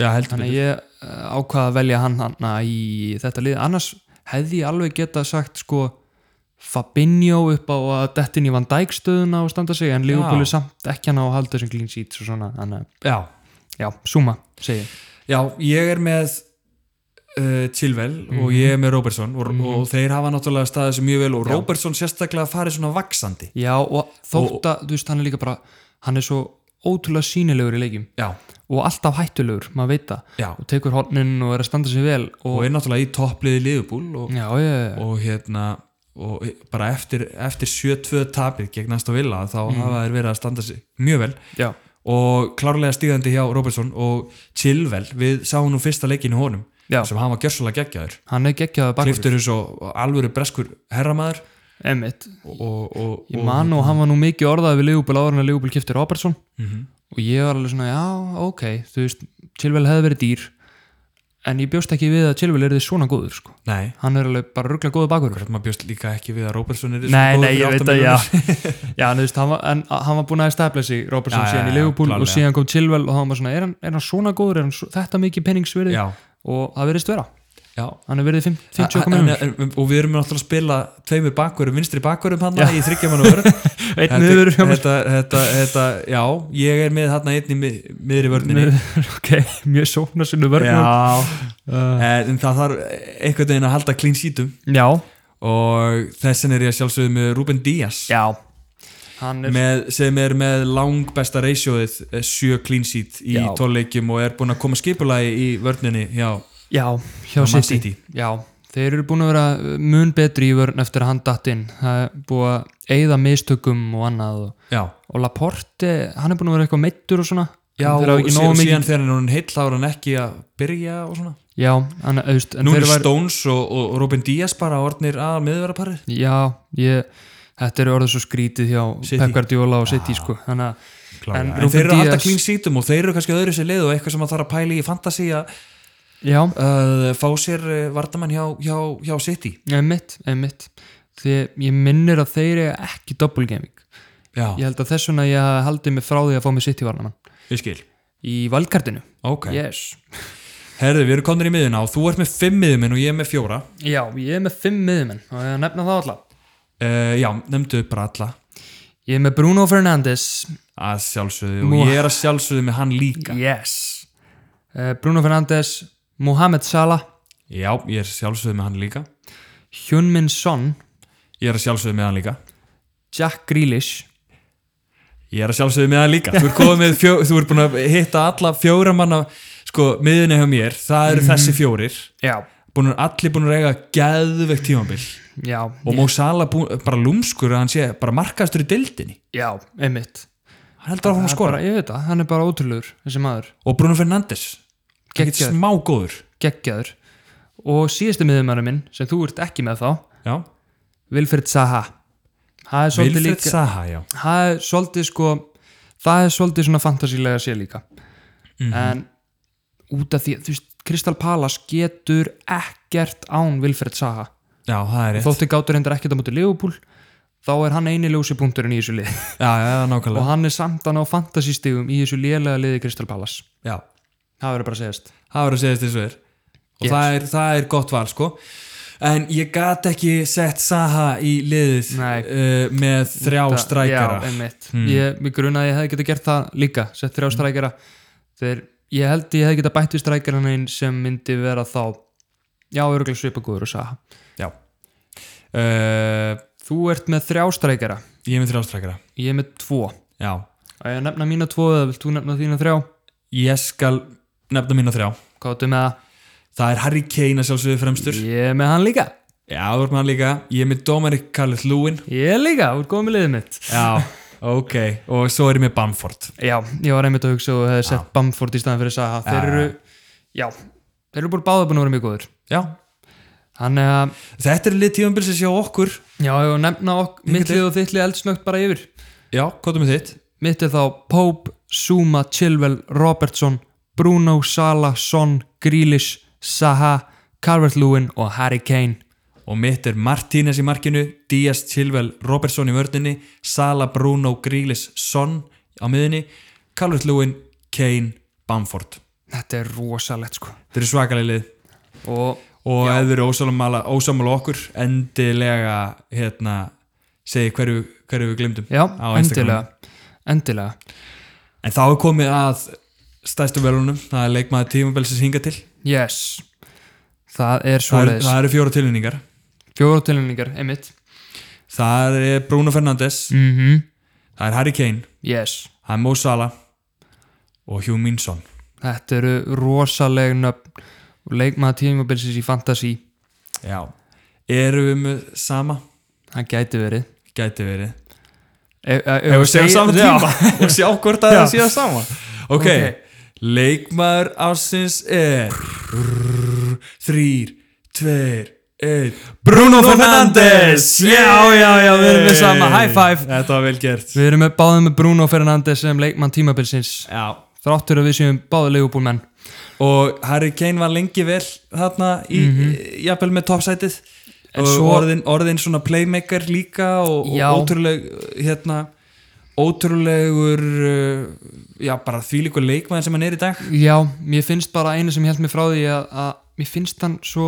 [SPEAKER 1] já heldur
[SPEAKER 2] þannig
[SPEAKER 1] mig
[SPEAKER 2] að ég eh, ákvað að velja hann hann í þetta lið annars hefði ég alveg geta sagt sko Fabinho upp á að dettin í Van Dijk stöðuna og standa sig en Liverpool er samt ekki hann á að halda þessum clean sheets og svona þannig að
[SPEAKER 1] Já,
[SPEAKER 2] já, Zuma segi ég
[SPEAKER 1] já ég er með uh, Chilwell og ég er með Robertson og, og þeir hafa náttúrulega staðið sem mjög vel og Robertson sérstaklega farið svona vaksandi
[SPEAKER 2] já og þótt að þú veist hann er líka bara hann er svo ótrúlega sínilegur í leikjum
[SPEAKER 1] Já,
[SPEAKER 2] og alltaf hættulegur, maður veit það
[SPEAKER 1] já
[SPEAKER 2] og tekur hornin og er að standa sig vel og,
[SPEAKER 1] og er náttúrulega í toppliði liðbúl og,
[SPEAKER 2] já, já, já,
[SPEAKER 1] og hérna og bara eftir, eftir 7-2 tapir gegn næsta vila þá hafa þeir verið að standa sig mjög vel
[SPEAKER 2] já,
[SPEAKER 1] og klárlega stíðandi hjá Robertson og Chilwell, við sáum nú fyrsta leikinu honum
[SPEAKER 2] Já.
[SPEAKER 1] sem hann var gjörsulega geggjaður
[SPEAKER 2] hann er geggjaður bakvörður
[SPEAKER 1] Kliftur eins og alvöru breskur herramaður
[SPEAKER 2] Emmitt,
[SPEAKER 1] og, og,
[SPEAKER 2] ég man nú, hann var nú mikið orðað við Leopold áður en að Leopold kipti Robertson og ég var alveg svona, já, ok þú veist, Chilwell hefði verið dýr en ég bjóst ekki við að Chilwell er þið svona góður, sko,
[SPEAKER 1] nei,
[SPEAKER 2] hann er alveg bara ruggla góður bakur
[SPEAKER 1] hvernig maður bjóst líka ekki við að Robertson er
[SPEAKER 2] Nei, nei, ég veit að, já, já [laughs] en, þú veist, hann, var, en a- hann var búin að stabla sig Robertson
[SPEAKER 1] Já, já,
[SPEAKER 2] síðan
[SPEAKER 1] já,
[SPEAKER 2] í Leopold og
[SPEAKER 1] klárlega.
[SPEAKER 2] síðan kom Chilwell og hann var svona, er hann, er hann svona góður, er hann svo, þetta mikið penningsverði
[SPEAKER 1] já,
[SPEAKER 2] og það verðist vera,
[SPEAKER 1] já.
[SPEAKER 2] hann er verið fimm-
[SPEAKER 1] En-
[SPEAKER 2] 50
[SPEAKER 1] eh,
[SPEAKER 2] kominum,
[SPEAKER 1] en- en- og við erum náttúrulega að spila tveimur bakverðum, vinstri bakverðum hann
[SPEAKER 2] Já.
[SPEAKER 1] í þryggjaman og vörð
[SPEAKER 2] [laughs] einn
[SPEAKER 1] Þetta-
[SPEAKER 2] niður hjá mér.
[SPEAKER 1] þetta, þetta, þetta, já, ég er með þarna einn í mið- miðri vörninni
[SPEAKER 2] [laughs] ok, mjög sóknarsinnu vörnum
[SPEAKER 1] Já,
[SPEAKER 2] Uh.
[SPEAKER 1] en það þarf einhvern veginn að halda clean sheetum
[SPEAKER 2] já,
[SPEAKER 1] og þessin er ég að sjálfsögðu með Ruben Díaz
[SPEAKER 2] já hann er,
[SPEAKER 1] með, sem er með lang besta ratioið eh, sjö clean sheet í
[SPEAKER 2] Já.
[SPEAKER 1] tóluleikjum og er búinn að koma skipulagi í vörninni já,
[SPEAKER 2] já, hjá
[SPEAKER 1] hjá Man
[SPEAKER 2] City
[SPEAKER 1] City.
[SPEAKER 2] já, þeir eru búin að vera mun betri í vörn eftir að hann datt inn það er búið að eyða mistökum og annað og,
[SPEAKER 1] já,
[SPEAKER 2] og Laporte, hann er búin að vera eitthvað meittur og svona
[SPEAKER 1] já
[SPEAKER 2] En
[SPEAKER 1] og,
[SPEAKER 2] þeir hafa ekki
[SPEAKER 1] sí-
[SPEAKER 2] nógu
[SPEAKER 1] og
[SPEAKER 2] mikið-
[SPEAKER 1] síðan þegar hann er orðinn heill þá er hann ekki að byrja og svona
[SPEAKER 2] já, hann, auðvist, en
[SPEAKER 1] Nú
[SPEAKER 2] þeir
[SPEAKER 1] er
[SPEAKER 2] var
[SPEAKER 1] Stones og, og Ruben Díaz bara orðnir að miðverðarparið
[SPEAKER 2] já, ég, þetta eru orðið svo skrítið hjá
[SPEAKER 1] City.
[SPEAKER 2] Pep Guardiola og City sko, þannig að
[SPEAKER 1] en,
[SPEAKER 2] Ruben
[SPEAKER 1] þeir eru að halda
[SPEAKER 2] Díaz-
[SPEAKER 1] clean sheetum og þeir eru kannski öðru sér leið og eitthvað sem að þarf að pæli í fantasy að
[SPEAKER 2] já,
[SPEAKER 1] að fá sér eh, vardamann hjá, hjá, hjá City
[SPEAKER 2] einmitt, einmitt því ég minnir að þeir eru ekki double gaming
[SPEAKER 1] Já,
[SPEAKER 2] Ég held að þess vegna ég hafi haldið mig frá því að fá mig sitt í varnamann
[SPEAKER 1] ég skil
[SPEAKER 2] Í valkartinu
[SPEAKER 1] Ok,
[SPEAKER 2] Yes
[SPEAKER 1] herðu, við erum komin í miðuna og þú ert með fimm miðumenn og ég er með fjóra
[SPEAKER 2] Já, ég er með fimm miðumenn og ég að nefna það alla
[SPEAKER 1] uh, Já, nefndu bara alla
[SPEAKER 2] Ég er með Bruno Fernandes
[SPEAKER 1] að sjálfsögðu
[SPEAKER 2] Nú-
[SPEAKER 1] og ég er að sjálfsögðu með hann líka
[SPEAKER 2] Yes uh, Bruno Fernandes Mohamed Salah
[SPEAKER 1] Já, ég er að sjálfsögðu með hann líka
[SPEAKER 2] Hjunmin Son
[SPEAKER 1] Ég er að sjálfsögðu með hann líka
[SPEAKER 2] Jack Grealish
[SPEAKER 1] Ég er að sjálfsögðu með hann líka Þú ert komið með fjó, þú ert búin að hitta alla fjóra manna sko, miðunni hjá mér, það
[SPEAKER 2] Mhm.
[SPEAKER 1] eru þessi fjórir
[SPEAKER 2] Já
[SPEAKER 1] búin, allir búin að reyga geðvegt tímabil
[SPEAKER 2] Já,
[SPEAKER 1] og Mó Sala bú, bara lúmskur að hann sé bara markastur í deildinni
[SPEAKER 2] já, einmitt
[SPEAKER 1] hann heldur að hún að
[SPEAKER 2] bara,
[SPEAKER 1] skora
[SPEAKER 2] Ég veit það, hann er bara ótrúlegur þessi maður
[SPEAKER 1] og Bruno Fernandes ekkert
[SPEAKER 2] Geggjaður.
[SPEAKER 1] smá góður
[SPEAKER 2] Geggjaður Og síðasti miðumæri minn sem þú ert ekki með þá
[SPEAKER 1] já.
[SPEAKER 2] Vilfred Saha Það er svolítið
[SPEAKER 1] Vilfred
[SPEAKER 2] líka
[SPEAKER 1] Saha já.
[SPEAKER 2] það er svolítið sko það er svolítið svona fantasílega sér líka en út af því, þú veist, Crystal Palace getur ekkert án Vilfred Saha
[SPEAKER 1] já, það er rétt
[SPEAKER 2] þótti gátur hendur ekkert á móti Leopold þá er hann eini ljósi punkturinn í þessu lið
[SPEAKER 1] já, já,
[SPEAKER 2] og
[SPEAKER 1] nákvæmlega
[SPEAKER 2] hann er samt hann á fantasístigum í þessu lélega liði Crystal Palace
[SPEAKER 1] já.
[SPEAKER 2] það verður bara að segjast
[SPEAKER 1] það verður að segja þessu er og
[SPEAKER 2] Yes.
[SPEAKER 1] það, er, það er gott val sko en ég gat ekki sett Saha í liðið
[SPEAKER 2] Nei.
[SPEAKER 1] uh, með þrjá
[SPEAKER 2] Það-
[SPEAKER 1] strækara
[SPEAKER 2] já, einmitt, ég, mig gruna að ég hefði getað gert það líka, sett þrjá strækjara þegar ég held ég hefði getað bætt við strækjaran einn sem myndi vera þá já, örgulega svipagúður og saha
[SPEAKER 1] já. Uh,
[SPEAKER 2] Þú ert með þrjá strækjara,
[SPEAKER 1] ég er með þrjá strækara
[SPEAKER 2] ég er með tvo.
[SPEAKER 1] já.
[SPEAKER 2] Á ég að nefna mína tvo eða vilt þú nefna þína þrjá?
[SPEAKER 1] ég skal nefna mína þrjá
[SPEAKER 2] Hvað áttu með það?
[SPEAKER 1] það er Harry Kane að sjálfsögðu fremstur
[SPEAKER 2] Ég er með hann líka.
[SPEAKER 1] já, þú ert með hann líka ég er með Dominic Calvert-Lewin
[SPEAKER 2] Ég er líka, þú ert góð með liðið mitt.
[SPEAKER 1] já, ok og svo er ég með Bamford
[SPEAKER 2] Já, ég var einmitt að hugsa og hefði sett Bamford í staðan fyrir Saha. Þeir eru, já, þeir eru búin báða búin að vera mjög góður.
[SPEAKER 1] já,
[SPEAKER 2] Þannig að,
[SPEAKER 1] Þetta er lið tíðanbilsins hjá okkur
[SPEAKER 2] já, ég var að nefna ok, mittlið og þittlið eldsnögt bara yfir.
[SPEAKER 1] Já, hvað er með þitt?
[SPEAKER 2] Mitt er þá Pope, Zuma, Chilwell, Robertson, Bruno, Sala, Son, Grealish, Saha, Calvert-Lewin og Harry Kane.
[SPEAKER 1] Og mitt er Martínez í markinu, Díaz, Chilwell, Robertson í vördinni, Sala, Bruno, Grílis, Son á miðinni, Calvert-Lewin, Kane, Bamford.
[SPEAKER 2] Þetta er rosalegt sko
[SPEAKER 1] Þetta eru svakalega lið
[SPEAKER 2] og
[SPEAKER 1] og ef þið eru ósámála, ósámála okkur, endilega hérna, segi hverju, hverju við glimtum
[SPEAKER 2] já,
[SPEAKER 1] á Instagram.
[SPEAKER 2] endilega endilega,
[SPEAKER 1] En þá er komið að stæstu velunum, það er leikmaður tíðanbilsins hinga til.
[SPEAKER 2] yes
[SPEAKER 1] Það
[SPEAKER 2] það er
[SPEAKER 1] eru-
[SPEAKER 2] svoleiðis
[SPEAKER 1] það eru fjóra tilvinningar.
[SPEAKER 2] fjóra tilhengar, einmitt
[SPEAKER 1] Það er Bruno Fernandes,
[SPEAKER 2] mm
[SPEAKER 1] það er Harry Kane,
[SPEAKER 2] yes,
[SPEAKER 1] Það er Mo Salah og Hugh Minson
[SPEAKER 2] þetta eru rosaleg nöfn og leikmaða tímabilsins í fantasy
[SPEAKER 1] Já Eru við með sama?
[SPEAKER 2] það gæti verið
[SPEAKER 1] Gæti verið
[SPEAKER 2] e, e, e,
[SPEAKER 1] Ef við séum saman
[SPEAKER 2] [laughs]
[SPEAKER 1] tíma [laughs] og sjá hvort að
[SPEAKER 2] Já.
[SPEAKER 1] það séu sama Ok,
[SPEAKER 2] Ok.
[SPEAKER 1] leikmaður ásins er Þrýr, tveir, einn Bruno Fernandes Já, já, já, við erum við sama,
[SPEAKER 2] Hey.
[SPEAKER 1] high five
[SPEAKER 3] Þetta var vel gert
[SPEAKER 2] Við erum með báðum með Bruno Fernandes sem leikmann tímabilsins
[SPEAKER 1] Já,
[SPEAKER 2] þráttur að við séum báðu leigubólmenn
[SPEAKER 1] og Harry Kane var lengi vel þarna í, mm jafnvel með topsætið
[SPEAKER 2] Mhm. En
[SPEAKER 1] og
[SPEAKER 2] svo-
[SPEAKER 1] orðin, orðin svona playmaker líka og,
[SPEAKER 2] Já.
[SPEAKER 1] og ótrúleg hérna ótrúlegur uh, já, bara þvílíkur leikmaður sem hann er í dag
[SPEAKER 2] Já, mér finnst bara einu sem held mér frá því að, að mér finnst hann svo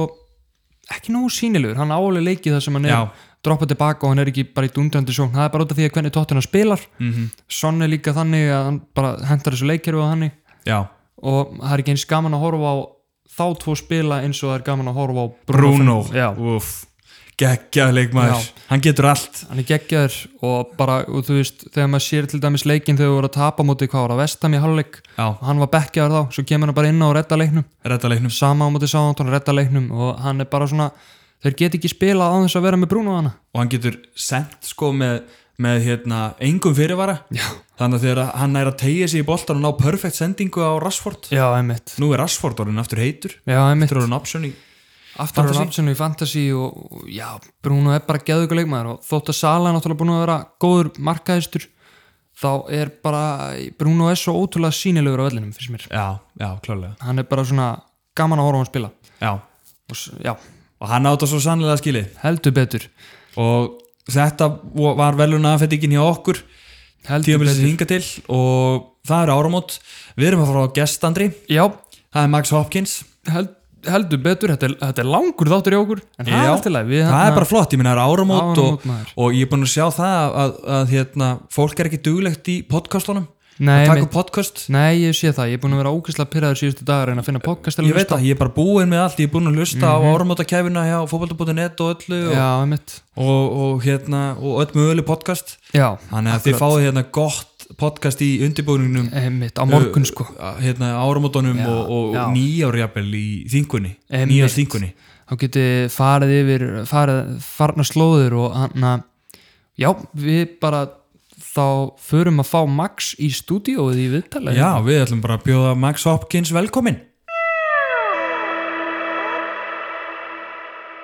[SPEAKER 2] ekki nógu sínilegur, hann álega leikið það sem hann er
[SPEAKER 1] Já.
[SPEAKER 2] droppa tilbaka og hann er ekki bara í dundrandi sjón, það er bara út af því að hvernig tóttuna spilar
[SPEAKER 1] Mhm.
[SPEAKER 2] Son er líka þannig að hann bara hentar þessu leikkerfi og þannig
[SPEAKER 1] Já,
[SPEAKER 2] og það er ekki eins gaman að horfa á þá tvo spila eins og það er gaman að horfa á
[SPEAKER 1] Bruno
[SPEAKER 2] Fernandes. Já,
[SPEAKER 1] Úff. geggjað leikmaður
[SPEAKER 2] Já.
[SPEAKER 1] hann getur allt
[SPEAKER 2] hann er geggjaður og bara, og þú veist, þegar maður sér til dæmis leikinn þegar þú voru að tapa móti hvað var að vestam í hálfleik
[SPEAKER 1] Já,
[SPEAKER 2] og hann var bekkjaður þá, svo kemur hann bara inn á og redda leiknum
[SPEAKER 1] redda leiknum
[SPEAKER 2] sama á móti sáðantón, redda leiknum og hann er bara svona, þeir get ekki spilað á þess að vera með Bruno hana
[SPEAKER 1] og hann getur sendt sko með, með hérna, engum fyrirvara Já. þannig að þegar að hann er að tegja sig í boltan og ná perfekt sendingu á Rashford
[SPEAKER 2] Já, einmitt
[SPEAKER 1] nú er Rashford orðin aftur heitur
[SPEAKER 2] Já, einmitt,
[SPEAKER 1] eftir orðin option í
[SPEAKER 2] aftur á
[SPEAKER 1] Fantasy.
[SPEAKER 2] nafnsinu í Fantasy og, og já, Bruno er bara geðugur leikmaður og þótt að Sala er náttúrulega búin að vera góður markaðistur þá er bara, Bruno er svo ótrúlega sínilegur á vellinum, finnst mér
[SPEAKER 1] Já, já, klálega
[SPEAKER 2] hann er bara svona gaman að horfa á hann spila
[SPEAKER 1] Já,
[SPEAKER 2] og, s- já,
[SPEAKER 1] og hann átta svo sannlega skilið
[SPEAKER 2] heldur betur
[SPEAKER 1] og þetta vo- var veluna aðfettingin hjá okkur
[SPEAKER 2] heldur
[SPEAKER 1] tíðabilið sem
[SPEAKER 2] betur
[SPEAKER 1] hinga til og það eru áramót við erum að fara á gestandri
[SPEAKER 2] já,
[SPEAKER 1] það er Max Hopkins
[SPEAKER 2] held, heldur betur þetta er, þetta er langur þáttur í okkur en það er
[SPEAKER 1] Já,
[SPEAKER 2] allt í lagi við
[SPEAKER 1] það er
[SPEAKER 2] hérna-
[SPEAKER 1] bara flott, ég minna það er áramót,
[SPEAKER 2] Áramót, maður.
[SPEAKER 1] og, og ég er búin að sjá það að, að, að hérna, fólk er ekki duglegt í podcastunum
[SPEAKER 2] nei,
[SPEAKER 1] að taka
[SPEAKER 2] mitt-
[SPEAKER 1] upp podcast
[SPEAKER 2] nei, ég sé það, ég er búin að vera ókvæslega pyrraður síðustu dagar en að finna podcast til að
[SPEAKER 1] ég veit það, ég er bara búinn með allt ég er búinn að hlusta á áramótakæfina hjá fótbolta.net og öllu
[SPEAKER 2] hlusta.
[SPEAKER 1] og,
[SPEAKER 2] já, mitt
[SPEAKER 1] og, og hérna, og öll möguleg podcast
[SPEAKER 2] já,
[SPEAKER 1] þannig að þið fáið hérna gott podcast í undirbúningnum
[SPEAKER 2] mitt, á morgun sko
[SPEAKER 1] uh, hérna áramótunum
[SPEAKER 2] Já,
[SPEAKER 1] og, og
[SPEAKER 2] já. Eh,
[SPEAKER 1] nýjárjafel í þingunni,
[SPEAKER 2] Einmitt.
[SPEAKER 1] nýjars þingunni
[SPEAKER 2] þá geti farið yfir farið, farna slóður og hann að já, við bara þá förum að fá Max í stúdíóið í viðtalið
[SPEAKER 1] já, við ætlum bara að bjóða Max Hopkins velkomin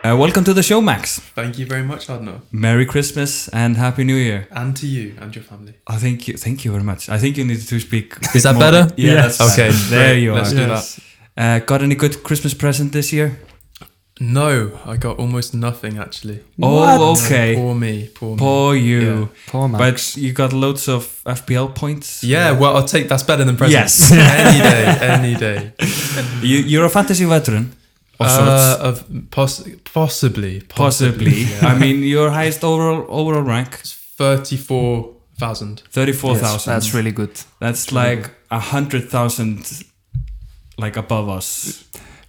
[SPEAKER 1] Uh, welcome to the show, Max.
[SPEAKER 3] Thank you very much, Adno.
[SPEAKER 1] Merry Christmas and Happy New Year.
[SPEAKER 3] And to you and your family.
[SPEAKER 1] Oh, thank you, thank you very much. I think you need to speak. a
[SPEAKER 4] Is
[SPEAKER 1] bit
[SPEAKER 4] that
[SPEAKER 1] more.
[SPEAKER 4] better?
[SPEAKER 1] Yes.
[SPEAKER 4] Yes. Okay,
[SPEAKER 1] There
[SPEAKER 3] great.
[SPEAKER 1] you
[SPEAKER 3] Let's
[SPEAKER 1] are.
[SPEAKER 3] do
[SPEAKER 2] Yes.
[SPEAKER 3] that.
[SPEAKER 1] Uh, got any good Christmas present this year?
[SPEAKER 3] No, I got almost nothing actually.
[SPEAKER 1] Oh, okay.
[SPEAKER 3] Poor me, poor me.
[SPEAKER 1] For you.
[SPEAKER 2] Poor Max.
[SPEAKER 1] But you got loads of FPL points.
[SPEAKER 3] Yeah, well, I'll take that's better than
[SPEAKER 1] Yes.
[SPEAKER 3] presents. any day, [laughs] any day.
[SPEAKER 1] You, you're a fantasy veteran. [laughs] Of
[SPEAKER 3] Uh,
[SPEAKER 1] sorts.
[SPEAKER 3] of poss- possibly,
[SPEAKER 1] [laughs] Possibly.
[SPEAKER 3] yeah.
[SPEAKER 1] I mean, your highest overall overall rank,
[SPEAKER 3] It's thirty-four thousand.
[SPEAKER 1] thirty-four
[SPEAKER 2] Yes,
[SPEAKER 1] thousand.
[SPEAKER 2] that's really good
[SPEAKER 1] That's like a hundred thousand, like above us.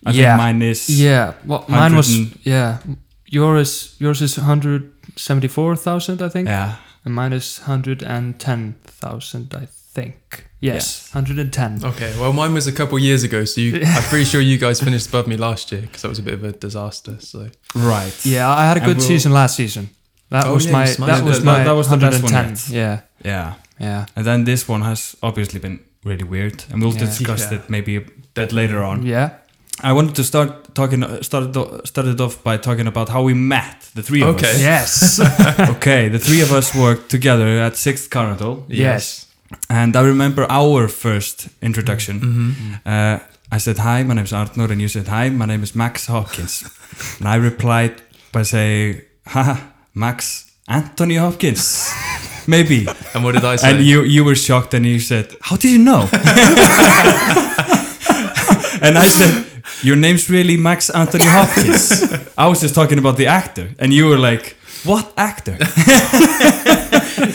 [SPEAKER 1] I
[SPEAKER 2] Yeah.
[SPEAKER 1] think mine is.
[SPEAKER 2] Yeah, well, mine was
[SPEAKER 1] 100
[SPEAKER 2] yeah. Yours yours is hundred seventy four thousand, I think,
[SPEAKER 1] Yeah.
[SPEAKER 2] and mine is hundred and ten thousand, I think. Yes,
[SPEAKER 1] Yes.
[SPEAKER 2] hundred and ten.
[SPEAKER 3] Okay, well, mine was a couple years ago, so
[SPEAKER 1] [laughs]
[SPEAKER 3] you, I'm pretty sure you guys finished above me last year because that was a bit of a disaster. So
[SPEAKER 1] Right.
[SPEAKER 2] Yeah, I had a
[SPEAKER 1] And
[SPEAKER 2] good
[SPEAKER 1] we'll-
[SPEAKER 2] season last season. That
[SPEAKER 3] Oh,
[SPEAKER 2] was
[SPEAKER 3] yeah,
[SPEAKER 2] my
[SPEAKER 3] you
[SPEAKER 2] that
[SPEAKER 3] smashed
[SPEAKER 2] was
[SPEAKER 1] it.
[SPEAKER 2] my
[SPEAKER 1] That- that was the best one
[SPEAKER 2] 110.
[SPEAKER 1] yet.
[SPEAKER 2] Yeah,
[SPEAKER 1] Yeah.
[SPEAKER 2] yeah,
[SPEAKER 1] And then this one has obviously been really weird, and we'll
[SPEAKER 2] Yeah.
[SPEAKER 1] discuss
[SPEAKER 3] Yeah.
[SPEAKER 1] that maybe a bit later on.
[SPEAKER 2] yeah.
[SPEAKER 1] I wanted to start talking, uh, started started off by talking about how we met, the three of
[SPEAKER 3] Okay.
[SPEAKER 1] [laughs] us.
[SPEAKER 2] Yes,
[SPEAKER 1] okay, the three of us worked together at Sixth Carnival,
[SPEAKER 2] yes.
[SPEAKER 1] and I remember our first introduction. Uh, I said hi, my name is Arnur, and you said hi, my name is Max Hopkins, and I replied by saying, "Haha, Max Anthony Hopkins, [laughs] maybe."
[SPEAKER 3] and what did I
[SPEAKER 1] [laughs]
[SPEAKER 3] say?
[SPEAKER 1] And you you were shocked and you said, How did you know? [laughs] and I said, Your name's really Max Anthony Hopkins. I was just talking about the actor. And you were like, What actor?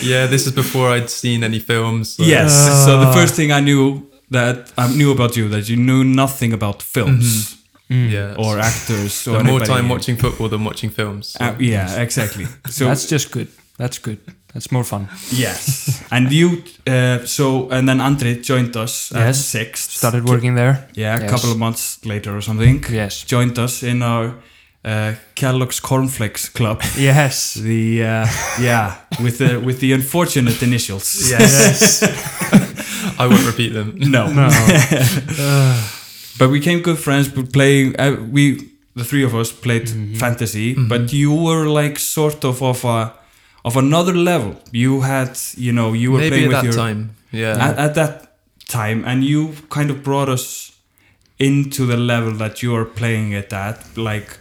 [SPEAKER 3] yeah, this is before I'd seen any films. so-
[SPEAKER 1] yes. so
[SPEAKER 2] Ah.
[SPEAKER 1] the first thing I knew that I knew about you that you knew nothing about films
[SPEAKER 3] yeah.
[SPEAKER 1] Mm. or
[SPEAKER 3] [laughs]
[SPEAKER 1] actors or
[SPEAKER 3] Spend Mm-hmm. more
[SPEAKER 1] anybody.
[SPEAKER 3] time watching football than watching films. so-
[SPEAKER 1] Uh, yeah, exactly. So
[SPEAKER 2] That's just good. That's good. That's more fun.
[SPEAKER 1] yes, and you. Uh, so and then Andre joined us at
[SPEAKER 2] Yes.
[SPEAKER 1] sixth.
[SPEAKER 2] Started working there.
[SPEAKER 1] Yeah, a
[SPEAKER 2] Yes.
[SPEAKER 1] couple of months later or something.
[SPEAKER 2] Yes.
[SPEAKER 1] Joined us in our uh, Kellogg's Cornflakes
[SPEAKER 3] [laughs]
[SPEAKER 1] Club.
[SPEAKER 2] Yes.
[SPEAKER 1] The [laughs] uh, yeah, with the with the unfortunate initials. [laughs]
[SPEAKER 3] Yes. I won't repeat them.
[SPEAKER 1] No.
[SPEAKER 2] No.
[SPEAKER 1] but we became good friends. We play. Uh, we the three of us played
[SPEAKER 3] Mm-hmm.
[SPEAKER 1] fantasy, but you were like sort of of a of another level. You had, you know, you were
[SPEAKER 3] Maybe
[SPEAKER 1] playing
[SPEAKER 3] at
[SPEAKER 1] with
[SPEAKER 3] that
[SPEAKER 1] your
[SPEAKER 3] time.
[SPEAKER 2] Uh,
[SPEAKER 3] Yeah.
[SPEAKER 1] at, at that time, and you kind of brought us into the level that you are playing it at, like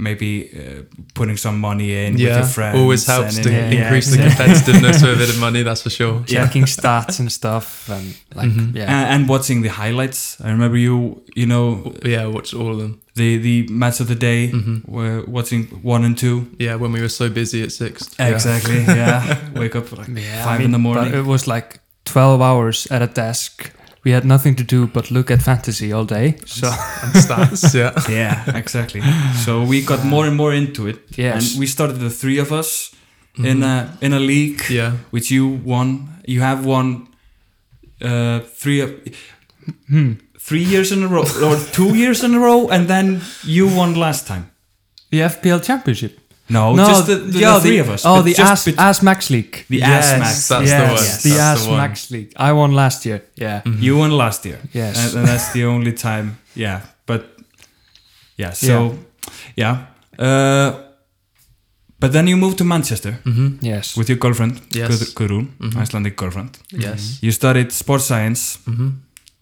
[SPEAKER 1] maybe uh, putting some money in with your friends.
[SPEAKER 3] Always helps
[SPEAKER 1] and
[SPEAKER 3] to
[SPEAKER 1] in- yeah,
[SPEAKER 3] increase the
[SPEAKER 1] exactly.
[SPEAKER 3] competitiveness with a bit of money, that's for sure.
[SPEAKER 1] Yeah.
[SPEAKER 2] checking stats and stuff and like
[SPEAKER 1] Mm-hmm.
[SPEAKER 2] yeah
[SPEAKER 1] And, and watching the highlights. I remember you, you know,
[SPEAKER 3] Yeah, watch all of them.
[SPEAKER 1] the the match of the day,
[SPEAKER 2] Mm-hmm.
[SPEAKER 1] were watching one and two.
[SPEAKER 3] Yeah, when we were so busy at six.
[SPEAKER 2] [laughs]
[SPEAKER 1] Exactly. Yeah. Wake up like
[SPEAKER 2] Yeah,
[SPEAKER 1] five
[SPEAKER 2] I
[SPEAKER 1] in the
[SPEAKER 2] mean,
[SPEAKER 1] morning.
[SPEAKER 2] but it was like 12 hours at a desk we had nothing to do but look at fantasy all day so [laughs]
[SPEAKER 3] And stats, [laughs] yeah.
[SPEAKER 1] yeah, exactly. So we got more and more into it.
[SPEAKER 2] Yes. Mm-hmm.
[SPEAKER 1] And we started the three of us in a in a league,
[SPEAKER 3] Yeah.
[SPEAKER 1] which you won. You have won uh, three of, three years in a row or two years in a row, and then you won last time.
[SPEAKER 2] the fpl championship
[SPEAKER 1] No, Oh, just the, the,
[SPEAKER 2] yeah,
[SPEAKER 1] the three of us.
[SPEAKER 2] oh
[SPEAKER 1] but
[SPEAKER 2] the
[SPEAKER 1] just
[SPEAKER 2] ass,
[SPEAKER 1] bet-
[SPEAKER 2] ass max league
[SPEAKER 1] the
[SPEAKER 3] Yes,
[SPEAKER 1] ass match.
[SPEAKER 3] That's the one.
[SPEAKER 2] the
[SPEAKER 3] That's
[SPEAKER 2] ass
[SPEAKER 3] the one.
[SPEAKER 2] max league i won last year yeah
[SPEAKER 1] You won last year.
[SPEAKER 2] Yes.
[SPEAKER 1] And, and that's the only time. Yeah. But yeah, so yeah. Uh, but then you moved to Manchester
[SPEAKER 3] Mm-hmm.
[SPEAKER 2] yes
[SPEAKER 1] with your girlfriend,
[SPEAKER 3] Yes.
[SPEAKER 1] Guð- Guðrún, Icelandic girlfriend.
[SPEAKER 3] Yes.
[SPEAKER 1] You studied sports science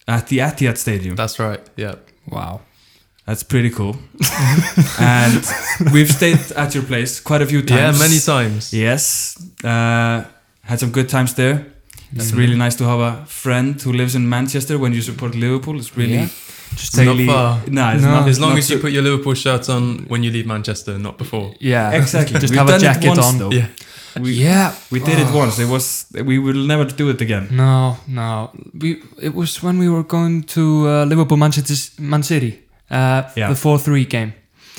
[SPEAKER 1] at the Etihad Stadium.
[SPEAKER 3] That's right. Yeah.
[SPEAKER 2] wow
[SPEAKER 1] That's pretty cool. [laughs] and we've stayed at your place quite a few
[SPEAKER 3] Yeah,
[SPEAKER 1] times.
[SPEAKER 3] many times.
[SPEAKER 1] Yes. Uh, had some good times there. It's really nice to have a friend who lives in Manchester when you support Liverpool. It's really
[SPEAKER 2] Yeah.
[SPEAKER 1] just
[SPEAKER 3] Not
[SPEAKER 1] really
[SPEAKER 3] far.
[SPEAKER 1] No, it's
[SPEAKER 2] No.
[SPEAKER 1] not
[SPEAKER 3] As long
[SPEAKER 1] not
[SPEAKER 3] as you
[SPEAKER 1] so-
[SPEAKER 3] put your Liverpool shirt on when you leave Manchester, not before.
[SPEAKER 2] yeah
[SPEAKER 1] exactly.
[SPEAKER 2] just
[SPEAKER 1] We've
[SPEAKER 2] have
[SPEAKER 1] done
[SPEAKER 2] a
[SPEAKER 1] it
[SPEAKER 2] jacket
[SPEAKER 1] once,
[SPEAKER 2] on
[SPEAKER 1] though.
[SPEAKER 3] Yeah.
[SPEAKER 1] We,
[SPEAKER 2] yeah
[SPEAKER 1] we did it once. It was we will never do it again.
[SPEAKER 2] No, no. We it was when we were going to uh, Liverpool, Manchester, Man City, uh,
[SPEAKER 1] Yeah.
[SPEAKER 2] the four three game.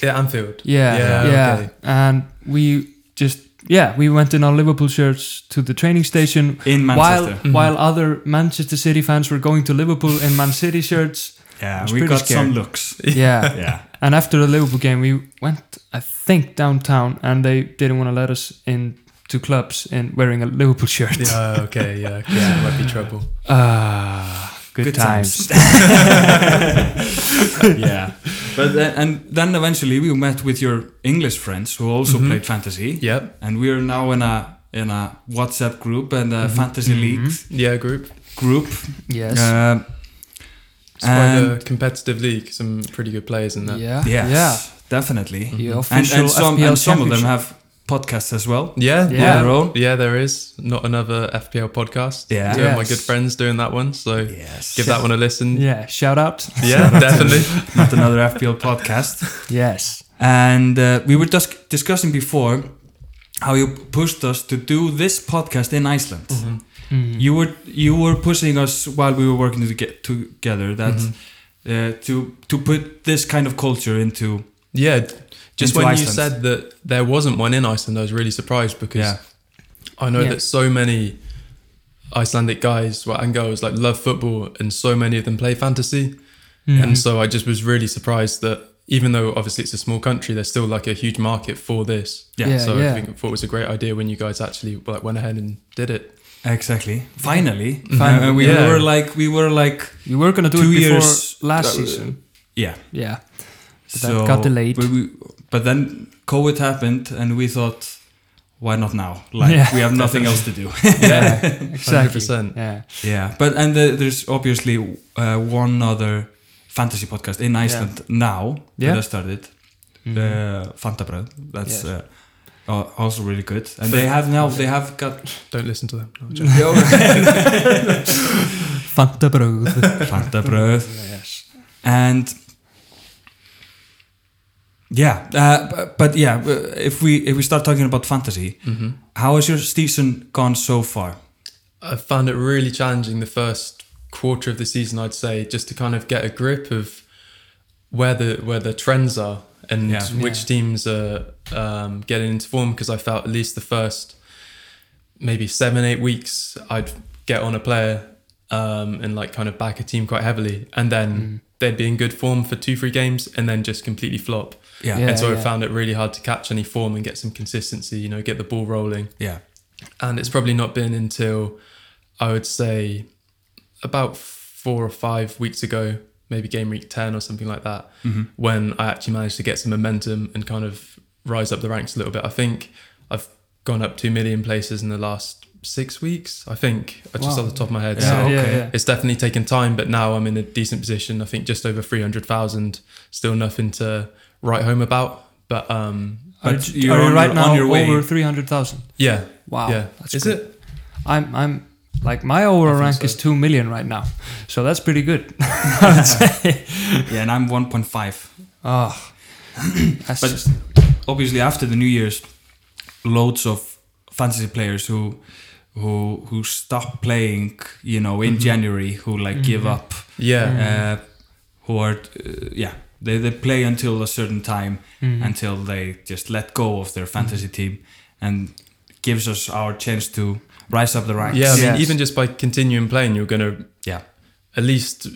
[SPEAKER 3] Yeah, Anfield.
[SPEAKER 2] Yeah, yeah.
[SPEAKER 3] Yeah, okay.
[SPEAKER 2] And we just yeah, we went in our Liverpool shirts to the training station
[SPEAKER 1] In
[SPEAKER 2] while
[SPEAKER 1] Manchester. Mm-hmm.
[SPEAKER 2] while other Manchester City fans were going to Liverpool in Man City shirts.
[SPEAKER 1] Yeah,
[SPEAKER 2] It's
[SPEAKER 1] we
[SPEAKER 2] pretty
[SPEAKER 1] got
[SPEAKER 2] scary.
[SPEAKER 1] some looks.
[SPEAKER 3] [laughs]
[SPEAKER 2] Yeah.
[SPEAKER 1] Yeah.
[SPEAKER 2] And after the Liverpool game, we went, I think, downtown, and they didn't want to let us in to clubs in wearing a Liverpool shirt.
[SPEAKER 3] Yeah, okay, yeah. 'cause It might be trouble.
[SPEAKER 2] [laughs] Ah, good,
[SPEAKER 1] Good times.
[SPEAKER 2] times. [laughs]
[SPEAKER 1] yeah. But then, and then eventually we met with your English friends who also
[SPEAKER 2] Mm-hmm.
[SPEAKER 1] played fantasy.
[SPEAKER 3] Yep.
[SPEAKER 1] And we are now in a in a WhatsApp group and a fantasy league
[SPEAKER 3] Yeah, group.
[SPEAKER 1] group.
[SPEAKER 2] Mm-hmm. Yes.
[SPEAKER 1] Um,
[SPEAKER 3] It's quite a
[SPEAKER 1] And-
[SPEAKER 3] competitive league. Some pretty good players in that.
[SPEAKER 2] Yeah.
[SPEAKER 1] yes,
[SPEAKER 2] Ah, Yeah.
[SPEAKER 1] definitely.
[SPEAKER 2] The
[SPEAKER 1] And,
[SPEAKER 2] official
[SPEAKER 1] and some
[SPEAKER 2] FPL
[SPEAKER 1] and some of them
[SPEAKER 2] championship.
[SPEAKER 1] have podcasts as well.
[SPEAKER 3] Yeah,
[SPEAKER 2] Yeah.
[SPEAKER 3] yeah,
[SPEAKER 1] Their own.
[SPEAKER 3] yeah. There is not another FPL podcast.
[SPEAKER 1] Yeah.
[SPEAKER 3] two of my
[SPEAKER 2] Yes.
[SPEAKER 3] good friends doing that one. So
[SPEAKER 1] Yes.
[SPEAKER 3] give that one a listen.
[SPEAKER 2] Yeah, shout out.
[SPEAKER 1] [laughs]
[SPEAKER 3] Yeah, definitely.
[SPEAKER 1] Not another [laughs] FPL podcast.
[SPEAKER 2] yes.
[SPEAKER 1] And uh, we were just discussing before how you pushed us to do this podcast in Iceland.
[SPEAKER 2] Mm-hmm.
[SPEAKER 1] Mm-hmm. You were you were pushing us while we were working to get together that uh, to to put this kind of culture into
[SPEAKER 3] Yeah, d- just
[SPEAKER 1] Into
[SPEAKER 3] when you
[SPEAKER 1] Iceland.
[SPEAKER 3] said that there wasn't one in Iceland, I was really surprised because
[SPEAKER 1] Yeah.
[SPEAKER 3] I know
[SPEAKER 2] Yeah.
[SPEAKER 3] that so many Icelandic guys well, and girls like love football, and so many of them play fantasy.
[SPEAKER 1] Mm-hmm.
[SPEAKER 2] Mm-hmm.
[SPEAKER 3] And so I just was really surprised that even though obviously it's a small country, there's still like a huge market for this.
[SPEAKER 1] Yeah.
[SPEAKER 2] Yeah,
[SPEAKER 3] so
[SPEAKER 2] yeah.
[SPEAKER 3] I think thought it was a great idea when you guys actually like went ahead and did it.
[SPEAKER 1] exactly finally.
[SPEAKER 2] Finally,
[SPEAKER 1] Uh, we
[SPEAKER 3] yeah.
[SPEAKER 1] were like we were like
[SPEAKER 2] You were going to do
[SPEAKER 1] Two
[SPEAKER 2] it before
[SPEAKER 1] years-
[SPEAKER 2] last
[SPEAKER 3] Uh,
[SPEAKER 2] season.
[SPEAKER 1] yeah [laughs]
[SPEAKER 2] Yeah. But that got delayed.
[SPEAKER 1] But, we, but then COVID happened, and we thought, why not now? Like
[SPEAKER 2] Yeah.
[SPEAKER 1] we have nothing else to [laughs] do.
[SPEAKER 2] Yeah. exactly.
[SPEAKER 3] 100%.
[SPEAKER 2] Yeah.
[SPEAKER 1] yeah, but and the, there's obviously uh, one other fantasy podcast in Iceland now
[SPEAKER 2] Yeah.
[SPEAKER 1] that I started,
[SPEAKER 2] Mm-hmm.
[SPEAKER 1] uh, Fantabröð. That's
[SPEAKER 2] Mhm. Yes.
[SPEAKER 1] uh, al- also really good, and they have now they have
[SPEAKER 2] [laughs]
[SPEAKER 1] got [laughs]
[SPEAKER 3] Don't listen to them. No, I'm joking.
[SPEAKER 1] [laughs]
[SPEAKER 2] Fantabröð.
[SPEAKER 1] Fantabröð.
[SPEAKER 2] yes.
[SPEAKER 1] and yeah uh, bu- but yeah uh, if we if we start talking about fantasy
[SPEAKER 2] Mm-hmm.
[SPEAKER 1] how has your season gone so far
[SPEAKER 3] I found it really challenging the first quarter of the season, I'd say, just to kind of get a grip of where the where the trends are and
[SPEAKER 1] Yeah.
[SPEAKER 3] which teams are um, getting into form. Because I felt at least the first maybe seven eight weeks, I'd get on a player um, and like kind of back a team quite heavily, and
[SPEAKER 1] Mm.
[SPEAKER 3] then they'd be in good form for two three games, and then just completely flop.
[SPEAKER 1] yeah
[SPEAKER 2] Yeah.
[SPEAKER 1] yeah,
[SPEAKER 3] and so I found it really hard to catch any form and get some consistency. You know, get the ball rolling and it's probably not been until I would say about four or five weeks ago maybe game week 10 or something like that, when I actually managed to get some momentum and kind of rise up the ranks a little bit. I think I've gone up 2 million places in the last six weeks, I think, uh, just
[SPEAKER 1] Wow.
[SPEAKER 3] off the top of my head.
[SPEAKER 1] Yeah,
[SPEAKER 3] so
[SPEAKER 1] okay.
[SPEAKER 3] it's definitely taken time, but now I'm in a decent position. I think just over 300,000, still nothing to write home about. But um,
[SPEAKER 2] Are,
[SPEAKER 1] But
[SPEAKER 2] you-
[SPEAKER 1] you're
[SPEAKER 2] are you
[SPEAKER 1] on
[SPEAKER 2] right
[SPEAKER 1] your-
[SPEAKER 2] now
[SPEAKER 1] on your way.
[SPEAKER 2] over 300,000?
[SPEAKER 3] yeah.
[SPEAKER 2] Wow.
[SPEAKER 3] yeah.
[SPEAKER 2] That's
[SPEAKER 3] Is
[SPEAKER 2] good.
[SPEAKER 3] it?
[SPEAKER 2] I'm, I'm like, my overall rank
[SPEAKER 3] think so.
[SPEAKER 2] is 2 million right now. So that's pretty good.
[SPEAKER 1] yeah, and I'm 1.5.
[SPEAKER 2] Oh, that's
[SPEAKER 1] But-
[SPEAKER 2] just,
[SPEAKER 1] obviously after the New Year's, loads of fantasy players who who who stop playing, you know,
[SPEAKER 2] Mm-hmm.
[SPEAKER 1] in January, who like give up,
[SPEAKER 3] Yeah.
[SPEAKER 2] Mm.
[SPEAKER 1] uh, who are uh, yeah, they they play until a certain time
[SPEAKER 2] Mm-hmm.
[SPEAKER 1] until they just let go of their fantasy team, and gives us our chance to rise up the ranks.
[SPEAKER 3] Yeah. I mean,
[SPEAKER 2] Yes.
[SPEAKER 3] even just by continuing playing, you're going to
[SPEAKER 1] yeah,
[SPEAKER 3] at least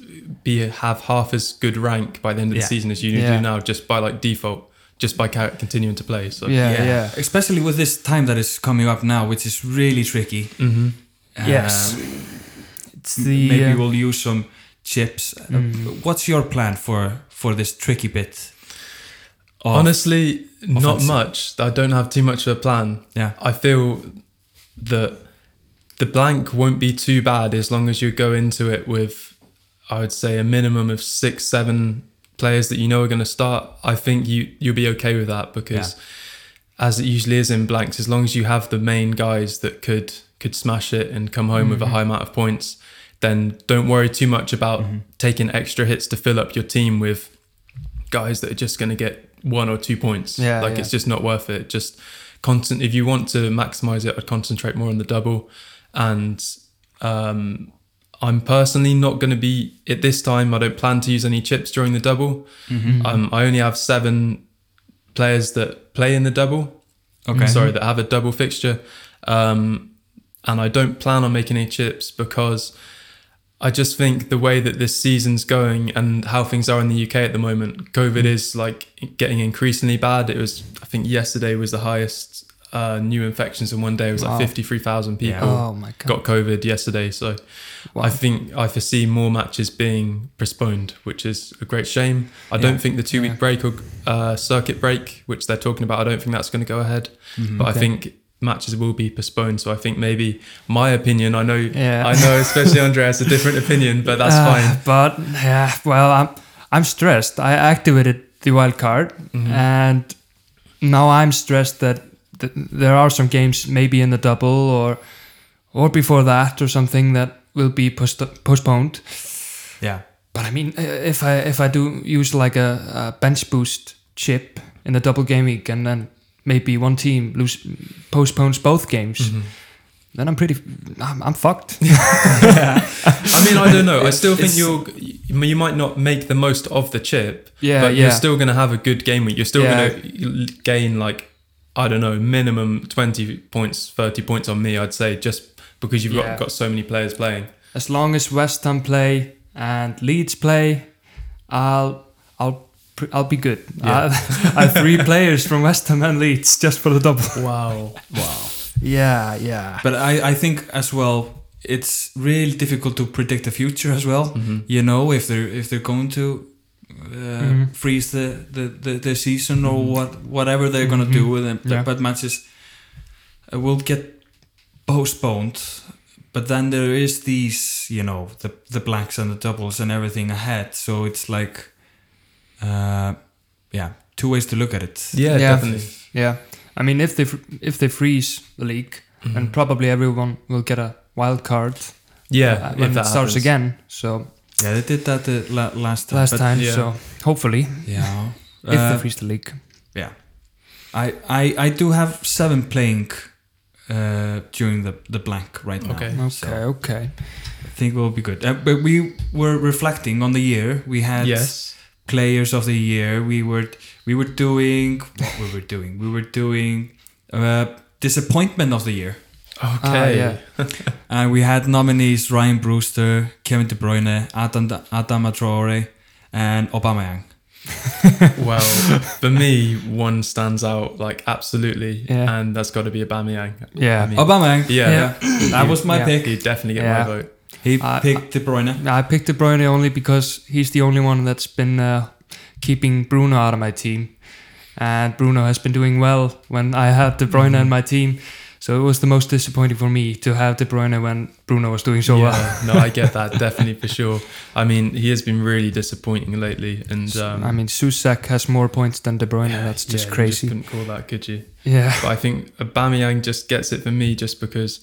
[SPEAKER 3] be have half as good rank by the end of
[SPEAKER 1] Yeah.
[SPEAKER 3] the season as you
[SPEAKER 2] Yeah.
[SPEAKER 3] do now, just by like default, just by ca- continuing to play. So
[SPEAKER 2] yeah, yeah.
[SPEAKER 1] Especially with this time that is coming up now, which is really tricky.
[SPEAKER 3] hmm
[SPEAKER 2] Yes.
[SPEAKER 1] Uh,
[SPEAKER 2] It's
[SPEAKER 1] M-
[SPEAKER 2] the,
[SPEAKER 1] maybe
[SPEAKER 2] uh,
[SPEAKER 1] we'll use some chips. Uh,
[SPEAKER 2] Mm.
[SPEAKER 1] What's your plan for for this tricky bit? of-
[SPEAKER 3] honestly, not
[SPEAKER 1] offensive.
[SPEAKER 3] much. I don't have too much of a plan.
[SPEAKER 1] yeah,
[SPEAKER 3] I feel that the blank won't be too bad as long as you go into it with, I would say, a minimum of six, seven players that you know are going to start. I think you you'll be okay with that because, as it usually is in blanks, as long as you have the main guys that could could smash it and come home
[SPEAKER 2] Mm-hmm.
[SPEAKER 3] with a high amount of points, then don't worry too much about
[SPEAKER 2] Mm-hmm.
[SPEAKER 3] taking extra hits to fill up your team with guys that are just going to get one or two points.
[SPEAKER 2] Yeah,
[SPEAKER 3] like
[SPEAKER 2] yeah.
[SPEAKER 3] it's just not worth it. Just constant. If you want to maximize it, I'd concentrate more on the double. And um, I'm personally not going to be at this time. I don't plan to use any chips during the double.
[SPEAKER 2] Mm-hmm.
[SPEAKER 3] Um, I only have seven players that play in the double.
[SPEAKER 1] Okay.
[SPEAKER 3] sorry, that have a double fixture. Um, and I don't plan on making any chips because I just think the way that this season's going and how things are in the UK at the moment, COVID is like getting increasingly bad. It was, I think, yesterday was the highest uh, new infections in one day. It was
[SPEAKER 2] Wow.
[SPEAKER 3] like fifty-three thousand people
[SPEAKER 2] oh my God.
[SPEAKER 3] got COVID yesterday. So
[SPEAKER 2] Wow.
[SPEAKER 3] I think I foresee more matches being postponed, which is a great shame. I don't think the two week
[SPEAKER 2] Yeah.
[SPEAKER 3] break or uh, circuit break, which they're talking about, I don't think that's going to go ahead. But
[SPEAKER 2] Mm-hmm. Okay.
[SPEAKER 3] I think matches will be postponed. So I think maybe my opinion, I know,
[SPEAKER 2] Yeah.
[SPEAKER 3] I know,
[SPEAKER 2] [laughs]
[SPEAKER 3] especially Andre has a different opinion, but that's
[SPEAKER 2] Uh,
[SPEAKER 3] fine.
[SPEAKER 2] But yeah, well, I'm I'm stressed. I activated the wild card, and now I'm stressed that th- there are some games maybe in the double or or before that or something that will be post- postponed.
[SPEAKER 1] yeah,
[SPEAKER 2] But I mean, i- if I if I do use like a, a bench boost chip in the double game week, and then maybe one team lose postpones both games,
[SPEAKER 3] Mm-hmm.
[SPEAKER 2] then I'm pretty I'm, I'm
[SPEAKER 3] [laughs]
[SPEAKER 2] fucked.
[SPEAKER 3] I mean, I don't know. I still think
[SPEAKER 2] It's-
[SPEAKER 3] you're, you might not make the most of the chip,
[SPEAKER 2] Yeah,
[SPEAKER 3] but
[SPEAKER 2] yeah.
[SPEAKER 3] you're still going to have a good game week. You're still
[SPEAKER 2] Yeah.
[SPEAKER 3] going to gain like, I don't know, minimum 20 points, 30 points on me, I'd say, just because you've
[SPEAKER 2] Yeah.
[SPEAKER 3] got, got so many players playing.
[SPEAKER 2] as long as West Ham play and Leeds play, I'll I'll pr- I'll be good.
[SPEAKER 3] Yeah.
[SPEAKER 2] [laughs] I, I have three players from West Ham and Leeds just for the double.
[SPEAKER 3] Wow. wow.
[SPEAKER 2] Yeah, yeah.
[SPEAKER 1] but I I think as well it's really difficult to predict the future as well.
[SPEAKER 2] Mm-hmm.
[SPEAKER 1] You know if they're if they're going to uh,
[SPEAKER 2] Mm-hmm.
[SPEAKER 1] freeze the the, the the season or what whatever they're going to do with them.
[SPEAKER 2] Mm-hmm. Yeah.
[SPEAKER 1] But matches uh, will get postponed. But then there is these you know the the blacks and the doubles and everything ahead. So it's like, uh, yeah, two ways to look at it.
[SPEAKER 3] Yeah,
[SPEAKER 2] Yeah.
[SPEAKER 3] definitely.
[SPEAKER 2] Yeah. I mean, if they fr- if they freeze the league,
[SPEAKER 3] Mm-hmm.
[SPEAKER 2] then probably everyone will get a wild card
[SPEAKER 3] Yeah.
[SPEAKER 2] uh, when
[SPEAKER 3] if
[SPEAKER 2] it
[SPEAKER 3] that
[SPEAKER 2] starts
[SPEAKER 3] happens.
[SPEAKER 2] again. So
[SPEAKER 1] Yeah, they did that the la- last time.
[SPEAKER 2] last
[SPEAKER 1] but-
[SPEAKER 2] time.
[SPEAKER 3] yeah.
[SPEAKER 2] So hopefully,
[SPEAKER 1] Yeah.
[SPEAKER 2] [laughs] if
[SPEAKER 1] Uh,
[SPEAKER 2] they freeze the league.
[SPEAKER 1] yeah. I, I I do have seven playing uh, during the the blank right now.
[SPEAKER 3] Okay.
[SPEAKER 2] Okay.
[SPEAKER 1] so
[SPEAKER 2] okay.
[SPEAKER 1] I think we'll be good. Uh, but we were reflecting on the year. We had
[SPEAKER 3] Yes.
[SPEAKER 1] players of the year. We were we were doing what we were doing. We were doing uh, disappointment of the year.
[SPEAKER 3] Okay.
[SPEAKER 2] Ah, yeah.
[SPEAKER 1] Uh, we had nominees Ryan Brewster, Kevin De Bruyne, Adam Adam Traore, and Aubameyang.
[SPEAKER 3] [laughs] Well, for me, one stands out like absolutely,
[SPEAKER 2] Yeah.
[SPEAKER 3] and that's got to be Aubameyang.
[SPEAKER 2] Yeah.
[SPEAKER 3] I mean,
[SPEAKER 1] Aubameyang.
[SPEAKER 3] Yeah.
[SPEAKER 1] that was my
[SPEAKER 2] Yeah.
[SPEAKER 1] pick.
[SPEAKER 3] He'd definitely get
[SPEAKER 2] Yeah.
[SPEAKER 3] my vote.
[SPEAKER 1] He
[SPEAKER 2] I-
[SPEAKER 1] picked De Bruyne.
[SPEAKER 2] I picked De Bruyne only because he's the only one that's been uh, keeping Bruno out of my team. And Bruno has been doing well when I had De Bruyne
[SPEAKER 1] Mm-hmm.
[SPEAKER 2] in my team. So it was the most disappointing for me to have De Bruyne when Bruno was doing so well.
[SPEAKER 3] yeah, no, I get that definitely for sure. I mean, he has been really disappointing lately, and um,
[SPEAKER 2] I mean, Susak has more points than De Bruyne. that's just
[SPEAKER 3] yeah, you
[SPEAKER 2] crazy.
[SPEAKER 3] couldn't call that, could you?
[SPEAKER 2] yeah.
[SPEAKER 3] But I think Aubameyang just gets it for me, just because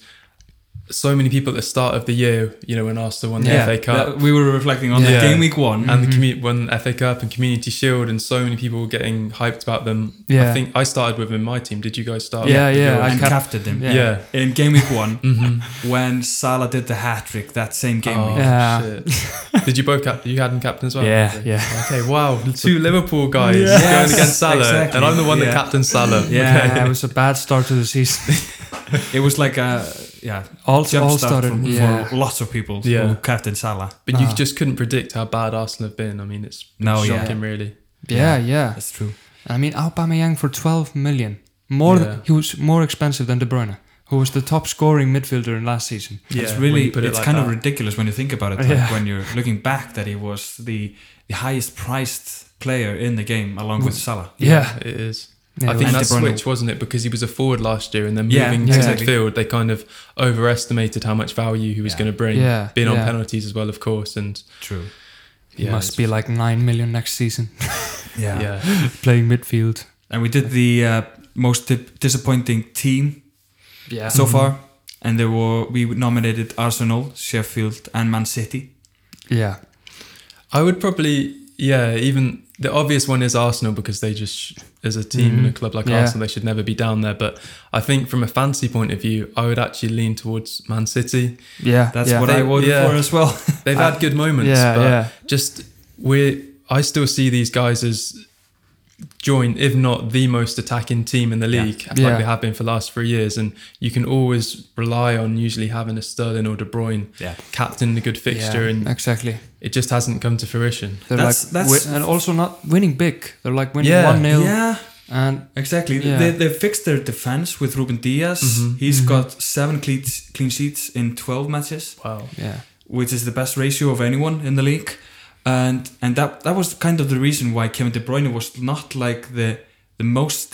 [SPEAKER 3] so many people at the start of the year, you know, when Arsenal won the
[SPEAKER 2] Yeah, mm-hmm.
[SPEAKER 3] FA Cup,
[SPEAKER 1] That- we were reflecting on
[SPEAKER 3] Yeah.
[SPEAKER 1] the game week one.
[SPEAKER 3] and the commu- won FA Cup and Community Shield, and so many people were getting hyped about them.
[SPEAKER 2] Yeah.
[SPEAKER 3] I think I started with him in my team. Did you guys start?
[SPEAKER 2] Yeah,
[SPEAKER 3] with
[SPEAKER 2] yeah,
[SPEAKER 3] yours?
[SPEAKER 2] I
[SPEAKER 1] and
[SPEAKER 2] cap-
[SPEAKER 1] captained him.
[SPEAKER 2] yeah. Mm-hmm.
[SPEAKER 3] yeah.
[SPEAKER 1] In game week
[SPEAKER 2] [laughs]
[SPEAKER 1] one, when Salah did the hat trick that same game
[SPEAKER 3] Oh,
[SPEAKER 1] week.
[SPEAKER 2] Yeah.
[SPEAKER 3] shit. Did you both cap? You had him captain as well.
[SPEAKER 2] Yeah, yeah.
[SPEAKER 3] Okay. Wow. [laughs] Two Liverpool guys
[SPEAKER 1] Yes,
[SPEAKER 3] going against Salah,
[SPEAKER 1] exactly.
[SPEAKER 3] and I'm the one
[SPEAKER 1] Yeah.
[SPEAKER 3] that captained Salah.
[SPEAKER 1] Yeah.
[SPEAKER 2] [laughs] Yeah, it was a bad start to the season.
[SPEAKER 1] It was like a yeah,
[SPEAKER 2] All,
[SPEAKER 1] [laughs] jump
[SPEAKER 2] all
[SPEAKER 1] start
[SPEAKER 2] started.
[SPEAKER 1] from,
[SPEAKER 2] yeah.
[SPEAKER 1] for lots of people
[SPEAKER 3] Yeah.
[SPEAKER 1] who captained Salah.
[SPEAKER 3] But you
[SPEAKER 2] Ah.
[SPEAKER 3] just couldn't predict how bad Arsenal have been. I mean, it's been
[SPEAKER 1] No, yeah.
[SPEAKER 3] shocking, really.
[SPEAKER 2] yeah, yeah.
[SPEAKER 1] That's true.
[SPEAKER 2] I mean, Aubameyang for 12 million. More,
[SPEAKER 3] Yeah.
[SPEAKER 2] he was more expensive than De Bruyne, who was the top scoring midfielder in last season.
[SPEAKER 3] Yeah,
[SPEAKER 1] it's
[SPEAKER 3] when
[SPEAKER 1] really
[SPEAKER 3] you put it
[SPEAKER 1] it's
[SPEAKER 3] like
[SPEAKER 1] kind of
[SPEAKER 3] that.
[SPEAKER 1] ridiculous when you think about it. Like
[SPEAKER 2] Yeah.
[SPEAKER 1] when you're looking back, that he was the the highest priced player in the game along with Salah.
[SPEAKER 2] Yeah,
[SPEAKER 3] It is.
[SPEAKER 2] Yeah,
[SPEAKER 3] I think
[SPEAKER 1] and
[SPEAKER 3] that
[SPEAKER 1] De Bruyne-
[SPEAKER 3] switch wasn't it because he was a forward last year, and then
[SPEAKER 1] Yeah,
[SPEAKER 3] moving to
[SPEAKER 2] exactly.
[SPEAKER 3] midfield, they kind of overestimated how much value he was
[SPEAKER 1] Yeah.
[SPEAKER 3] going to bring.
[SPEAKER 2] Yeah,
[SPEAKER 3] being on
[SPEAKER 2] yeah.
[SPEAKER 3] penalties as well, of course, and
[SPEAKER 1] True.
[SPEAKER 2] he
[SPEAKER 3] yeah,
[SPEAKER 2] must
[SPEAKER 3] it's-
[SPEAKER 2] be like 9 million next season [laughs]
[SPEAKER 1] Yeah.
[SPEAKER 3] yeah,
[SPEAKER 2] playing midfield.
[SPEAKER 1] And we did the uh, most di- disappointing team
[SPEAKER 2] Yeah.
[SPEAKER 1] so far, and there were we nominated Arsenal, Sheffield, and Man City.
[SPEAKER 2] yeah.
[SPEAKER 3] I would probably yeah. Even the obvious one is Arsenal because they just sh- as a team and a club like
[SPEAKER 2] Mm-hmm. Yeah.
[SPEAKER 3] Arsenal they should never be down there. But I think from a fancy point of view, I would actually lean towards Man City.
[SPEAKER 2] Yeah.
[SPEAKER 1] That's
[SPEAKER 2] yeah.
[SPEAKER 1] what
[SPEAKER 3] They-
[SPEAKER 1] I voted
[SPEAKER 3] yeah.
[SPEAKER 1] for as well.
[SPEAKER 3] They've had good moments,
[SPEAKER 2] yeah,
[SPEAKER 3] but
[SPEAKER 2] yeah.
[SPEAKER 3] just we're I still see these guys as joint, if not the most attacking team in the
[SPEAKER 1] Yeah.
[SPEAKER 3] league, like
[SPEAKER 2] Yeah.
[SPEAKER 3] they have been for the last three years. And you can always rely on usually having a Sterling or De Bruyne
[SPEAKER 1] Yeah.
[SPEAKER 3] captain the good fixture,
[SPEAKER 2] Yeah,
[SPEAKER 3] and
[SPEAKER 2] exactly.
[SPEAKER 3] it just hasn't come to fruition.
[SPEAKER 2] They're
[SPEAKER 1] That's-
[SPEAKER 2] like
[SPEAKER 1] that's-
[SPEAKER 2] wi- and also not winning big. They're like winning
[SPEAKER 3] Yeah.
[SPEAKER 2] 1 0.
[SPEAKER 1] [laughs] yeah.
[SPEAKER 2] And
[SPEAKER 1] Exactly.
[SPEAKER 2] Yeah.
[SPEAKER 1] They, they fixed their defense with Ruben Diaz. He's got seven clean, clean sheets in 12 matches,
[SPEAKER 3] Wow.
[SPEAKER 2] yeah.
[SPEAKER 1] which is the best ratio of anyone in the league. And and that that was kind of the reason why Kevin De Bruyne was not like the the most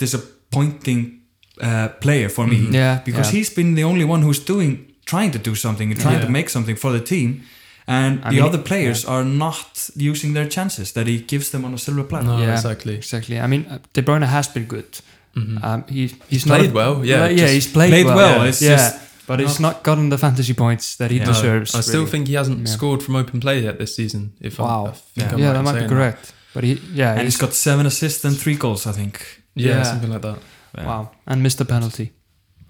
[SPEAKER 1] disappointing uh, player for me.
[SPEAKER 2] Mm-hmm. Yeah,
[SPEAKER 1] Because
[SPEAKER 2] yeah.
[SPEAKER 1] he's been the only one who's doing trying to do something and trying to
[SPEAKER 3] Yeah.
[SPEAKER 1] make something for the team. And
[SPEAKER 2] I
[SPEAKER 1] the
[SPEAKER 2] mean,
[SPEAKER 1] other players are not using their chances that he gives them on a silver platter.
[SPEAKER 3] No,
[SPEAKER 2] Yeah.
[SPEAKER 3] exactly.
[SPEAKER 2] Exactly. I mean, uh, De Bruyne has been good. Um, he, he's not
[SPEAKER 3] Uh, Played
[SPEAKER 2] a-
[SPEAKER 3] well, yeah,
[SPEAKER 2] Yeah,
[SPEAKER 3] just-
[SPEAKER 2] he's played,
[SPEAKER 1] Played
[SPEAKER 2] well.
[SPEAKER 1] well,
[SPEAKER 2] Yeah,
[SPEAKER 1] it's
[SPEAKER 2] yeah,
[SPEAKER 1] just
[SPEAKER 2] but he's
[SPEAKER 1] not-
[SPEAKER 2] not gotten the fantasy points that he
[SPEAKER 1] Yeah. No,
[SPEAKER 3] No,
[SPEAKER 2] deserves.
[SPEAKER 3] I still
[SPEAKER 2] really.
[SPEAKER 3] think he hasn't
[SPEAKER 2] Yeah.
[SPEAKER 3] scored from open play yet this season. If
[SPEAKER 2] Wow.
[SPEAKER 3] I'm, I think
[SPEAKER 1] Yeah.
[SPEAKER 3] I'm
[SPEAKER 2] yeah,
[SPEAKER 3] right
[SPEAKER 2] that
[SPEAKER 3] in
[SPEAKER 2] might be
[SPEAKER 3] saying
[SPEAKER 2] correct. But he, yeah,
[SPEAKER 1] And
[SPEAKER 2] he's,
[SPEAKER 1] he's got seven assists and three goals, I think.
[SPEAKER 3] Yeah,
[SPEAKER 2] Yeah.
[SPEAKER 3] something like that.
[SPEAKER 2] wow, and missed a penalty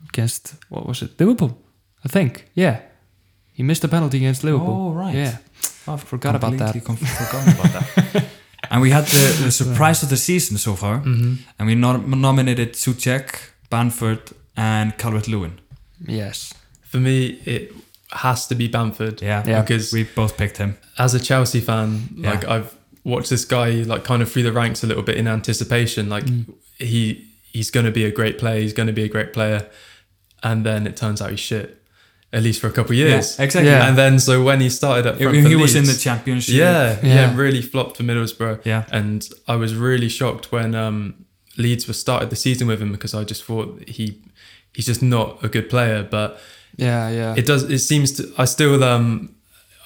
[SPEAKER 2] against what was it? Liverpool, I think. Yeah, he missed a penalty against Liverpool.
[SPEAKER 1] Oh, right.
[SPEAKER 2] Yeah,
[SPEAKER 1] I
[SPEAKER 2] forgot about that.
[SPEAKER 1] [laughs] forgotten about that.
[SPEAKER 2] [laughs]
[SPEAKER 1] And we had the, the surprise of the season so far,
[SPEAKER 2] Mm-hmm.
[SPEAKER 1] and we nom- nominated Suchek, Banford, and Calvert Lewin.
[SPEAKER 2] yes,
[SPEAKER 3] For me, it has to be Bamford.
[SPEAKER 1] Yeah,
[SPEAKER 2] Yeah.
[SPEAKER 3] Because
[SPEAKER 1] we both picked him.
[SPEAKER 3] as a Chelsea fan,
[SPEAKER 1] Yeah.
[SPEAKER 3] like I've watched this guy like kind of through the ranks a little bit in anticipation. Like he he's going to be a great player. He's going to be a great player, and then it turns out he's shit, at least for a couple of years.
[SPEAKER 1] Yeah, exactly.
[SPEAKER 2] Yeah.
[SPEAKER 3] And then so when he started at
[SPEAKER 1] He-
[SPEAKER 3] front
[SPEAKER 1] He,
[SPEAKER 3] for
[SPEAKER 1] was in
[SPEAKER 3] Leeds-
[SPEAKER 1] the championship.
[SPEAKER 3] yeah, yeah,
[SPEAKER 2] Yeah.
[SPEAKER 3] really flopped for Middlesbrough.
[SPEAKER 1] Yeah.
[SPEAKER 3] and I was really shocked when um, Leeds were started the season with him because I just thought he he's just not a good player, but
[SPEAKER 2] yeah, yeah.
[SPEAKER 3] it does it seems to i still um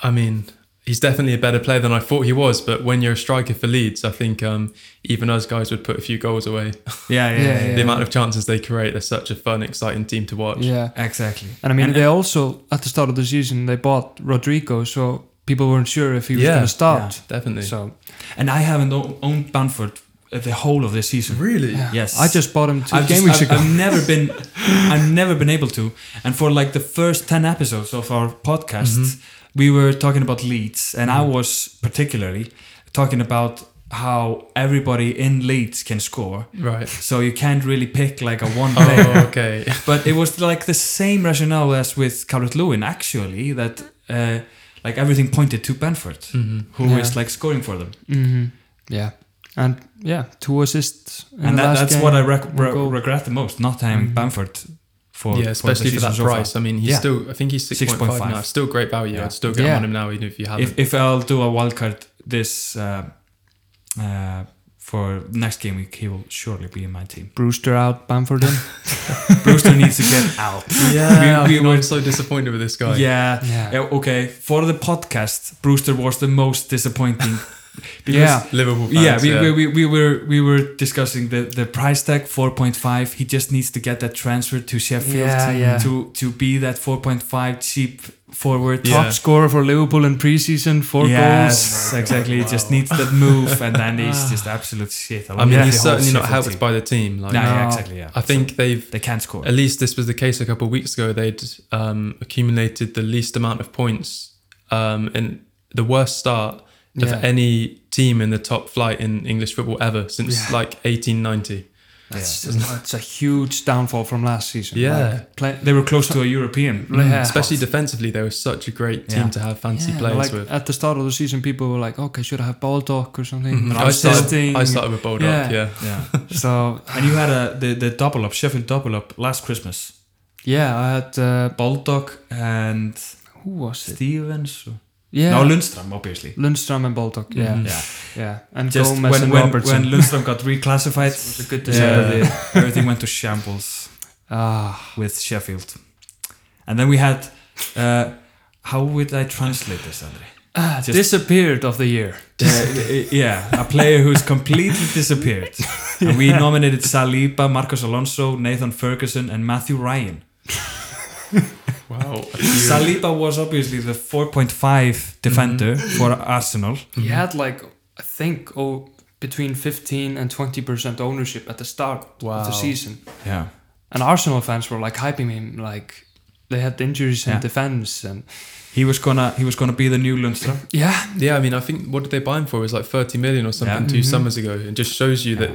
[SPEAKER 3] i mean he's definitely a better player than i thought he was but when you're a striker for leeds i think um even us guys would put a few goals away
[SPEAKER 1] yeah, yeah,
[SPEAKER 2] Yeah,
[SPEAKER 1] yeah,
[SPEAKER 2] yeah.
[SPEAKER 3] the amount of chances they create they're such a fun exciting team to watch
[SPEAKER 2] yeah,
[SPEAKER 1] exactly.
[SPEAKER 2] and I mean
[SPEAKER 1] And-
[SPEAKER 2] they also at the start of the season they bought Rodrigo, so people weren't sure if he was
[SPEAKER 3] Yeah,
[SPEAKER 2] going to start.
[SPEAKER 3] definitely
[SPEAKER 2] So
[SPEAKER 1] And I haven't o- owned Banford uh, the whole of this season.
[SPEAKER 3] really
[SPEAKER 1] Yes,
[SPEAKER 2] I just bought him 2
[SPEAKER 1] I've,
[SPEAKER 2] game
[SPEAKER 1] just-
[SPEAKER 2] weeks
[SPEAKER 1] I've-
[SPEAKER 2] ago.
[SPEAKER 1] I've never been I've never been able to. And for like the first 10 episodes of our podcast,
[SPEAKER 3] Mm-hmm.
[SPEAKER 1] we were talking about Leeds and I was particularly talking about how everybody in Leeds can score.
[SPEAKER 2] [laughs]
[SPEAKER 3] right
[SPEAKER 1] So you can't really pick like a one player.
[SPEAKER 3] [laughs] oh okay
[SPEAKER 1] But it was like the same rationale as with Calvert Lewin actually that uh, like everything pointed to Benford,
[SPEAKER 3] Mm.
[SPEAKER 1] who
[SPEAKER 3] Mm-hmm.
[SPEAKER 1] is
[SPEAKER 2] Yeah.
[SPEAKER 1] like scoring for them.
[SPEAKER 2] hmm Yeah, and yeah, two assists. in
[SPEAKER 1] and
[SPEAKER 2] the
[SPEAKER 1] that,
[SPEAKER 2] last
[SPEAKER 1] that's
[SPEAKER 2] game.
[SPEAKER 1] what I rec-
[SPEAKER 2] one
[SPEAKER 1] re-
[SPEAKER 2] goal.
[SPEAKER 1] regret the most, not having Bamford for
[SPEAKER 3] Mm-hmm. yeah, especially
[SPEAKER 1] the
[SPEAKER 3] for that
[SPEAKER 1] season so far.
[SPEAKER 3] price. I mean, he's
[SPEAKER 1] Yeah.
[SPEAKER 3] still. I think he's six point
[SPEAKER 1] 6.5.
[SPEAKER 3] five now. Still great value.
[SPEAKER 1] Yeah.
[SPEAKER 3] I'd still get him
[SPEAKER 2] Yeah.
[SPEAKER 3] on him now, even if you haven't.
[SPEAKER 1] if, if I'll do a wild card this uh, uh, for next game week, he will surely be in my
[SPEAKER 2] [laughs]
[SPEAKER 1] team.
[SPEAKER 2] Brewster out,
[SPEAKER 1] [laughs]
[SPEAKER 2] Bamford in.
[SPEAKER 1] Brewster needs to get out.
[SPEAKER 3] yeah,
[SPEAKER 1] we
[SPEAKER 3] we, were so disappointed with this guy.
[SPEAKER 1] Yeah.
[SPEAKER 2] Yeah.
[SPEAKER 1] yeah. Okay. For the podcast, Brewster was the most disappointing.
[SPEAKER 2] yeah,
[SPEAKER 3] Liverpool. Fans,
[SPEAKER 1] yeah, we, We, we, we were we were discussing the, the price tag 4.5. He just needs to get that transfer to Sheffield
[SPEAKER 2] Yeah,
[SPEAKER 1] to,
[SPEAKER 2] yeah.
[SPEAKER 1] to to be that 4.5 cheap forward.
[SPEAKER 3] Yeah.
[SPEAKER 2] top scorer for Liverpool in preseason, four goals.
[SPEAKER 1] yes, exactly. He just needs that move, and
[SPEAKER 2] [laughs]
[SPEAKER 1] then he's just absolute shit.
[SPEAKER 3] I mean,
[SPEAKER 2] Yeah.
[SPEAKER 3] he's certainly not helped
[SPEAKER 1] helping.
[SPEAKER 3] by the team.
[SPEAKER 1] No,
[SPEAKER 3] Like,
[SPEAKER 1] yeah,
[SPEAKER 2] No.
[SPEAKER 1] exactly. Yeah,
[SPEAKER 3] I think they've
[SPEAKER 1] they can score.
[SPEAKER 3] At least this was the case a couple of weeks ago. They'd um, accumulated the least amount of points um, in the worst start
[SPEAKER 2] Yeah.
[SPEAKER 3] of any team in the top flight in English football ever since
[SPEAKER 2] Yeah.
[SPEAKER 3] like 1890.
[SPEAKER 2] That's, that's a huge downfall from last season.
[SPEAKER 3] Yeah.
[SPEAKER 2] Like, play,
[SPEAKER 1] They were close to a European,
[SPEAKER 2] Yeah.
[SPEAKER 3] Especially defensively, they were such a great team
[SPEAKER 1] Mm. Yeah.
[SPEAKER 3] to have fancy
[SPEAKER 2] Yeah,
[SPEAKER 3] players
[SPEAKER 2] like
[SPEAKER 3] with.
[SPEAKER 2] at the start of the season, people were like, "Okay, should I have Baldock or something?"
[SPEAKER 1] Mm-hmm.
[SPEAKER 3] Mhm.
[SPEAKER 2] But
[SPEAKER 3] I, started,
[SPEAKER 2] testing.
[SPEAKER 3] I started with Baldock,
[SPEAKER 2] Yeah.
[SPEAKER 3] [laughs] yeah.
[SPEAKER 1] Yeah,
[SPEAKER 2] So
[SPEAKER 1] [laughs] and you had a the, the double up Sheffield double up last Christmas.
[SPEAKER 2] yeah, I had uh,
[SPEAKER 1] Baldock and
[SPEAKER 2] who was it?
[SPEAKER 1] Stevens. or-
[SPEAKER 2] Yeah,
[SPEAKER 1] No, Lundstrom, obviously.
[SPEAKER 2] Lundstrom and Baldock. Yeah,
[SPEAKER 3] Mhm.
[SPEAKER 1] Yeah.
[SPEAKER 2] yeah, and
[SPEAKER 1] Just
[SPEAKER 2] Gomez
[SPEAKER 1] when
[SPEAKER 2] and
[SPEAKER 1] when,
[SPEAKER 2] Robertson.
[SPEAKER 1] when Lundstrom got
[SPEAKER 2] [laughs]
[SPEAKER 1] reclassified,
[SPEAKER 2] It was a good
[SPEAKER 1] yeah,
[SPEAKER 2] decision.
[SPEAKER 1] the- everything went to shambles
[SPEAKER 2] [laughs] Ah,
[SPEAKER 1] with Sheffield. And then we had, uh, how would I translate this, Andre?
[SPEAKER 2] ah,
[SPEAKER 1] Just-
[SPEAKER 2] disappeared of the year.
[SPEAKER 1] Uh, yeah, a player who's completely disappeared. And we nominated Saliba, Marcos Alonso, Nathan Ferguson, and Matthew Ryan.
[SPEAKER 3] Wow.
[SPEAKER 1] [laughs] Saliba was obviously the 4.5 defender for Arsenal.
[SPEAKER 2] He had like I think oh between fifteen and twenty percent ownership at the start
[SPEAKER 3] Wow.
[SPEAKER 2] of the season,
[SPEAKER 1] Yeah.
[SPEAKER 2] and Arsenal fans were like hyping him like they had injuries in
[SPEAKER 1] Yeah.
[SPEAKER 2] defense and
[SPEAKER 1] He was gonna he was gonna be the new Lundstrom.
[SPEAKER 2] yeah
[SPEAKER 3] Yeah, I mean, I think what did they buy him for? It was like 30 million or something
[SPEAKER 1] Yeah.
[SPEAKER 3] 2 summers ago. It just shows you that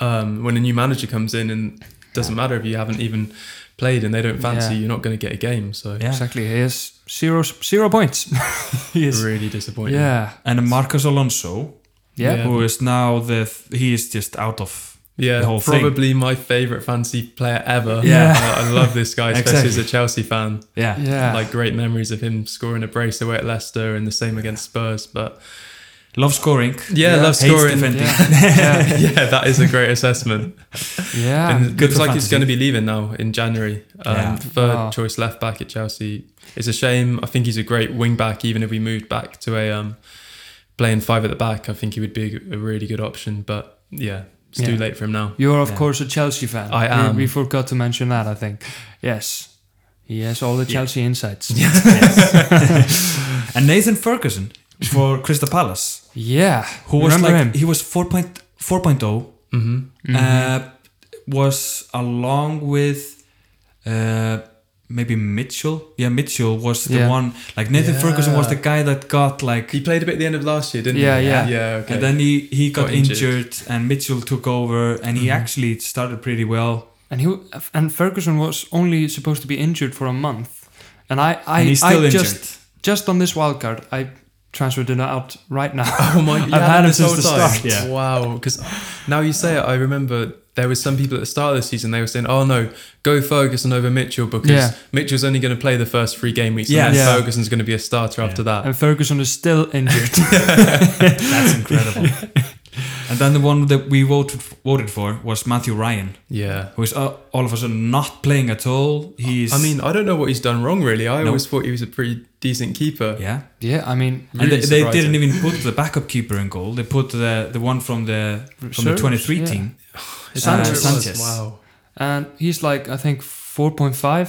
[SPEAKER 3] um, when a new manager comes in and doesn't matter if you haven't even played and they don't fancy,
[SPEAKER 2] Yeah.
[SPEAKER 3] you're not going to get a game. So
[SPEAKER 1] Yeah.
[SPEAKER 2] Exactly. He has zero zero points. [laughs] he is.
[SPEAKER 3] really disappointing.
[SPEAKER 2] Yeah.
[SPEAKER 1] And Marcos Alonso,
[SPEAKER 2] Yeah.
[SPEAKER 3] Yeah.
[SPEAKER 1] who is now the th- he is just out of
[SPEAKER 3] Yeah,
[SPEAKER 1] the whole thing.
[SPEAKER 3] probably my favorite fancy player ever. Uh,
[SPEAKER 2] Yeah.
[SPEAKER 3] I, I love this guy,
[SPEAKER 1] [laughs]
[SPEAKER 3] especially
[SPEAKER 1] Exactly.
[SPEAKER 3] as a Chelsea fan.
[SPEAKER 1] yeah.
[SPEAKER 2] Yeah.
[SPEAKER 3] Like great memories of him scoring a brace away at Leicester and the same against Spurs. But
[SPEAKER 1] Love scoring.
[SPEAKER 3] yeah,
[SPEAKER 2] Yeah.
[SPEAKER 3] love
[SPEAKER 1] Hates
[SPEAKER 3] scoring. [laughs]
[SPEAKER 1] defending.
[SPEAKER 2] yeah.
[SPEAKER 3] yeah, that is a great assessment.
[SPEAKER 2] Yeah.
[SPEAKER 3] and it
[SPEAKER 1] good
[SPEAKER 3] looks
[SPEAKER 1] for
[SPEAKER 3] like he's
[SPEAKER 1] fantasy.
[SPEAKER 3] going to be leaving now in January. Um,
[SPEAKER 1] Yeah.
[SPEAKER 3] Third
[SPEAKER 2] Wow.
[SPEAKER 3] choice left back at Chelsea. It's a shame. I think he's a great wing back. Even if we moved back to a um, playing five at the back, I think he would be a, a really good option. But yeah, it's too
[SPEAKER 2] Yeah.
[SPEAKER 3] late for him now.
[SPEAKER 2] You're of
[SPEAKER 1] Yeah.
[SPEAKER 2] course a Chelsea fan.
[SPEAKER 3] I
[SPEAKER 2] We-
[SPEAKER 3] am.
[SPEAKER 2] We, forgot to mention that. I think. Yes. He has all the Chelsea insights. Yeah.
[SPEAKER 1] [laughs] And Nathan Ferguson for Crystal Palace, who was
[SPEAKER 2] Remember
[SPEAKER 1] like
[SPEAKER 2] him?
[SPEAKER 1] he was 4.4.0
[SPEAKER 3] hmm
[SPEAKER 1] uh, was along with uh, maybe Mitchell. Yeah, Mitchell was the
[SPEAKER 2] Yeah.
[SPEAKER 1] one like Nathan
[SPEAKER 3] Yeah.
[SPEAKER 1] Ferguson was the guy that got like
[SPEAKER 3] He played a bit at the end of last year, didn't
[SPEAKER 2] Yeah,
[SPEAKER 3] he?
[SPEAKER 2] yeah.
[SPEAKER 3] yeah. Okay.
[SPEAKER 1] and then he he got,
[SPEAKER 3] Got
[SPEAKER 1] injured.
[SPEAKER 3] injured.
[SPEAKER 1] and Mitchell took over and he actually started pretty well.
[SPEAKER 2] And he and Ferguson was only supposed to be injured for a month. And I I,
[SPEAKER 1] and he's still
[SPEAKER 2] I
[SPEAKER 1] injured.
[SPEAKER 2] just just on this wild card I transferred it out
[SPEAKER 1] [laughs]
[SPEAKER 2] right now.
[SPEAKER 3] [laughs] Oh my!
[SPEAKER 2] I've had him since the
[SPEAKER 1] start, yeah.
[SPEAKER 3] Wow. Because now you say it, I remember there was some people at the start of the season they were saying, "Oh no, go Ferguson over Mitchell because
[SPEAKER 2] Yeah.
[SPEAKER 3] Mitchell's only going to play the first three game weeks,
[SPEAKER 1] Yes.
[SPEAKER 3] and then
[SPEAKER 2] Yeah.
[SPEAKER 3] Ferguson's going to be a starter after that."
[SPEAKER 2] and Ferguson is still injured.
[SPEAKER 1] That's incredible. and then the one that we voted voted for was Matthew Ryan,
[SPEAKER 3] Yeah.
[SPEAKER 1] who is uh, all of a sudden not playing at all. He's
[SPEAKER 3] I mean, I don't know what he's done wrong really. I
[SPEAKER 1] No.
[SPEAKER 3] always thought he was a pretty decent keeper.
[SPEAKER 1] yeah.
[SPEAKER 2] yeah. I mean.
[SPEAKER 1] And they,
[SPEAKER 3] Really
[SPEAKER 1] they
[SPEAKER 3] surprising.
[SPEAKER 1] didn't even put the backup keeper in goal. They put the the one from the from the
[SPEAKER 2] Reserves,
[SPEAKER 1] 23
[SPEAKER 2] yeah.
[SPEAKER 1] team.
[SPEAKER 3] Is that
[SPEAKER 1] Sanchez.
[SPEAKER 3] what it was?
[SPEAKER 1] Uh, Sanchez.
[SPEAKER 3] Wow.
[SPEAKER 2] and he's like I think 4.5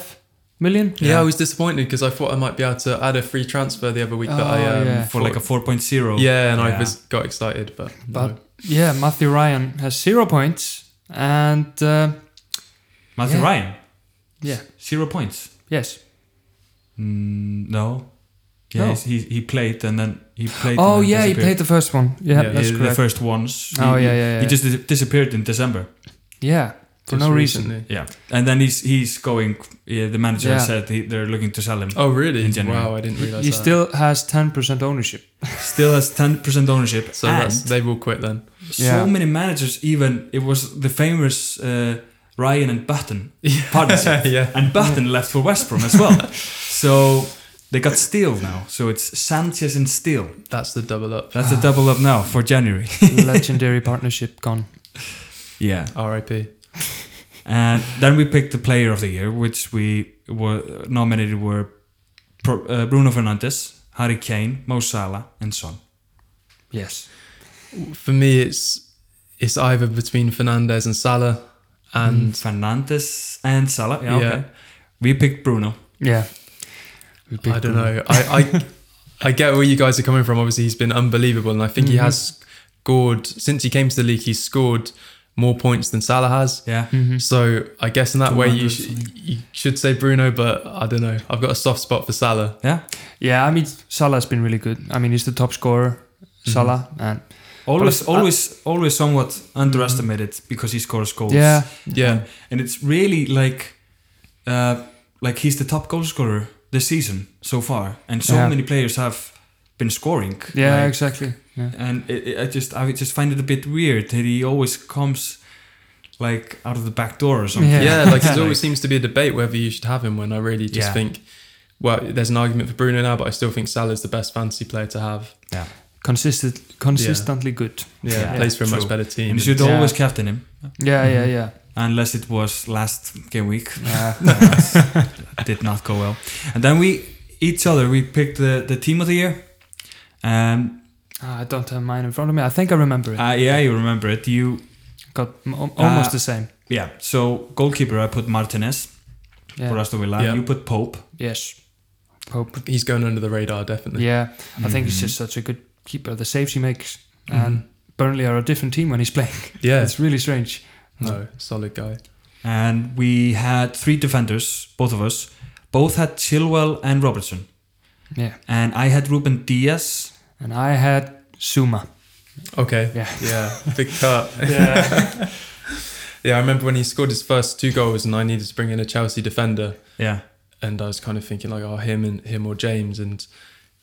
[SPEAKER 2] million.
[SPEAKER 3] Yeah.
[SPEAKER 1] Yeah.
[SPEAKER 3] I was disappointed because I thought I might be able to add a free transfer the other week that
[SPEAKER 2] Oh,
[SPEAKER 3] I um,
[SPEAKER 2] yeah.
[SPEAKER 1] for like a 4.0.
[SPEAKER 3] yeah, and
[SPEAKER 1] Yeah.
[SPEAKER 3] I was got excited, but,
[SPEAKER 2] But
[SPEAKER 3] no.
[SPEAKER 2] yeah, Matthew Ryan has zero points, and uh,
[SPEAKER 1] Matthew
[SPEAKER 2] Yeah.
[SPEAKER 1] Ryan,
[SPEAKER 2] yeah,
[SPEAKER 1] zero points.
[SPEAKER 2] yes.
[SPEAKER 1] Mm, no. Yeah,
[SPEAKER 2] No.
[SPEAKER 1] he's- He, he played and then he played. and
[SPEAKER 2] Oh
[SPEAKER 1] then
[SPEAKER 2] yeah, he
[SPEAKER 1] disappeared.
[SPEAKER 2] played the first one. Yeah,
[SPEAKER 3] Yeah.
[SPEAKER 2] that's
[SPEAKER 1] the, the
[SPEAKER 2] correct.
[SPEAKER 1] first ones.
[SPEAKER 2] Oh,
[SPEAKER 1] he,
[SPEAKER 2] yeah, yeah, yeah.
[SPEAKER 1] He just dis- disappeared in December.
[SPEAKER 2] yeah, for
[SPEAKER 3] just
[SPEAKER 2] no reason.
[SPEAKER 3] recently.
[SPEAKER 1] Yeah, and then he's he's going. Yeah, the manager
[SPEAKER 2] Yeah.
[SPEAKER 1] said he, they're looking to sell him.
[SPEAKER 3] Oh really?
[SPEAKER 1] In January.
[SPEAKER 3] Wow, I didn't realize
[SPEAKER 2] He
[SPEAKER 3] that.
[SPEAKER 2] still has 10%
[SPEAKER 1] [laughs]
[SPEAKER 2] ownership.
[SPEAKER 1] Still has ten percent ownership.
[SPEAKER 3] So
[SPEAKER 1] and
[SPEAKER 3] that's, they will quit then.
[SPEAKER 1] so
[SPEAKER 2] Yeah.
[SPEAKER 1] many managers. Even it was the famous uh, Ryan and Button
[SPEAKER 3] [laughs]
[SPEAKER 1] partnership,
[SPEAKER 3] Yeah.
[SPEAKER 1] and Button left for West Brom as well. so they got Steele now. So it's Sanchez and Steele.
[SPEAKER 3] That's the double up.
[SPEAKER 1] That's a double up now for January.
[SPEAKER 2] Legendary partnership gone.
[SPEAKER 1] yeah.
[SPEAKER 3] R.I.P.
[SPEAKER 1] And then we picked the player of the year, which we were nominated were Pro- uh, Bruno Fernandes, Harry Kane, Mo Salah, and Son.
[SPEAKER 2] Yes.
[SPEAKER 3] For me, it's it's either between Fernandez and Salah,
[SPEAKER 1] Mm.
[SPEAKER 3] and
[SPEAKER 1] Fernandes and Salah. Yeah,
[SPEAKER 3] Yeah.
[SPEAKER 1] okay. We picked Bruno.
[SPEAKER 2] Yeah. We picked
[SPEAKER 3] I don't
[SPEAKER 2] Bruno.
[SPEAKER 3] know. I, I I get where you guys are coming from. Obviously, he's been unbelievable, and I think he has scored since he came to the league. He's scored more points than Salah has.
[SPEAKER 1] Yeah.
[SPEAKER 2] Mm-hmm.
[SPEAKER 3] So I guess in that way,
[SPEAKER 1] 200
[SPEAKER 3] you sh- you should say Bruno, but I don't know. I've got a soft spot for Salah.
[SPEAKER 1] Yeah.
[SPEAKER 2] Yeah, I mean Salah's been really good. I mean he's the top scorer,
[SPEAKER 1] Mm-hmm.
[SPEAKER 2] Salah, and
[SPEAKER 1] Always,
[SPEAKER 2] But I-
[SPEAKER 1] always, always somewhat underestimated because he scores goals.
[SPEAKER 2] yeah,
[SPEAKER 3] Yeah,
[SPEAKER 1] and it's really like, uh, like he's the top goal scorer this season so far, and so
[SPEAKER 2] Yeah.
[SPEAKER 1] many players have been scoring.
[SPEAKER 2] yeah,
[SPEAKER 1] like,
[SPEAKER 2] exactly. Yeah.
[SPEAKER 1] and it, it, I just I just find it a bit weird that he always comes like out of the back door or something.
[SPEAKER 2] Yeah.
[SPEAKER 1] [laughs]
[SPEAKER 3] yeah. like it
[SPEAKER 1] Like-
[SPEAKER 3] always seems to be a debate whether you should have him. When I really just
[SPEAKER 1] Yeah.
[SPEAKER 3] think, well, there's an argument for Bruno now, but I still think Salah's the best fantasy player to have.
[SPEAKER 1] yeah.
[SPEAKER 2] Consistent, consistently good.
[SPEAKER 3] Yeah,
[SPEAKER 1] Yeah.
[SPEAKER 3] plays for a
[SPEAKER 1] True.
[SPEAKER 3] much better team.
[SPEAKER 1] And you should
[SPEAKER 2] Yeah.
[SPEAKER 1] always captain him,
[SPEAKER 2] Yeah, yeah,
[SPEAKER 3] Mm-hmm. [laughs]
[SPEAKER 2] yeah.
[SPEAKER 1] unless it was last game
[SPEAKER 2] [laughs]
[SPEAKER 1] week.
[SPEAKER 2] Yeah.
[SPEAKER 1] did not go well. And then we each other we picked the the team of the year. And
[SPEAKER 2] Ah, I don't have mine in front of me. I think I remember it.
[SPEAKER 3] Ah,
[SPEAKER 1] uh, yeah, you remember it. You
[SPEAKER 2] Got m- al- almost
[SPEAKER 1] Uh,
[SPEAKER 2] the same.
[SPEAKER 1] yeah. So goalkeeper, I put Martinez
[SPEAKER 2] Yeah.
[SPEAKER 3] Ah,
[SPEAKER 1] for Aston Villa.
[SPEAKER 3] Yeah.
[SPEAKER 1] You put Pope.
[SPEAKER 2] Yes. Pope.
[SPEAKER 3] He's going under the radar, definitely. Mm-hmm.
[SPEAKER 2] Yeah, I think he's just such a good keeper. The saves he makes, and Burnley are a different team when he's [laughs] playing.
[SPEAKER 3] Yeah.
[SPEAKER 2] it's really strange.
[SPEAKER 3] No, solid guy.
[SPEAKER 1] And we had three defenders, both of us. Both had Chilwell and Robertson.
[SPEAKER 2] Yeah,
[SPEAKER 1] And I had Ruben Diaz.
[SPEAKER 2] and I had Suma.
[SPEAKER 3] Okay.
[SPEAKER 2] Yeah.
[SPEAKER 3] Yeah. Big cut.
[SPEAKER 2] Yeah,
[SPEAKER 3] [laughs] Yeah, I remember when he scored his first two goals, and I needed to bring in a Chelsea defender,
[SPEAKER 1] Yeah.
[SPEAKER 3] and I was kind of thinking like, oh, him and him or James, and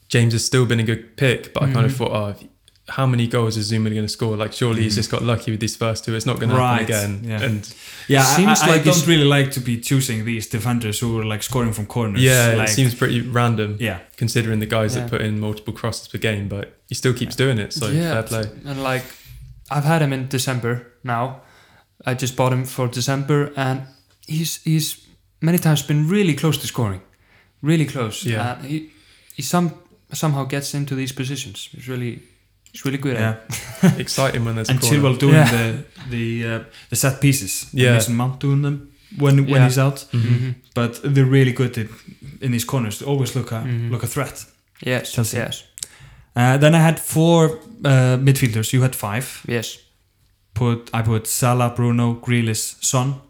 [SPEAKER 3] James has still been a good pick, but I kind of thought, oh, if- how many goals is Zuma going to score? Like, surely he's just got lucky with these first two. It's not going
[SPEAKER 1] Right,
[SPEAKER 3] to happen again.
[SPEAKER 1] yeah.
[SPEAKER 3] And
[SPEAKER 1] Yeah,
[SPEAKER 2] Seems
[SPEAKER 1] I, I,
[SPEAKER 2] like
[SPEAKER 1] I
[SPEAKER 2] he's-
[SPEAKER 1] don't really like to be choosing these defenders who are like scoring from corners.
[SPEAKER 3] yeah,
[SPEAKER 1] like,
[SPEAKER 3] it seems pretty random.
[SPEAKER 1] Yeah,
[SPEAKER 3] Considering the guys
[SPEAKER 2] Yeah.
[SPEAKER 3] that put in multiple crosses per game, but he still keeps doing it. So
[SPEAKER 2] yeah.
[SPEAKER 3] fair
[SPEAKER 2] [laughs]
[SPEAKER 3] play.
[SPEAKER 2] And like, I've had him in December now. I just bought him for December, and he's he's many times been really close to scoring, really close.
[SPEAKER 3] Yeah.
[SPEAKER 2] and he he some somehow gets into these positions. He's really he's really good.
[SPEAKER 1] yeah.
[SPEAKER 2] At
[SPEAKER 3] Exciting when there's a
[SPEAKER 1] And
[SPEAKER 3] corner.
[SPEAKER 1] Chilwell doing
[SPEAKER 2] Yeah.
[SPEAKER 1] the the uh, the set pieces.
[SPEAKER 3] Yeah.
[SPEAKER 1] Mason Mount doing them when when
[SPEAKER 2] Yeah.
[SPEAKER 1] he's out.
[SPEAKER 2] it.
[SPEAKER 3] Mhm.
[SPEAKER 2] Mhm.
[SPEAKER 1] But they're really good in, in these corners. They always look a
[SPEAKER 2] Mhm.
[SPEAKER 1] look a threat.
[SPEAKER 2] Yes,
[SPEAKER 1] Chelsea.
[SPEAKER 2] yes,
[SPEAKER 1] Uh, then I had four uh, midfielders. You had five.
[SPEAKER 2] yes.
[SPEAKER 1] Put I put Salah, Bruno, Grealish, Son,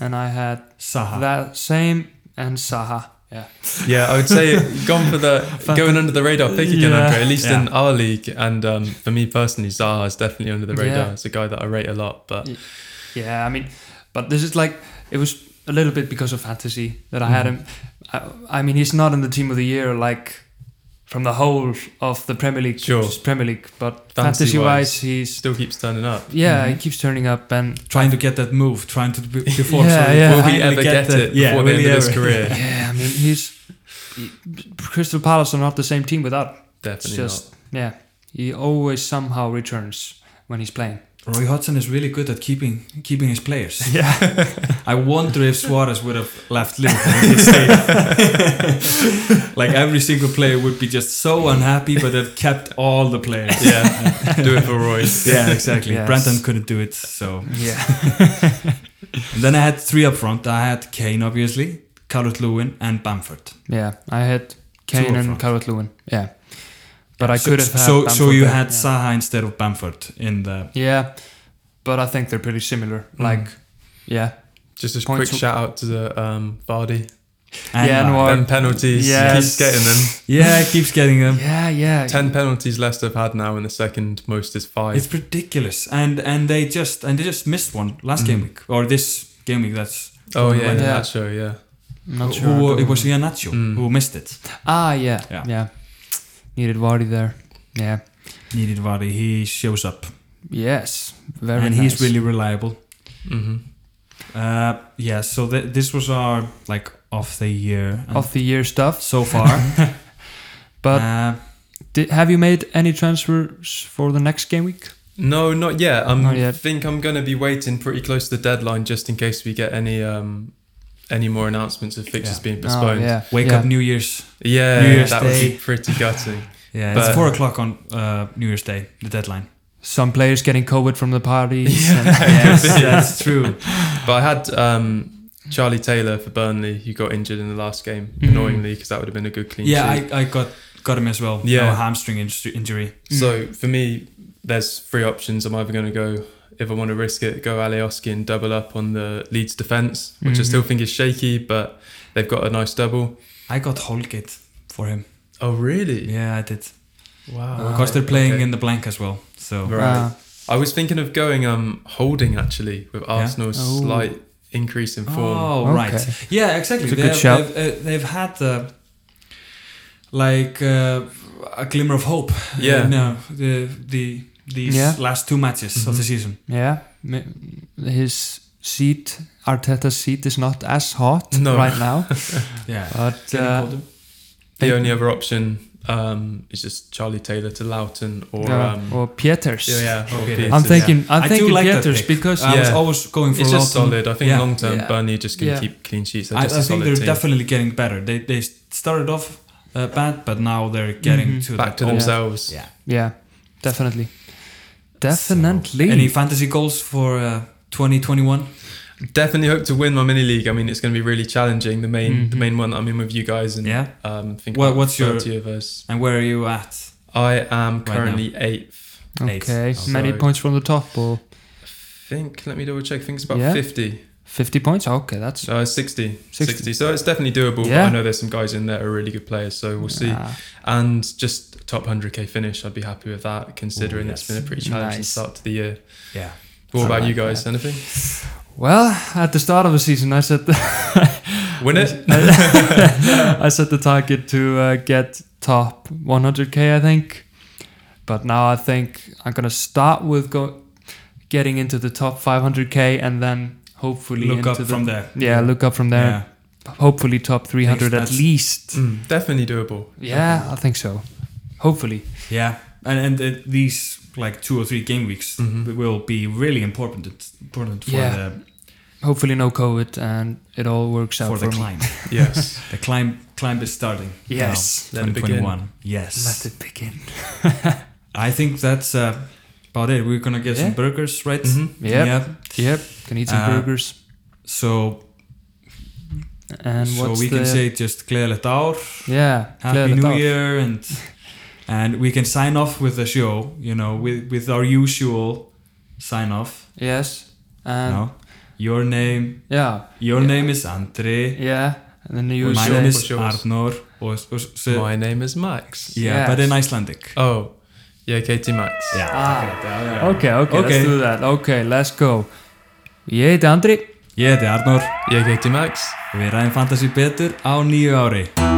[SPEAKER 2] And I had
[SPEAKER 3] Ah.
[SPEAKER 1] Saha.
[SPEAKER 2] That same and Saha. Yeah.
[SPEAKER 3] Yeah, I
[SPEAKER 2] [laughs]
[SPEAKER 3] would say gone for the going under the radar pick again,
[SPEAKER 2] Yeah.
[SPEAKER 3] Andre. At least in
[SPEAKER 1] Yeah.
[SPEAKER 3] our league, and um, for me personally, Zaha is definitely under the radar.
[SPEAKER 2] Yeah.
[SPEAKER 3] It's a guy that I rate a lot, but
[SPEAKER 2] Yeah, I mean, but this is like, it was a little bit because of fantasy that I had
[SPEAKER 1] Mm-hmm.
[SPEAKER 2] him. I, I mean, he's not in the team of the year, like, from the whole of the Premier League,
[SPEAKER 3] Sure.
[SPEAKER 2] just Premier League, but
[SPEAKER 3] Fantasy-wise.
[SPEAKER 2] fantasy wise, he's,
[SPEAKER 3] still keeps turning up.
[SPEAKER 2] yeah,
[SPEAKER 1] Mm-hmm.
[SPEAKER 2] he keeps turning up and,
[SPEAKER 1] Trying to get that move. Trying to
[SPEAKER 3] [laughs]
[SPEAKER 1] be before.
[SPEAKER 2] Yeah,
[SPEAKER 1] so
[SPEAKER 2] yeah.
[SPEAKER 1] will
[SPEAKER 3] Will
[SPEAKER 1] we
[SPEAKER 3] he
[SPEAKER 1] really
[SPEAKER 3] ever get,
[SPEAKER 1] that?
[SPEAKER 3] it before the
[SPEAKER 1] will
[SPEAKER 3] end
[SPEAKER 1] he
[SPEAKER 3] of his
[SPEAKER 1] ever?
[SPEAKER 3] career?
[SPEAKER 2] yeah, I mean, he's, he- Crystal Palace are not the same team without. It's
[SPEAKER 3] definitely
[SPEAKER 2] just, [laughs] yeah, he always somehow returns when he's playing.
[SPEAKER 1] [laughs] Roy Hodgson is really good at keeping keeping his players. [laughs] Yeah. I wonder if Suarez would have left Liverpool. if he'd stayed. [laughs] like every single player would be just so unhappy, but they've kept all the players.
[SPEAKER 3] not. Yeah, [laughs] do it for
[SPEAKER 1] [laughs]
[SPEAKER 3] Royce.
[SPEAKER 1] Yeah, exactly.
[SPEAKER 2] Yes.
[SPEAKER 1] Brenton couldn't do it, so.
[SPEAKER 2] Yeah.
[SPEAKER 1] [laughs] And then I had three up front. I had Kane, obviously, Calvert Lewin, and Bamford.
[SPEAKER 2] yeah, I had Kane
[SPEAKER 1] up
[SPEAKER 2] and
[SPEAKER 1] front.
[SPEAKER 2] Carrot Lewin. Yeah. But I
[SPEAKER 1] so,
[SPEAKER 2] could have had
[SPEAKER 1] so, so
[SPEAKER 2] Bamford
[SPEAKER 1] you
[SPEAKER 2] there,
[SPEAKER 1] had
[SPEAKER 2] yeah.
[SPEAKER 1] Saha instead of Bamford in the.
[SPEAKER 2] Yeah, but I think they're pretty similar.
[SPEAKER 1] Mm.
[SPEAKER 2] Like, yeah,
[SPEAKER 3] Just a
[SPEAKER 2] Points-
[SPEAKER 3] quick shout out to the um, Vardy.
[SPEAKER 1] and
[SPEAKER 2] Yeah, no,
[SPEAKER 1] Bayern.
[SPEAKER 2] I-
[SPEAKER 3] Them penalties,
[SPEAKER 2] Yes.
[SPEAKER 3] keeps getting them.
[SPEAKER 1] yeah, it keeps getting them.
[SPEAKER 2] [laughs] yeah, yeah.
[SPEAKER 3] Ten penalties Leicester have had now, and the second most is five.
[SPEAKER 1] It's ridiculous, and and they just and they just missed one last game week or this game week. That's
[SPEAKER 3] oh
[SPEAKER 2] Mm.
[SPEAKER 3] yeah,
[SPEAKER 2] Yeah.
[SPEAKER 3] that show. Yeah,
[SPEAKER 2] I'm not sure. Mm.
[SPEAKER 1] who it was Iannaccio who missed it.
[SPEAKER 2] ah, yeah, yeah,
[SPEAKER 1] Yeah.
[SPEAKER 2] Needed Vardy there. Yeah.
[SPEAKER 1] Needed Vardy, he shows up,
[SPEAKER 2] Yes. Very.
[SPEAKER 1] and
[SPEAKER 2] nice.
[SPEAKER 1] he's really reliable.
[SPEAKER 3] hmm
[SPEAKER 1] Uh, yeah, so th- this was our like of the year and
[SPEAKER 2] of the year stuff.
[SPEAKER 1] so [laughs] far.
[SPEAKER 2] But
[SPEAKER 1] uh,
[SPEAKER 2] did, have you made any transfers for the next game week?
[SPEAKER 3] No, not yet. I
[SPEAKER 2] Not yet.
[SPEAKER 3] think I'm going to be waiting pretty close to the deadline just in case we get any um, any more announcements of fixtures
[SPEAKER 1] Yeah.
[SPEAKER 3] being postponed.
[SPEAKER 2] Oh,
[SPEAKER 3] yeah,
[SPEAKER 2] yeah.
[SPEAKER 1] wake
[SPEAKER 2] yeah.
[SPEAKER 1] up New Year's. New Year's
[SPEAKER 3] that would
[SPEAKER 1] Day.
[SPEAKER 3] be pretty
[SPEAKER 1] [laughs]
[SPEAKER 3] gutting.
[SPEAKER 1] Yeah,
[SPEAKER 3] But-
[SPEAKER 1] it's four o'clock on uh, New Year's Day, the deadline.
[SPEAKER 2] Some players getting COVID from the
[SPEAKER 1] [laughs]
[SPEAKER 2] parties.
[SPEAKER 3] [laughs]
[SPEAKER 2] and-
[SPEAKER 1] yes, that's true.
[SPEAKER 3] But I had um, Charlie Taylor for Burnley, who got injured in the last game,
[SPEAKER 2] Mhm.
[SPEAKER 3] annoyingly, because that would have been a good clean
[SPEAKER 1] Mm. Yeah,
[SPEAKER 3] sheet.
[SPEAKER 1] I, I got got him as well.
[SPEAKER 3] Yeah.
[SPEAKER 1] no, hamstring inj- injury.
[SPEAKER 3] So for me, there's three options. I'm either going to go, if I want to risk it, go Alioski and double up on the Leeds defence,
[SPEAKER 1] Mm-hmm.
[SPEAKER 3] which I still think is shaky, but they've got a nice double.
[SPEAKER 1] I got Holgate for him.
[SPEAKER 3] Oh, really?
[SPEAKER 1] Yeah, I did. Ah,
[SPEAKER 3] Wow.
[SPEAKER 1] Because they're playing
[SPEAKER 3] okay.
[SPEAKER 1] in the blank as well. So
[SPEAKER 3] Right.
[SPEAKER 2] Ah,
[SPEAKER 3] I was thinking of going um holding actually with Arsenal's
[SPEAKER 2] Oh.
[SPEAKER 3] slight increase in form.
[SPEAKER 1] Oh,
[SPEAKER 2] Okay.
[SPEAKER 1] right. Yeah, exactly.
[SPEAKER 2] It's a
[SPEAKER 1] They
[SPEAKER 2] good
[SPEAKER 1] have-
[SPEAKER 2] shout.
[SPEAKER 1] They've, uh, they've had uh, like uh, a glimmer of hope.
[SPEAKER 3] Yeah.
[SPEAKER 1] Uh, no, the the these
[SPEAKER 2] Yeah.
[SPEAKER 1] last two matches of the season.
[SPEAKER 2] Yeah, m- his seat, Arteta's seat, is not as hot
[SPEAKER 3] No.
[SPEAKER 2] right
[SPEAKER 1] [laughs]
[SPEAKER 2] now.
[SPEAKER 1] Yeah.
[SPEAKER 2] But
[SPEAKER 1] Can you
[SPEAKER 2] uh,
[SPEAKER 1] hold him?
[SPEAKER 3] The
[SPEAKER 2] they-
[SPEAKER 3] only other option um is just Charlie Taylor to Loughton or
[SPEAKER 2] yeah,
[SPEAKER 3] um
[SPEAKER 2] or Pieters.
[SPEAKER 3] yeah, yeah, or
[SPEAKER 1] Okay.
[SPEAKER 3] Pearson.
[SPEAKER 2] I'm thinking, I'm
[SPEAKER 1] I do
[SPEAKER 2] thinking
[SPEAKER 1] like that
[SPEAKER 2] Pieters
[SPEAKER 1] pick. Um,
[SPEAKER 2] because
[SPEAKER 1] I was
[SPEAKER 3] Yeah.
[SPEAKER 1] always going for
[SPEAKER 3] it's just
[SPEAKER 1] Lawton.
[SPEAKER 3] solid. I think
[SPEAKER 1] Yeah.
[SPEAKER 3] long term
[SPEAKER 2] Yeah.
[SPEAKER 3] Burnley are just gonna
[SPEAKER 2] Yeah.
[SPEAKER 3] keep clean sheets. They're
[SPEAKER 1] I, I
[SPEAKER 3] just a
[SPEAKER 1] think
[SPEAKER 3] solid
[SPEAKER 1] they're
[SPEAKER 3] team.
[SPEAKER 1] definitely getting better. They they started off uh, bad, but now they're getting
[SPEAKER 2] Mhm.
[SPEAKER 1] to
[SPEAKER 3] back
[SPEAKER 1] that
[SPEAKER 3] to
[SPEAKER 1] goal.
[SPEAKER 3] themselves.
[SPEAKER 1] Yeah.
[SPEAKER 2] yeah, definitely,
[SPEAKER 1] So,
[SPEAKER 2] definitely.
[SPEAKER 1] any fantasy goals for uh, 2021?
[SPEAKER 3] Definitely hope to win my mini league. I mean it's gonna be really challenging, the main the
[SPEAKER 2] Mhm.
[SPEAKER 3] main one that I'm in with you guys and
[SPEAKER 1] Mm-hmm. Yeah.
[SPEAKER 3] um think
[SPEAKER 1] Well,
[SPEAKER 3] about
[SPEAKER 1] what's your-
[SPEAKER 3] 30 of us.
[SPEAKER 1] And where are you at?
[SPEAKER 3] I am
[SPEAKER 1] now.
[SPEAKER 3] currently eighth.
[SPEAKER 1] Eight.
[SPEAKER 2] okay,
[SPEAKER 1] Oh,
[SPEAKER 2] many
[SPEAKER 3] sorry.
[SPEAKER 2] points from the top or
[SPEAKER 3] I think let me double check, I think it's about
[SPEAKER 2] Yeah.
[SPEAKER 3] fifty.
[SPEAKER 2] 50 points? Okay, that's
[SPEAKER 3] Uh, 60,
[SPEAKER 2] 60.
[SPEAKER 3] 60. So it's definitely doable.
[SPEAKER 2] Yeah.
[SPEAKER 3] But I know there's some guys in there who are really good players. So we'll see.
[SPEAKER 2] Ah,
[SPEAKER 3] And just top 100k finish, I'd be happy with that, considering
[SPEAKER 1] Ooh,
[SPEAKER 3] it's
[SPEAKER 1] yes.
[SPEAKER 3] been a pretty challenging
[SPEAKER 2] Nice.
[SPEAKER 3] start to the year.
[SPEAKER 1] Yeah.
[SPEAKER 3] What
[SPEAKER 2] I
[SPEAKER 3] about you
[SPEAKER 2] like
[SPEAKER 3] guys? Anything?
[SPEAKER 2] well, at the start of the [laughs] season, I said
[SPEAKER 3] Win it?
[SPEAKER 2] I set the target to uh, get top 100k, I think. But now I think I'm gonna start with go- getting into the top 500k, and then hopefully
[SPEAKER 1] Look
[SPEAKER 2] into
[SPEAKER 1] up
[SPEAKER 2] the-
[SPEAKER 1] from there.
[SPEAKER 2] Yeah, look up from
[SPEAKER 1] Yeah.
[SPEAKER 2] there. Hopefully top 300 at
[SPEAKER 1] that's-
[SPEAKER 2] least.
[SPEAKER 3] Mm, definitely doable.
[SPEAKER 2] Yeah, I think so. Hopefully.
[SPEAKER 1] Yeah, and and uh, these like two or three game weeks
[SPEAKER 3] Mhm.
[SPEAKER 1] will be really important important for
[SPEAKER 2] Yeah,
[SPEAKER 1] the
[SPEAKER 2] Hopefully no COVID, and it all works out
[SPEAKER 1] for
[SPEAKER 2] for,
[SPEAKER 1] the
[SPEAKER 2] me.
[SPEAKER 1] climb.
[SPEAKER 3] Yes.
[SPEAKER 1] the climb climb is starting.
[SPEAKER 2] [laughs] Yes.
[SPEAKER 1] now,
[SPEAKER 3] Let it begin.
[SPEAKER 1] 2021. Yes,
[SPEAKER 2] Let it begin.
[SPEAKER 1] I think that's uh, about it. We're gonna get some
[SPEAKER 2] Yeah. Mm-hmm.
[SPEAKER 1] burgers, [laughs] right?
[SPEAKER 3] Mhm.
[SPEAKER 2] Yep.
[SPEAKER 1] Yeah.
[SPEAKER 2] Yep. Can eat some
[SPEAKER 1] Uh,
[SPEAKER 2] burgers.
[SPEAKER 1] So
[SPEAKER 2] And
[SPEAKER 1] so
[SPEAKER 2] what's
[SPEAKER 1] we can
[SPEAKER 2] the-
[SPEAKER 1] say just gleðilegt ár,
[SPEAKER 2] yeah.
[SPEAKER 1] happy
[SPEAKER 2] gleðilegt
[SPEAKER 1] new
[SPEAKER 2] ár.
[SPEAKER 1] year,
[SPEAKER 2] [laughs]
[SPEAKER 1] and and we can sign off with the show. You know, with with our usual sign off.
[SPEAKER 2] Yes. And
[SPEAKER 1] no, your name.
[SPEAKER 2] yeah.
[SPEAKER 1] Your
[SPEAKER 2] Yeah.
[SPEAKER 1] name is Andre.
[SPEAKER 2] Yeah, and then you
[SPEAKER 3] Who's
[SPEAKER 1] My
[SPEAKER 2] say,
[SPEAKER 3] your-
[SPEAKER 1] name is
[SPEAKER 3] what's yours?
[SPEAKER 1] Arnor og, og, og s-
[SPEAKER 3] My name is Max.
[SPEAKER 1] Yeah,
[SPEAKER 2] Yes.
[SPEAKER 1] but in Icelandic
[SPEAKER 3] Oh, yeah, KT Max.
[SPEAKER 1] Yeah,
[SPEAKER 2] Ah.
[SPEAKER 1] okay, já, já, já.
[SPEAKER 2] okay, okay,
[SPEAKER 1] Okay.
[SPEAKER 2] let's do that. Okay, let's go. Ég heiti Andri.
[SPEAKER 1] Ég heiti Arnór
[SPEAKER 3] Yeah, KT Max.
[SPEAKER 1] og við ræðum fantasy betur á nýju ári